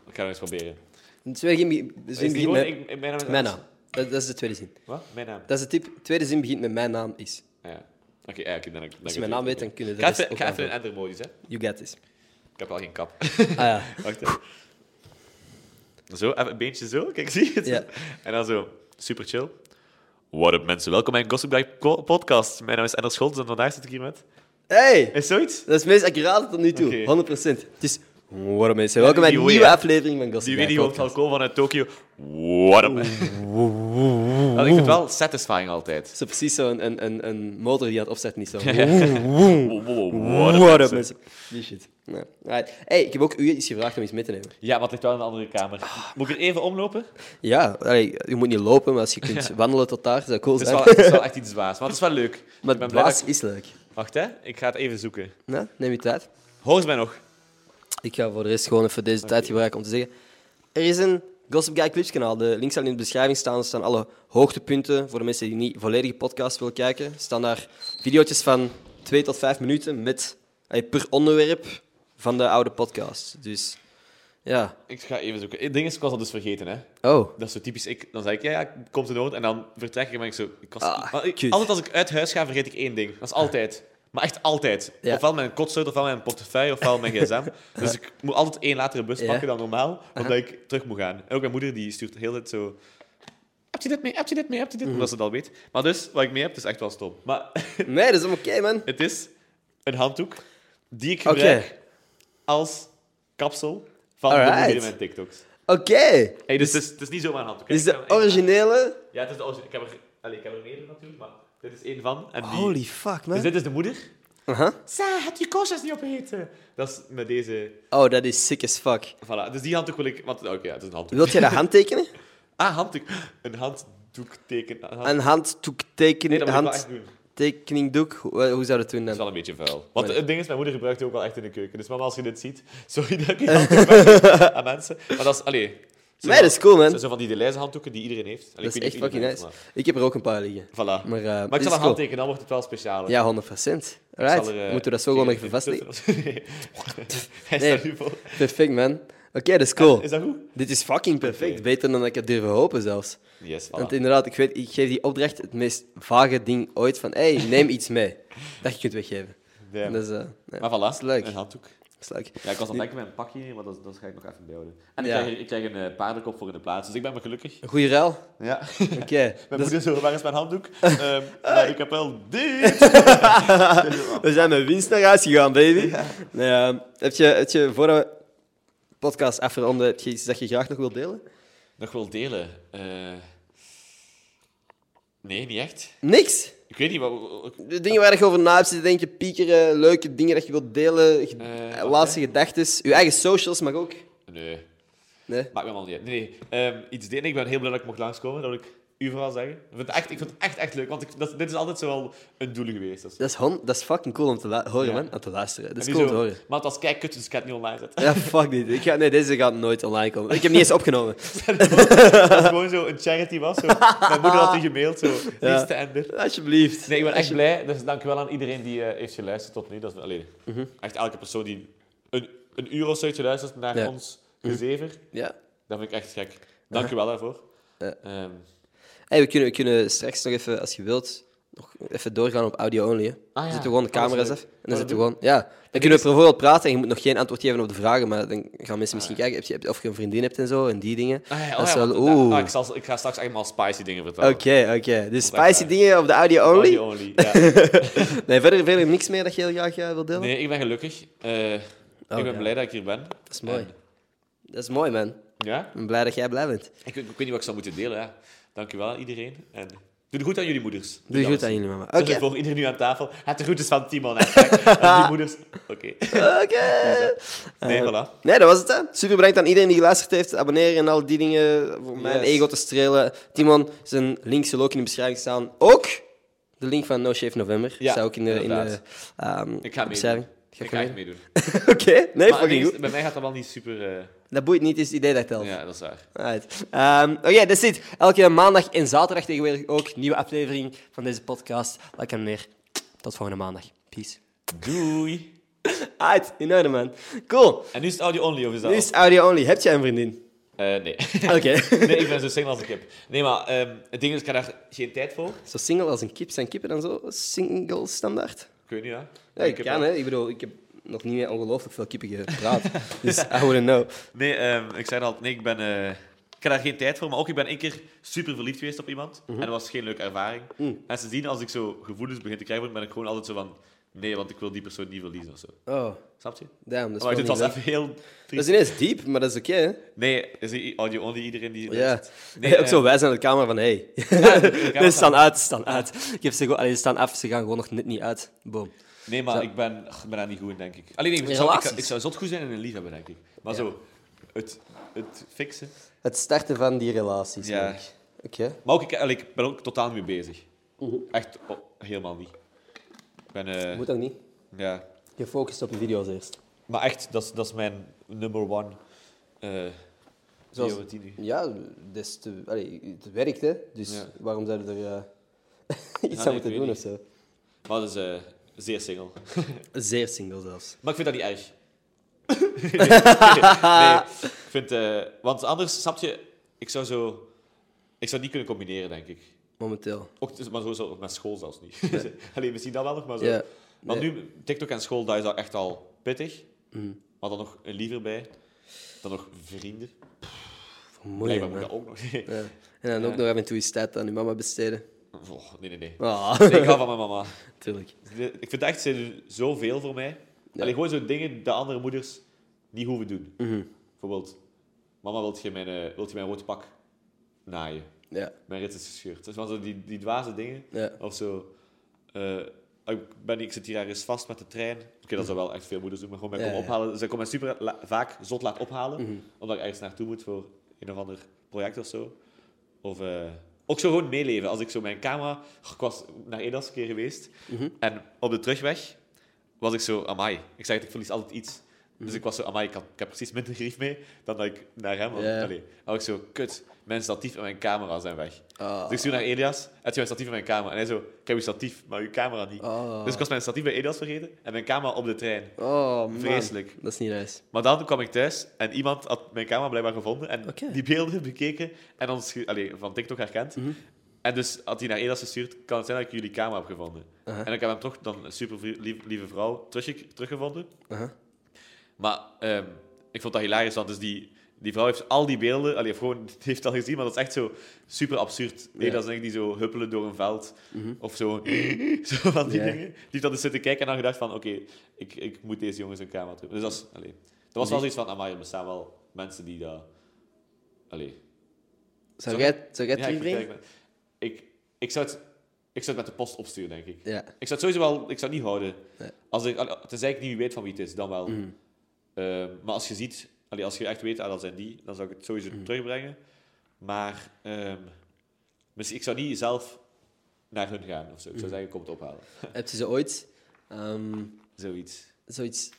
Ik ga het eens proberen. De tweede zin begint- de Is zin die begint gewoon, met ik- ik- mijn naam is- mijn naam. Dat, dat is de tweede zin. Wat? Mijn naam. Dat is de tip. De tweede zin begint met mijn naam is. Ah, ja. Oké, ja, oké, dan, dan Als je mijn naam weet, dan kunnen de Ga rest even, ook ga even in aanvullen. andere modus, hè. You get this. Ik heb wel geen kap. Ah ja. Wacht hè. Zo, even een beentje zo. Kijk, zie je het? Ja. En dan zo, super chill. What up mensen, welkom bij een Gossip Guy po- podcast. Mijn naam is Ender Scholz en vandaag zit ik hier met... Hey! Is zoiets? Dat is het meest accurate tot nu toe. Oké. 100%. Het is... Waarom mensen? Welkom bij die een way, nieuwe hè? aflevering van Gossip Die Guy video van Podcast. Falco vanuit Tokio. What up? Nou, ik vind het wel satisfying altijd. Het is precies zo'n een, een, een motor die aan het opzetten is. Zo. Wow, wow, wow, What, up, mensen. mensen? Die shit. Ja. Right. Hey, ik heb ook u iets gevraagd om iets mee te nemen. Ja, maar het ligt wel in een andere kamer. Moet ik er even omlopen? Ja, allee, je moet niet lopen, maar als je kunt wandelen tot daar, zou cool Het zijn. is, wel, het is wel echt iets zwaars, maar het is wel leuk. maar het ik ben blij dat blaas ik- is leuk. Wacht hè, ik ga het even zoeken. Nou, neem je tijd. Hoor ze mij nog? Ik ga voor de rest gewoon even deze tijd gebruiken om te zeggen... Er is een Gossip Guy Clips kanaal. De links zal in de beschrijving staan. Er staan alle hoogtepunten voor de mensen die niet volledige podcast willen kijken. Er staan daar video's van 2 tot 5 minuten met, allee, per onderwerp van de oude podcast. Dus ja. Ik ga even zoeken. Het ding is, ik was dat dus vergeten hè. Oh, Dat is zo typisch. Ik, dan zeg ik, ja, ja komt in orde. En dan vertrek ik en ben ik zo... Ik was, Ah, maar ik- kut. altijd als ik uit huis ga, vergeet ik één ding. Dat is altijd. Maar echt altijd. Ja. Ofwel mijn kotsleutel, ofwel mijn portefeuille, ofwel mijn gsm. Dus ik moet altijd één latere bus Ja. pakken dan normaal, omdat ik terug moet gaan. En ook mijn moeder die stuurt heel het zo... Heb je dit mee? Heb je dit mee? Heb je Mhm. dit? Omdat ze dat weet. Maar dus, wat ik mee heb, is echt wel stom. Maar nee, dat is helemaal oké, man. het is een handdoek die ik Oké. gebruik als kapsel van de Alright. moeder in mijn TikToks. Oké. Hey, dus, het, is, het is niet zomaar een handdoek. hè. Dit is Ik de heb hem echt- originele... ja, het is de originele. Ik heb er, allee, ik heb er meerdere natuurlijk, maar dit is één van. En die, Holy fuck, man. Dus dit is de moeder. Aha. Sa, heb je koosjes niet opgegeten? Dat is met deze... Oh, dat is sick as fuck. Voilà, dus die handdoek wil ik... Want, oké, ja, het is een handdoek. Wilt jij dat handtekenen? Ah, handdoek. Een handdoekteken. Een hand... Een handtekening, Nee, dat moet ik wel echt doen. handtekeningdoek? Hoe, hoe zou dat doen Dat dan? is wel een beetje vuil. Want Maar- het ding is, mijn moeder gebruikt die ook wel echt in de keuken. Dus mama, als je dit ziet, sorry dat ik die handdoek weggeef aan mensen. Maar dat is... Allee... zo Nee, dat is van- cool, man. zo- Zo van die Deleuze handdoeken die iedereen heeft. Allee, Dat is ik weet echt niet of fucking iedereen nice. heeft, Ik heb er ook een paar liggen. maar- Voilà. Maar, eh, Maar, dit ik is zal een cool. handtekenen, dan wordt het wel speciaal. Ja, 100 procent. Right. Moeten we dat zo gewoon nog even vastleggen? eh, nee. Hij Nee. staat nu voor. Perfect, man. Oké, dat is cool. Is dat goed? Dit is fucking perfect. Oké. Beter dan dat ik had durven hopen zelfs. Yes, voilà. Want inderdaad, ik, weet, ik geef die opdracht het meest vage ding ooit van... Hé, hey, neem iets mee. Dat je kunt weggeven. Ja. Dat is, eh, nee, Maar voilà, dat is leuk. een handdoek. Dat is leuk. Ja, ik was aan het denken met een pakje, maar dat, dat ga ik nog even bijhouden. En Ja. ik, krijg, ik krijg een eh, paardenkop voor in de plaats, dus ik ben maar gelukkig. Goeie ruil. Ja. Oké. Mijn dat is- moeder zo, waar is mijn handdoek? Ehm, maar ik heb wel dit! We zijn met winst naar huis gegaan, baby. Nee, ehm, heb, je, heb je, voor de podcast afronden, heb je iets dat je graag nog wilt delen? Nog wel delen? Eh, nee, niet echt. Niks. Ik weet niet, wat... De dingen waar je over na hebt zitten denken, piekeren, leuke dingen dat je wilt delen, ge- Eh, eh, laatste gedachtes, je eigen socials mag ook. Nee, Nee. maakt me allemaal niet uit. Nee, nee. Ehm, iets delen. Ik ben heel blij dat ik mocht langskomen, dat ik u vooral zeggen. Ik vind het echt, ik vind het echt, echt leuk, want ik, dat, dit is altijd zo wel een doel geweest. Dat is- Dat is, hon- dat is fucking cool om te la- horen, Ja. Ah, man. Om te luisteren. Dat is En nu cool om te zo, horen. Maar het was kijk kut, dus ik ga het niet online zetten. Ja, fuck dit. Ik ga, nee, deze gaat nooit online komen. Ik heb niet eens opgenomen. Dat het gewoon zo een charity was. Zo. Mijn moeder had die gemaild, zo. Ja. Liefste Ender. Alsjeblieft. Nee, ik ben echt blij. Dus dankjewel aan iedereen die eh, heeft geluisterd tot nu. Dat is, allee, Mhm. Echt elke persoon die een, een uur of zo heeft geluisterd naar Ja. Mhm. ons gezever. Ja. Dat vind ik echt gek. Dankjewel daarvoor. Ja. Ehm, Hey, we, kunnen, we kunnen straks nog even, als je wilt, nog even doorgaan op audio only. Hè. ja. Dan zetten we gewoon de Oh, dat is camera's leuk. af. En Oh, dan dat zitten we gewoon... doen Ja. Dan kunnen we bijvoorbeeld praten en je moet nog geen antwoord geven op de vragen, maar dan gaan mensen misschien kijken heb je- heb je- of je een vriendin hebt en zo, en die dingen. ah, ja, oh Dat is ja, wel- want da- oeh. ah, ik, zal, ik ga straks echt maar spicy dingen vertellen. Oké, oké. Dus Dat is spicy waar. dingen op de audio only. Only, only, ja. Nee, verder, verder niks meer dat je heel graag eh, wilt delen? Nee, ik ben gelukkig. Eh, ik ben Oh, ja. blij dat ik hier ben. Dat is mooi. En- Dat is mooi, man. ja? Ik ben blij dat jij blij bent. Ik, ik weet niet wat ik zou moeten delen. Ja. Dankjewel aan iedereen. En doe het goed aan jullie moeders. Doe je dat goed eens. aan jullie, mama. Oké, Dus ik voor iedereen nu aan tafel. Het de groetjes van Timon. hè. En die moeders. Oké. oké. Nee, Eh, voilà. Nee, dat was het, hè. Super bedankt aan iedereen die geluisterd heeft. Abonneren en al die dingen. Voor mijn Yes. ego te strelen. Timon, zijn link zal ook in de beschrijving staan. Ook de link van No Shave November. Ja, staat ook in de, in de, inderdaad. ehm, Ik ga beschrijving. meedoen. Ga Ik je ga echt mee? meedoen. Oké, nee, Maar fucking ineens- goed. bij mij gaat dat wel niet super... eh, Dat boeit niet, is het idee dat telt. Ja, dat is waar. Alright. Ehm, Oké, dat is het. Elke maandag en zaterdag tegenwoordig ook nieuwe aflevering van deze podcast. Like en neer. Tot volgende maandag. Peace. Doei. Alright, in orde man. Cool. En nu is het audio only, of is dat Nu al? is het audio only. Heb jij een vriendin? Eh, nee. Oké. nee, ik ben zo single als een kip. Nee, maar ehm, het ding is, ik heb daar geen tijd voor. Zo single als een kip. Zijn kippen dan zo single standaard? Ik weet niet, hè. Ja, ik heb kan wel- hè. Ik bedoel, ik heb nog niet met ongelooflijk veel kippen gepraat. dus I wouldn't know. Nee, ehm, ik zei al, nee, ik ben... eh, ik heb daar geen tijd voor, maar ook ik ben één keer super verliefd geweest op iemand. Mhm. En dat was geen leuke ervaring. Mm. En sindsdien, als ik zo gevoelens begin te krijgen, ben ik gewoon altijd zo van... Nee, want ik wil die persoon niet verliezen of zo. Oh, Snap je? damn. Dat is, Maar wel niet dit was leuk. even heel dat is triest. ineens diep, maar dat is oké, hè? Nee, is die audio-only iedereen die... Ja. Nee, Nee, ook eh, zo wijzen aan de camera van, hey. nee, ze staan uit, ze staan uit. Ik heb ze, gewoon, allee, ze staan af, ze gaan gewoon nog net niet uit. Boom. Nee, maar ik ben, ach, ik ben daar niet goed in, denk ik. Alleen nee, ik, In zou, ik, relaties? zou- ik zou zot goed zijn in een liefhebber, denk ik. Maar zo, het, het fixen. Het starten van die relaties, Ja. denk ik. Oké. Maar ook, ik, allee, ik ben ook totaal niet mee bezig. Echt oh, helemaal niet. Ik ben, eh, Mhm. Moet ook niet. ja. Je focust op je video's eerst. Maar echt, dat is, dat is mijn number one. eh Zoals- priority nu. Ja, des te, allee, het werkt, hè. Dus Ja. waarom zou je er eh, iets nee, aan ik moeten weet doen niet. of zo? Maar dat is eh, zeer single. Zeer single zelfs. Maar ik vind dat niet erg. nee, ik vind... eh, want anders, snap je, ik zou zo... Ik zou het niet kunnen combineren, denk ik. Momenteel. Ook, dus- maar zo, zo met school zelfs niet. Alleen misschien dat wel nog, maar zo. Ja. Want Nee. Mhm. nu, TikTok en school, dat is al echt al pittig. Maar dan nog een liever bij. Dan nog vrienden. Blijkbaar Vermoeiend, moet man. dat ook nog. Nee, Ja. En dan ook nog even toe je tijd aan je mama besteden. Oh, nee, nee. nee. Ah, Nee, Ik hou van mijn mama. tuurlijk. Ik vind echt, ze doen zoveel voor mij. Allee, gewoon zo dingen dat andere moeders niet hoeven doen. Mhm. Bijvoorbeeld, mama, wilt je mijn, eh, wilt je mijn rood pak naaien? Ja. Mijn rit is gescheurd. Dus van zo die, die dwaze dingen. Ja. Of zo. eh, ik, ben, ik zit hier ergens vast met de trein. Oké, dat zou wel echt veel moeders doen, maar gewoon mij Ja, Mhm. komen ja. ophalen. Ze komen mij super la- vaak zot laat ophalen, omdat ik ergens naartoe moet voor een of ander project of zo. Of eh, ook zo gewoon meeleven. Als ik zo mijn camera... Ik was naar Edas een keer geweest Mhm. en op de terugweg was ik zo, amai. Ik zeg het, ik verlies altijd iets. Mhm. Dus ik was zo, amai, ik, had- ik heb precies minder grief mee dan dat ik naar hem had. Ja. Allee, dan was ik zo, kut, mijn statief en mijn camera zijn weg. Ah. Dus ik stuur naar Elias, heb je mijn statief in mijn camera? En hij zo, ik heb je statief, maar je camera niet. Ah. Dus ik was mijn statief bij Elias vergeten en mijn camera op de trein. Oh, man. Vreselijk. Dat is niet nice. Maar dan kwam ik thuis en iemand had mijn camera blijkbaar gevonden en Oké. Mhm. die beelden bekeken en ons ge- allee, van TikTok herkend. En dus had hij naar Elias gestuurd, kan het zijn dat ik jullie camera heb gevonden. En ik heb hem toch, dan een super vri- lief- lieve vrouw, terugge- teruggevonden. Aha. Maar ehm, ik vond dat hilarisch, want dus die, die vrouw heeft al die beelden, allee, of gewoon, die heeft het al gezien, maar dat is echt zo super absurd. Nee, dat is denk ik die zo huppelen door een veld of zo. zo van die Ja. dingen. Die heeft dat dus zitten kijken en dan gedacht van, oké, ik, ik moet deze jongens een camera terug. Dus dat, is, allee, dat was wel zoiets van, amai, er bestaan wel mensen die dat... Allee. Zou Sorry? jij, zou jij het Ja, ik, terugbrengen? vertel- ik, ik, zou het, ik zou het met de post opsturen, denk ik. Ja. Ik zou het sowieso wel, ik zou het niet houden. Nee. Als ik, allee, tenzij ik niet weet van wie het is, dan wel. Mhm. Ehm, maar als je ziet, allee, als je echt weet, ah, dat zijn die, dan zou ik het sowieso Mhm. terugbrengen. Maar ehm, misschien, ik zou niet zelf naar hun gaan of zo. Mhm. Ik zou zeggen, kom het ophalen. Heb je ze ooit ehm, Zoiets. zoiets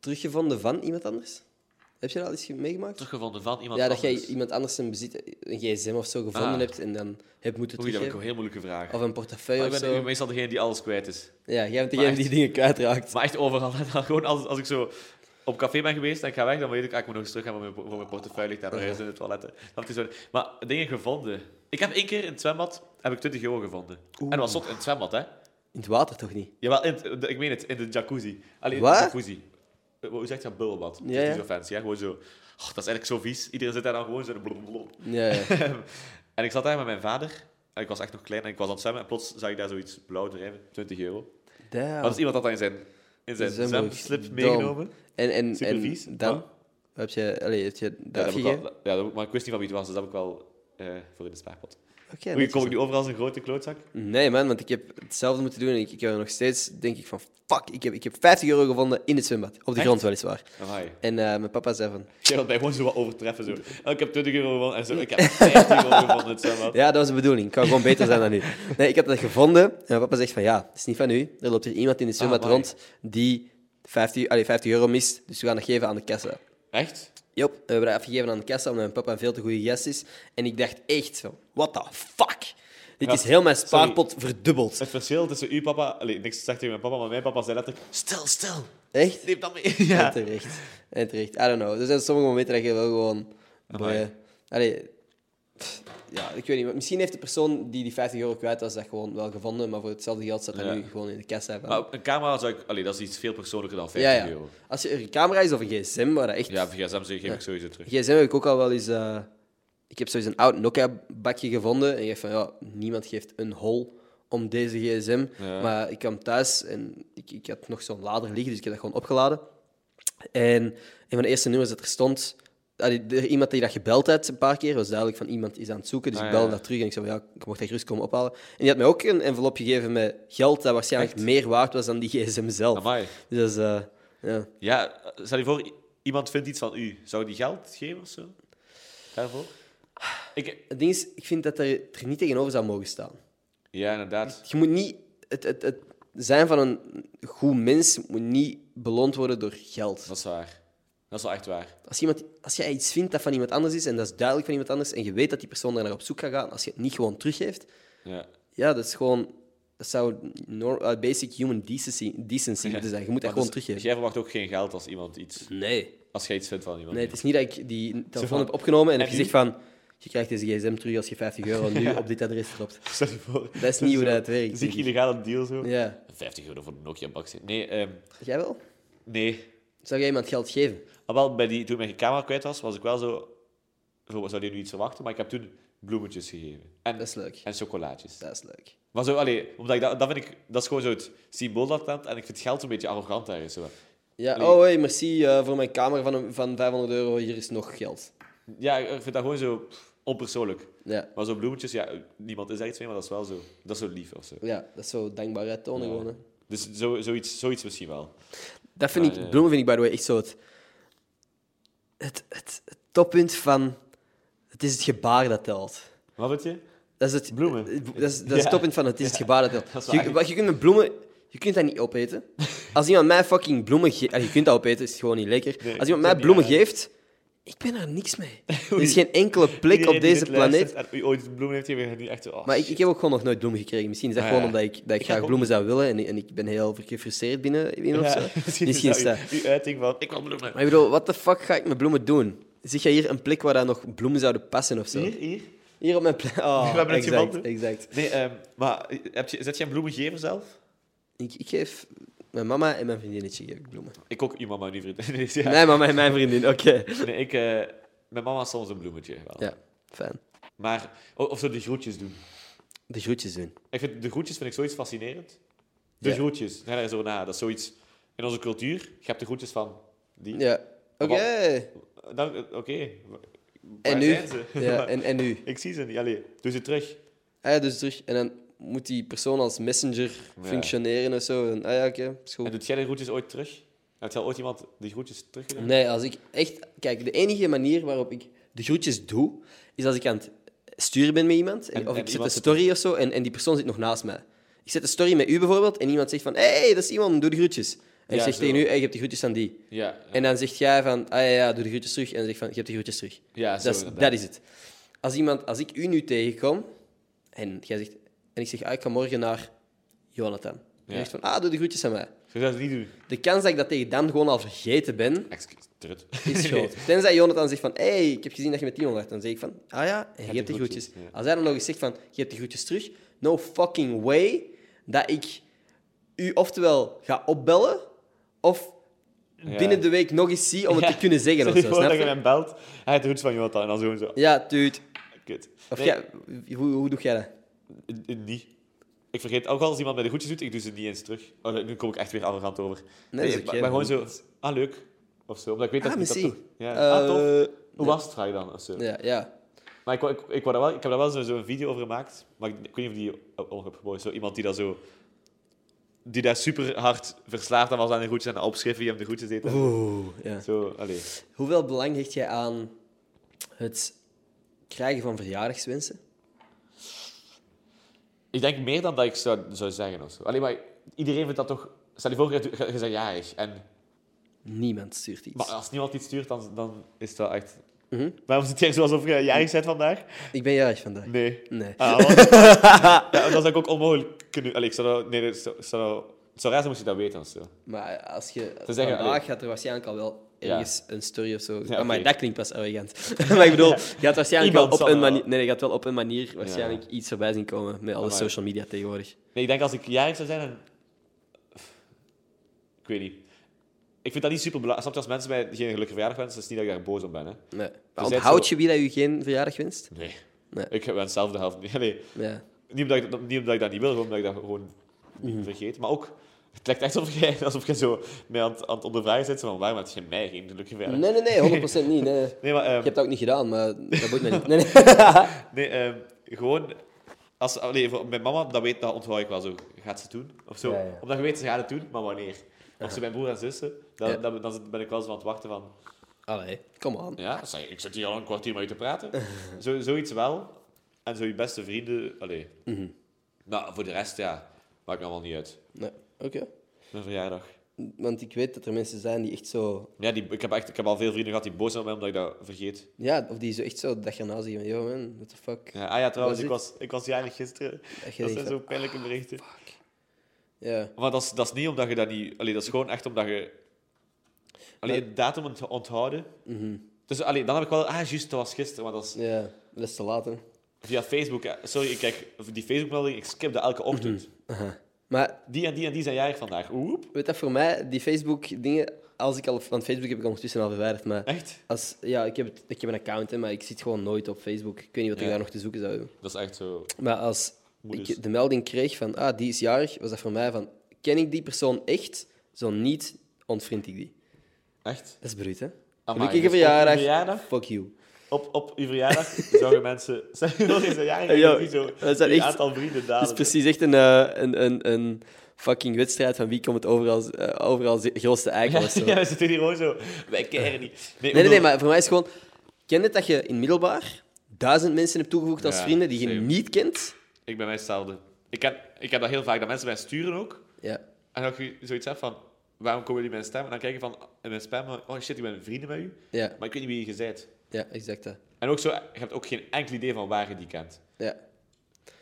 teruggevonden van iemand anders? Heb je dat al eens meegemaakt? Teruggevonden van iemand Ja, dat anders. jij iemand anders een bezit, een gsm of zo gevonden Ah. hebt en dan hebt moeten Oei, dat heb teruggeven. ik een heel moeilijke vraag. Of een portefeuille Maar of ik ben zo. meestal degene die alles kwijt is. Ja, jij bent Maar degene die dingen kwijtraakt. Maar echt overal. En dan gewoon als, als ik zo op café ben geweest en ik ga weg, dan weet ik, ah, ik moet nog eens terug gaan voor mijn, voor mijn portefeuille. ligt daar nog ergens in het toilet. Dat is zo. Maar dingen gevonden. Ik heb één keer in het zwembad heb ik 20 euro gevonden. En dat was zot in het zwembad, hè? In het water toch niet? Jawel, in het- de- ik meen het, in de jacuzzi. Allee, in de Wat? jacuzzi. Eh, Hoe zeg je dat? Bubbelbad. Dat Ja, is ja. niet zo fancy, hè? Gewoon zo... Oh, dat is eigenlijk zo vies. Iedereen zit daar dan gewoon zo... blablabla. Ja, ja. en ik zat daar met mijn vader. En ik was echt nog klein en ik was aan het zwemmen. En plots zag ik daar zoiets blauw drijven. 20 euro. Damn. Maar dus iemand had dat in zijn, in zijn Zwembroek. zwemslip Dom. meegenomen. En, en, Super vies, en dan? maar- Heb je, allee, heb je Ja, dat dat heb ik afgegeven? wel, ja, dat- maar ik wist niet van wie het was, dus dat heb ik wel eh, voor in de spaarpot. Oké, Hoe netjes. kom ik nu overal als een grote klootzak? Nee, man, want ik heb hetzelfde moeten doen en ik, ik heb nog steeds, denk ik, van fuck, ik heb, ik heb 50 euro gevonden in het zwembad. Op de Echt? grond weliswaar. Amai. En eh, mijn papa zei van, Ik dat mij gewoon zo wat overtreffen. Zo. Oh, ik heb 20 euro gewonnen en zo. Ik heb 50 euro gewonnen. Het zwembad. ja, dat was de bedoeling, ik kan gewoon beter zijn dan nu. Nee, ik heb dat gevonden en mijn papa zegt van, ja, het is niet van u. Er loopt hier iemand in het zwembad amai. rond die 50, allee, 50 euro mist, dus we gaan dat geven aan de kassa. Echt? Jop, we hebben dat afgegeven aan de kassa omdat mijn papa een veel te goede gast is. En ik dacht echt van, what the fuck? Dit Ja, is heel mijn spaarpot verdubbeld. Het verschil tussen uw papa... Allee, niks te zeggen tegen mijn papa, maar mijn papa zei letterlijk... Stil, stil. Echt? Neem dat mee. Ja. En terecht. En terecht. I don't know. Er zijn sommige momenten dat je wel gewoon... boeien. eh, Allee, pff, ja, ik weet niet. maar Misschien heeft de persoon die die 50 euro kwijt was dat gewoon wel gevonden, maar voor hetzelfde geld staat dat Ja. nu gewoon in de kassa. Van. Maar een camera zou ik... Allee, dat is iets veel persoonlijker dan ja, 50 ja. euro. Als je een camera is of een gsm, waar dat echt... Ja, via Samsung geef ik sowieso terug. gsm heb ik ook al wel eens... eh, ik heb sowieso een oud Nokia-bakje gevonden en je van, ja, niemand geeft een hol om deze gsm. Ja. Maar ik kwam thuis en ik, ik had nog zo'n lader liggen, dus ik heb dat gewoon opgeladen. En een van de eerste nummers dat er stond... allee, er- Iemand die dat gebeld had een paar keer, was duidelijk van iemand is aan het zoeken. Dus Ah, ik belde ja. dat terug en ik zei, van, ja, ik mocht dat gerust komen ophalen. En die had mij ook een envelop gegeven met geld dat waarschijnlijk meer waard was dan die gsm zelf. Amai. Dus dat is, eh, ja. Ja, stel je voor, i- iemand vindt iets van u. Zou die geld geven of zo? Daarvoor? Ik, Het ding is, ik vind dat er, er niet tegenover zou mogen staan. ja, inderdaad. Je moet niet... Het, het, het zijn van een goed mens moet niet beloond worden door geld. Dat is waar. Dat is wel echt waar. Als, iemand, als jij iets vindt dat van iemand anders is, en dat is duidelijk van iemand anders, en je weet dat die persoon daar naar op zoek gaat gaan, als je het niet gewoon teruggeeft, Ja. ja, dat is gewoon... Dat zou nor- eh, basic human decency, decency moeten zijn. Je moet dat Maar gewoon dus teruggeven. Jij verwacht ook geen geld als iemand iets... Nee. Als jij iets vindt van iemand. Nee, het is niet dat ik die telefoon van, heb opgenomen en heb en gezegd van... Je krijgt deze gsm terug als je 50 euro nu op dit adres klopt. Stel je voor. Dat is niet hoe zo dat het werkt. Ziek denk ik. illegale deal zo. Ja. 50 euro voor een Nokia-bakje. Nee, ehm, Jij wel? nee. Zou jij iemand geld geven? Maar wel, bij die, toen ik mijn camera kwijt was, was ik wel zo... zo zou die nu iets verwachten? Maar ik heb toen bloemetjes gegeven. Dat En, is leuk. en chocolaatjes. Dat is leuk. Maar zo, allee, omdat ik dat, dat vind ik... Dat is gewoon zo het symbool dat het heeft. En ik vind geld een beetje arrogant ergens. Zo. Ja, Nee. oh hey, merci eh, voor mijn kamer van, een- van 500 euro. Hier is nog geld. Ja, ik ik vind dat gewoon zo pff, onpersoonlijk. Ja, Maar zo bloemetjes, ja, niemand is daar iets mee, maar dat is wel zo... Dat is zo lief of zo. ja dat is zo dankbaarheid tonen Ja. gewoon. hè. Dus zo, zoiets, zoiets misschien wel. Dat vind Ja, ik, Ah, ja, ja. bloemen vind ik by the way echt zo het, het, het, het toppunt van... Het is het gebaar dat telt. Wat vind je? Dat is het, Bloemen. eh, Dat is, dat is het Ja. toppunt van het is het gebaar dat telt. Dat is waar. je, wat- je kunt met bloemen... Je kunt dat niet opeten. Als iemand mij fucking bloemen geeft... Je kunt dat opeten, is gewoon niet lekker. Nee, Als iemand dat mij niet bloemen aan. geeft... Ik ben er niks mee. Er is geen enkele plek Iedereen op die deze dit planeet luistert En u ooit bloemen heeft gegeven, nu echt zo... oh, Maar ik, ik shit. heb ook gewoon nog nooit bloemen gekregen. Misschien is dat Ah, gewoon ja. omdat ik, dat ik, Ik graag ook bloemen zou willen en, en ik ben heel gefrustreerd binnen, binnen Ja, of zo. misschien Misschien is is dat. dat uw- uw uiting van, ik wil bloemen. Maar ik bedoel, wat de fuck ga ik met bloemen doen? Zit jij hier een plek waar daar nog bloemen zouden passen of zo? Hier, Hier, hier. op mijn plek. Oh, We hebben het exact, gevonden. exact. Nee, ehm, maar heb je, zet jij een bloemengever zelf? Ik, ik geef mijn mama en mijn vriendinnetje geef ik bloemen. Ik ook, uw mama, uw vriendin. Nee, dus ja. Mijn mama en mijn vriendin, oké. Nee, ik... eh, mijn mama is soms een bloemetje wel. Ja, fijn. Maar, o- of zo de groetjes doen. De groetjes doen. Ik vind, de groetjes vind ik zoiets fascinerend. De Ja. groetjes, ga daar zo na. Dat is zoiets... In onze cultuur, je hebt de groetjes van die. Ja, oké. Dan- eh, Oké. Waar En nu? zijn ze? Ja, en, en nu? Ik zie ze niet. Allee, doe ze terug. Ah, ja, dus terug. En dan moet die persoon als messenger Ja. functioneren of zo. En, ah ja, oké, is goed. En doet jij de groetjes ooit terug? Heb jij ooit iemand die groetjes teruggedaan? Nee, als ik echt... Kijk, de enige manier waarop ik de groetjes doe, is als ik aan het sturen ben met iemand. En, En- of en ik zet een iemand zit- story of zo en, en die persoon zit nog naast mij. Ik zet een story met u bijvoorbeeld en iemand zegt van... Hé, hey, dat is iemand, doe de groetjes. En ik Ja, zeg zo. tegen u, hey, je hebt de groetjes aan die. Ja, eh, En dan zegt jij van, ah ja, ja, doe de groetjes terug. En dan zeg ik van, je hebt de groetjes terug. ja zo Dat is, inderdaad. dat is het. Als, iemand, als ik u nu tegenkom en, jij zegt, en ik zeg, ah, ik ga morgen naar Jonathan. En hij Ja. zegt van, ah, doe de groetjes aan mij. Je zou het niet doen. De kans dat ik dat tegen dan gewoon al vergeten ben, Excuus, trut. is groot. Tenzij Jonathan zegt van, hé, hey, ik heb gezien dat je met die omlacht. Dan zeg ik van, ah ja, en je hebt de groetjes. groetjes, ja. Als hij dan nog eens zegt van, je hebt de groetjes terug, no fucking way dat ik u oftewel ga opbellen, of Ja. binnen de week nog eens zie om het Ja. te kunnen zeggen Stel of je zo, voor dat snap je je? hem belt, hij heeft de groetjes van Jonathan en dan zo en zo. Ja, dude. Kut. Of Nee, jij, hoe, hoe doe jij dat? eh, eh, Niet. Ik vergeet ook als iemand mij de groetjes doet, ik doe ze niet eens terug. Oh, nu kom ik echt weer arrogant over. Nee, dat is maar- oké, maar, gewoon man. zo, ah leuk. Of zo, omdat ik weet Ah, dat ik dat merci. doe. Ja. ah, tof. Eh, Hoe was het, vraag je dan? Of zo. Ja, ja. Maar ik, wou- ik, ik, wou daar wel, ik heb daar wel zo'n zo video over gemaakt. Maar ik, ik weet niet of die oh, op- op heb geboren. Zo iemand die daar zo... Die daar super hard verslaafd aan was aan de groetjes en de opschriften die hem de groetjes deed. en Oeh, ja. Zo, allee. Hoeveel belang hecht jij aan het krijgen van verjaardagswensen? Ik denk meer dan dat ik zou, zou zeggen of zo. Allee, maar iedereen vindt dat toch... Stel je voor, je, je, je bent jarig. En, Niemand stuurt iets. maar als niemand iets stuurt, dan, dan is dat echt... Mhm. Waarom zit jij zo alsof je jarig bent vandaag? Ik ben jarig vandaag. Nee. Nee. Ah, wat? ja, dat zou ik ook onmogelijk kunnen... Allee, ik zou dat... Nee, dat zou... zou- Het zou raar zijn moest je dat weten of zo. Maar als je zeggen, vandaag allee. gaat er waarschijnlijk al wel ergens een story of zo. Ah, Ja, maar oké. dat klinkt pas arrogant. maar ik bedoel, je gaat waarschijnlijk wel Iemand op zal een wel. manier, nee, nee, je gaat wel op een manier waarschijnlijk iets voorbij zien komen met alle Amai. social media tegenwoordig. Nee, ik denk als ik jarig zou zijn en... Ik weet niet. Ik vind dat niet super belangrijk. Snap je, als mensen mij geen gelukkige verjaardag wensen, is het niet dat ik daar boos om ben. Hè? Nee. Maar het onthoud zo- je wie dat je geen verjaardag wenst? Nee. Nee. Ik wens zelf de helft niet. Nee. Ja. Niet omdat, ik, dat- niet omdat ik dat niet wil, gewoon omdat ik dat gewoon niet Mhm. vergeet. Maar ook, het lijkt echt alsof jij, alsof jij zo mij aan het, aan het ondervragen zit. zo Van, waarom heb je mij geen gelukkige verjaardag? Nee, nee, nee, 100% niet. Nee. Nee, maar... ehm, Ik heb dat ook niet gedaan, maar dat moet me niet. Nee, nee. Nee, ehm, gewoon... Als, allee, voor- mijn mama, dat, weet, dat onthoud ik wel zo. Gaat ze het doen? Of zo. Ja, ja. Omdat je weet, ze gaat het doen, maar wanneer? Of ze mijn broer en zussen, dan, Ja. dan, dan ben ik wel zo aan het wachten van... Allee, kom aan. Ja, zeg, ik zit hier al een kwartier mee te praten. zo, zoiets wel. En zo je beste vrienden, allee. Mhm. Maar voor de rest, ja, maakt me allemaal niet uit. Nee, oké. Mijn verjaardag. Want ik weet dat er mensen zijn die echt zo... Ja, die, ik, heb echt, ik heb al veel vrienden gehad die boos zijn op mij omdat ik dat vergeet. Ja, of die zo echt zo de dag erna zeggen van... Yo man, what the fuck. Ja, ah ja, trouwens, Dat ik is was, ik was jarig gisteren. Dat je denkt Dat van, zijn zo pijnlijke berichten. Ja. Maar dat is, dat is niet omdat je dat niet... Allee, dat is gewoon echt omdat je... Allee, het datum ont- onthouden. Mhm. Dus allee, dan heb ik wel... Ah, juist, dat was gisteren. Maar dat is ja, dat is te laat hè. via Facebook. eh, Sorry, ik kijk die Facebook-melding. Ik skip dat elke ochtend. Mhm. Maar Die en die en die zijn jarig vandaag. Oep. weet dat voor mij, die Facebook dingen... Als ik al... Want Facebook heb ik ondertussen al verwijderd, maar... Echt? Als, ja, ik heb, het- ik heb een account, hè, maar ik zit gewoon nooit op Facebook. Ik weet niet wat ik Ja. dus? daar nog te zoeken zou hebben. Dat is echt zo... Maar als Moeders. ik de melding kreeg van, ah, die is jarig, was dat voor mij van, ken ik die persoon echt? Zo niet, ontvriend ik die. Echt? Dat is bruut, hè? Amai, Gelukkige dus op je verjaardag. verjaardag? Ah, Fuck you. Op, op uw verjaardag zouden mensen... Zijn jullie zijn jarig? Ja, en je ziet zo dat zijn je echt- aantal vrienden Het dalen. is precies echt een, eh, een, een, een fucking wedstrijd van wie komt het overal, eh, overal zi- grootste eikel of zo. Ja, we zitten hier gewoon zo... Wij keren niet. Nee, nee, nee, bedoel- maar voor mij is gewoon... Ken het dat je in middelbaar duizend mensen hebt toegevoegd als Ja, vrienden die je same. niet kent? Ik ben mij hetzelfde. Ik, ken, ik heb dat heel vaak, dat mensen mij sturen ook. Ja. En dat je zoiets hebt van, waarom komen jullie mijn stem? En dan kijk je van, in mijn spam, oh shit, ik ben vrienden met u. Ja, Maar ik weet niet wie je bent. ja, exact dat. En ook zo, je hebt ook geen enkel idee van waar je die kent. Ja.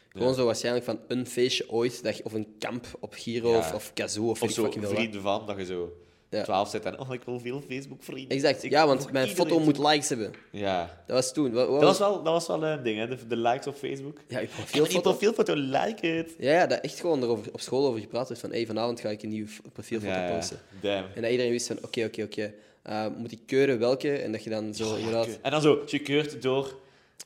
Gewoon zo waarschijnlijk van een feestje ooit, dat je- of een kamp op Giro Ja. of, of Kazoo of, Of weet ik zo fucking veel wat. vrienden van, dat je zo Ja. 12 zit en, oh, ik wil veel Facebook-vrienden. Exact, Ik ja, volg want mijn iedereen. foto moet likes hebben. Ja. Dat was toen. Wat, wat Dat was wel, dat was wel een ding, hè, de, de likes op Facebook. Ja, ik Veel die profielfoto. profielfoto, like het. Ja, ja, dat echt gewoon erover, op school over gepraat werd van hey, vanavond ga ik een nieuwe f- profielfoto Ja, ja. posten. damn. En dat iedereen wist van oké, oké, oké. eh, moet ik keuren welke? En dat je dan zo inderdaad... En En dan zo, gekeurd door...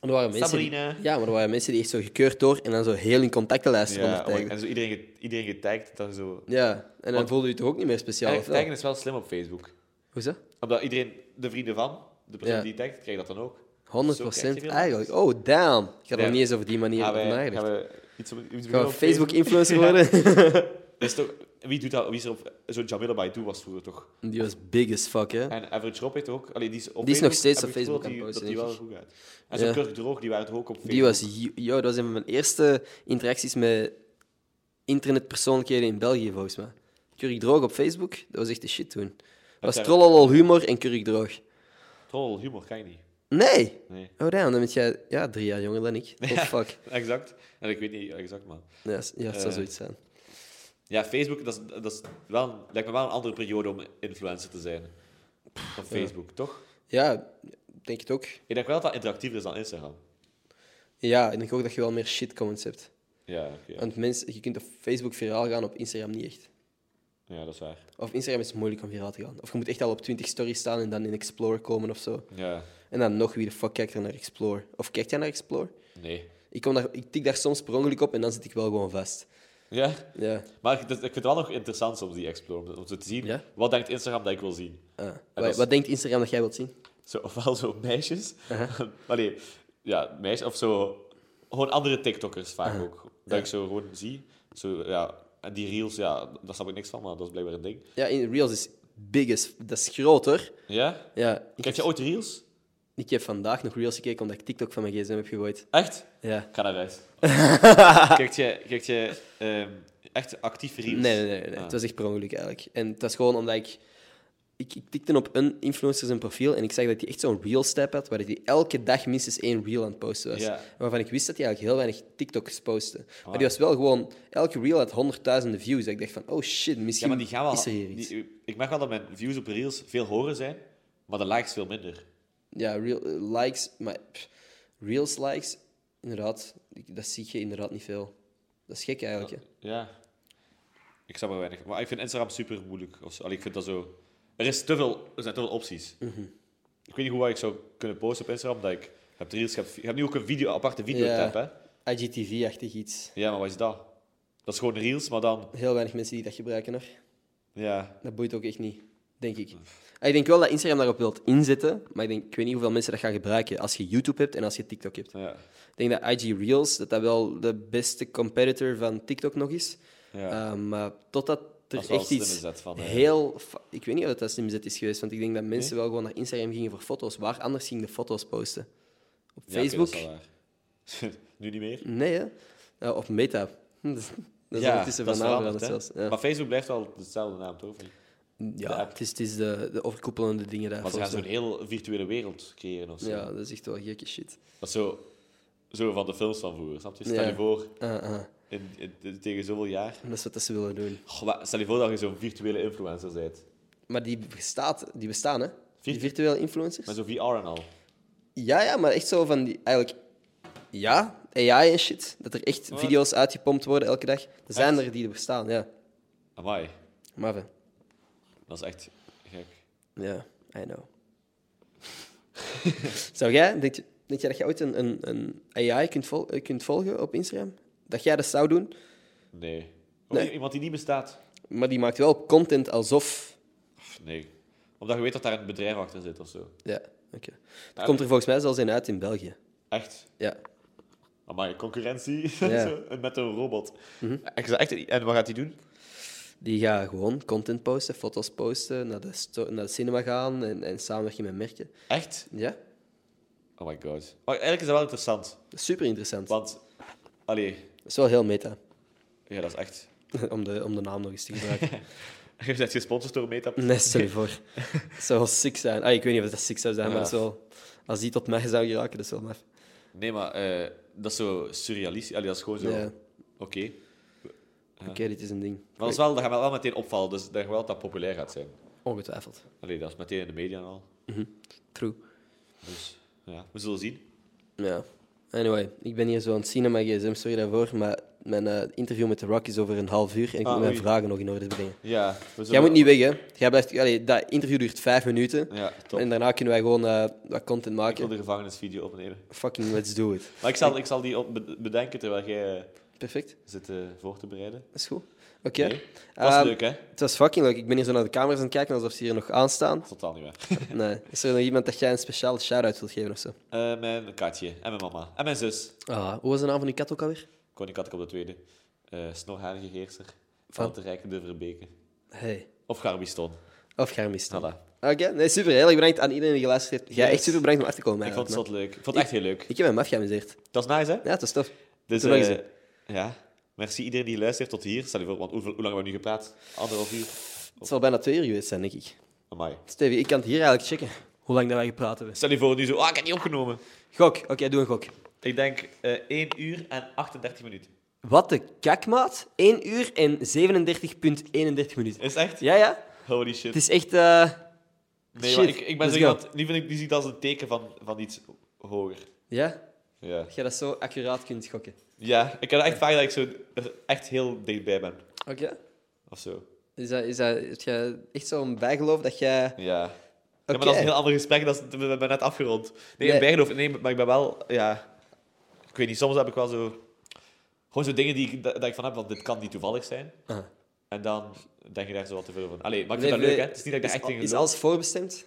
er waren mensen die- Sabrina. ja, maar er waren mensen die echt zo gekeurd door en dan zo heel in contactenlijst ja, Ja, oh, ondertekenen. en zo iedereen, ge- iedereen getagd, dat je zo... Ja, en dan voelde je het toch ook niet meer speciaal? Eigenlijk Of wel? taggen is wel slim op Facebook. Hoezo? Omdat iedereen, de vrienden van, de persoon Ja. die tagt, krijgt dat dan ook. 100 Zo krijg je veel eigenlijk. Oh, damn. Ik had Ja. er niet eens over die manier Gaan over Ah, wij, gaan nagedacht. we iets op, iets Gewoon op Facebook-influencer worden? Is toch, wie doet dat? Wie is er op zo'n Jamila Baidu was vroeger toch? Die was big as fuck, hè? En Average Rob heeft ook. Allee, die is, op Die is nog Facebook, steeds heb op ik het gevoel Facebook dat aan die- het Dat posten, die wel denk goed uit. En zo'n Ja. Kirk Droog, die waren toch ook op Facebook. Die was, yo, dat was een van mijn eerste interacties met internetpersoonlijkheden in België, volgens mij. Curry Droog op Facebook, dat was echt de shit toen. Dat was Oké. trollalol humor en Curry Droog. Troll, humor, kan je niet. Nee! Nee. Oh damn, dan ben jij ja, drie jaar jonger dan ik. Oh fuck. Exact. En ik weet niet exact, maar... Ja, s- ja het zou Eh. zoiets zijn. Ja, Facebook, dat is, dat is wel, een- lijkt me wel een andere periode om influencer te zijn. Op Facebook, toch? Ja, denk het ook. Ik denk wel dat dat interactiever is dan Instagram. Ja, ik denk ook dat je wel meer shit comments hebt. Ja, oké. Want mensen, je kunt op Facebook viraal gaan, op Instagram niet echt. Ja, dat is waar. Of Instagram is het moeilijk om viraal te gaan. Of je moet echt al op 20 stories staan en dan in Explore komen of zo. Ja. En dan nog wie de fuck kijkt er naar Explore. Of kijkt jij naar Explore? Nee. Ik, kom daar, ik tik daar soms per ongeluk op en dan zit ik wel gewoon vast. Ja? Ja. Maar ik, dat- ik vind het wel nog interessant soms, die Explore, om zo te zien, Ja? wat denkt Instagram dat ik wil zien? Ah. dat is- Wat, wat denkt Instagram dat jij wilt zien? Zo, ofwel zo meisjes, Uh-huh. maar nee, ja, meisjes, of zo, gewoon andere TikTokkers vaak Uh-huh. ook. Dat ik zo gewoon zie, zo, ja, en die reels, ja, daar snap ik niks van, maar dat is blijkbaar een ding. Ja, in Reels is big as- Dat is groot, hoor. Ja? Ja. Ik, Kijk je ooit reels? ik heb vandaag nog Reels gekeken omdat ik TikTok van mijn gsm heb gegooid. Echt? Ja. Ik ga naar huis. kijk je, kijk je ehm, echt actief reels? Nee, nee, nee. nee. Ah. Het was echt per ongeluk, eigenlijk. En het was gewoon omdat ik... Ik, ik tikte op een influencer zijn profiel en ik zag dat hij echt zo'n Reels-tab had, waar hij elke dag minstens één Reel aan het posten was. Ja. Ah. Waarvan ik wist dat hij eigenlijk heel weinig TikToks postte. Maar die was wel gewoon... Elke Reel had honderdduizenden views. Dat ik dacht van, oh shit, misschien Ja, maar die gaan wel... is er hier iets. die- ik merk wel dat mijn views op reels veel hoger zijn Maar de likes veel minder. Ja, real, eh, likes, maar pff, reels likes, inderdaad, ik- dat zie je inderdaad niet veel. Dat is gek eigenlijk. hè. Ja. Ik snap er weinig. Maar ik vind Instagram super moeilijk. Of zo. Allee, ik vind dat zo... Er, is te veel, er zijn te veel opties. Mhm. Ik weet niet hoe waar ik zou kunnen posten op Instagram. Dat ik heb reels, je hebt, je hebt nu ook een video, aparte videotab, hè? IGTV-achtig iets. Ja, maar wat is dat? Dat is gewoon reels, maar dan... Heel weinig mensen die dat gebruiken hoor. Ja. Dat boeit ook echt niet, denk ik. Ah, Ik denk wel dat Instagram daarop wilt inzetten, maar ik, denk, ik weet niet hoeveel mensen dat gaan gebruiken als je YouTube hebt en als je TikTok hebt. Ja. Ik denk dat IG Reels dat dat wel de beste competitor van TikTok nog is. Ja. Eh, maar totdat er Dat is wel echt een iets slimme zet van, eh. heel... fa- Ik weet niet of dat een slimme zet is geweest, want ik denk dat mensen wel gewoon naar Instagram gingen voor foto's. Waar anders gingen de foto's posten? Op Ja, oké, Facebook? dat is wel waar. nu niet meer. nee, hè? Ja, op Meta. dat is ondertussen dat is vanavond veranderd, zelfs. hè. Ja, Maar Facebook blijft wel dezelfde naam, toch? de ja app. het is, het is de, de overkoepelende dingen daar. Maar ze gaan volgens zo'n heel virtuele wereld creëren of zo. mij. Ja, dat is echt wel gekke shit. Dat is zo, zo van de films van vroeger, snap je? Stel Ja. je voor, Ah, ah. in, in- in- tegen zoveel jaar... Dat is wat dat ze willen doen. Goh, maar stel je voor dat je zo'n virtuele influencer bent. Maar die, bestaat, die bestaan, hè? Die Virtu- virtuele influencers. Met zo'n VR en al. Ja, ja, maar echt zo van die. Eigenlijk, ja, AI en shit. Dat er echt video's uitgepompt worden elke dag. Er zijn er die er bestaan, ja. Amai, Maar we- dat is echt gek. ja, I know. Zou jij, denk, je- denk jij dat je ooit een, een, een AI kunt, vol- eh, kunt volgen op Instagram? Dat jij dat zou doen, Nee. Ook Nee. Iemand die niet bestaat? maar die maakt wel content alsof. Pff, Nee. Omdat je weet dat daar een bedrijf achter zit of zo. Ja, oké. Er komt er volgens mij zelfs een uit in België. Echt. Ja, Amai, concurrentie. Ja. Mhm. Zo, en met een robot. Ik zou echt, en wat gaat hij doen? Die gaan gewoon content posten, foto's posten, naar de, sto- naar de cinema gaan en, en samenwerken met merken. Echt? Ja, Oh my god. Maar eigenlijk is dat wel interessant. dat is super interessant. Dat Want, allee, is wel heel meta, ja, dat is echt. om de, om de naam nog eens te gebruiken. Je bent gesponsord door Meta. Nee, stel je voor. Het zou wel sick zijn. Ah, ik weet niet of dat sick zou zijn, maar Ja. dat is wel, als die tot mij zou geraken, dat is wel maf. Nee, maar eh, dat is zo surrealistisch. Allee, dat is gewoon zo. Ja. Oké. Oké, dit is een ding. Maar dat, is wel, dat gaat wel meteen opvallen, dus dat je wel dat dat populair gaat zijn. Ongetwijfeld. Allee, dat is meteen in de media en al. True. Dus ja, we zullen zien. Ja. Anyway, ik ben hier zo aan het zien aan mijn gsm, sorry daarvoor, maar mijn eh, interview met The Rock is over een half uur en ik Ah, moet mijn oei. vragen nog in orde brengen. Ja, we zullen... Jij moet niet weg, hè. Jij blijft, allee, dat interview duurt vijf minuten. Ja, top. En daarna kunnen wij gewoon eh, wat content Ik wil maken. de gevangenisvideo opnemen. Fucking let's do it. Maar ik zal, ik zal die op be- bedenken terwijl jij eh, Perfect, zit eh, voor te bereiden. dat is goed. Oké. Nee. Was Ehm, leuk, hè? Het was fucking leuk. Ik ben hier zo naar de camera's aan het kijken alsof ze hier nog aanstaan. Totaal niet waar. Nee. Is er nog iemand dat jij een speciale shout-out wilt geven of zo? Eh, mijn katje en mijn mama en mijn zus. Ah, hoe was de naam van die kat ook alweer? Koning Kattek op de tweede. Eh snorharige heerser Van? van het Rijk de Verbeke. Hey. Of Garbiston. Of Garmis. dan. Voilà. Oké, nee, super. Heel erg bedankt aan iedereen die geluisterd heeft. Jij Yes. echt super bedankt om af te komen. Ik vond het eigenlijk, zot leuk. Ik vond het echt heel leuk. man. Ik heb mijn maf geamuseerd. Dat is nice, hè? Ja, het was tof. Dus, Doe nog eh, eens, ja. Merci iedereen die geluisterd heeft tot hier. Stel je voor, want hoeveel, hoe lang hebben we nu gepraat? Anderhalf uur? Het zal bijna twee uur geweest zijn, denk ik. Amai. Stevie, ik kan het hier eigenlijk checken. Hoe lang dat wij gepraat hebben. Stel je voor, nu zo, ah, ik heb niet opgenomen. Gok. Oké, doe een gok. Ik denk eh 1 uur en 38 minuten. Wat de kakmaat. 1 uur en 37,31 minuten. Is echt? Ja, ja. Holy shit. Het is echt... eh, Nee, shit. maar ik, ik ben Let's zo go. iemand, die, vind ik, die ziet dat als een teken van, van iets hoger. Ja? Ja. Dat je dat zo accuraat kunt gokken. Ja, ik heb echt vaak dat ik zo er echt heel dichtbij ben. Oké. Of zo. Is dat, is dat, heb jij echt zo'n bijgeloof dat jij... Ja. Oké. Ja, maar dat is een heel ander gesprek. Dat is, we hebben net afgerond. Nee, Nee. in Bijgeloof. Nee, maar ik ben wel... Ja, ik weet niet, soms heb ik wel zo... Gewoon zo dingen die ik, dat, dat ik van heb, want dit kan niet toevallig zijn. Ah. En dan denk je daar zo wat te veel van. Allee, maar ik Nee, vind dat nee, leuk, hè. Het is niet dat ik daar is echt in al- Is geloof. alles voorbestemd?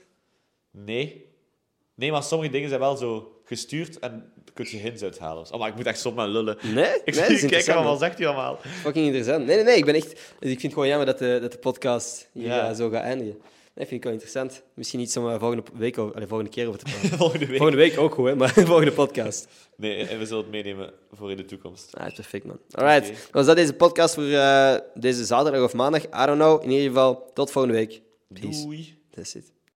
Nee. Nee, maar sommige dingen zijn wel zo gestuurd en daar kun je hints uithalen. Oh, maar ik moet echt soms maar lullen. Nee? nee, Ik zie je interessant, kijken, man. wat zegt hij allemaal? Fucking interessant. Nee, nee, nee. Ik ben echt... Dus ik vind het gewoon jammer dat de, dat de podcast hier Ja. eh, zo gaat eindigen. Nee, vind ik wel interessant. Misschien iets om eh, volgende, week over, allee, volgende keer over te praten. Volgende week. volgende week ook goed, hè, maar volgende podcast. Nee, en we zullen het meenemen voor in de toekomst. Ah, perfect, man. Alright. Dan was dat deze podcast voor eh, deze zaterdag of maandag. I don't know. In ieder geval, tot volgende week. Peace. Doei. That's it.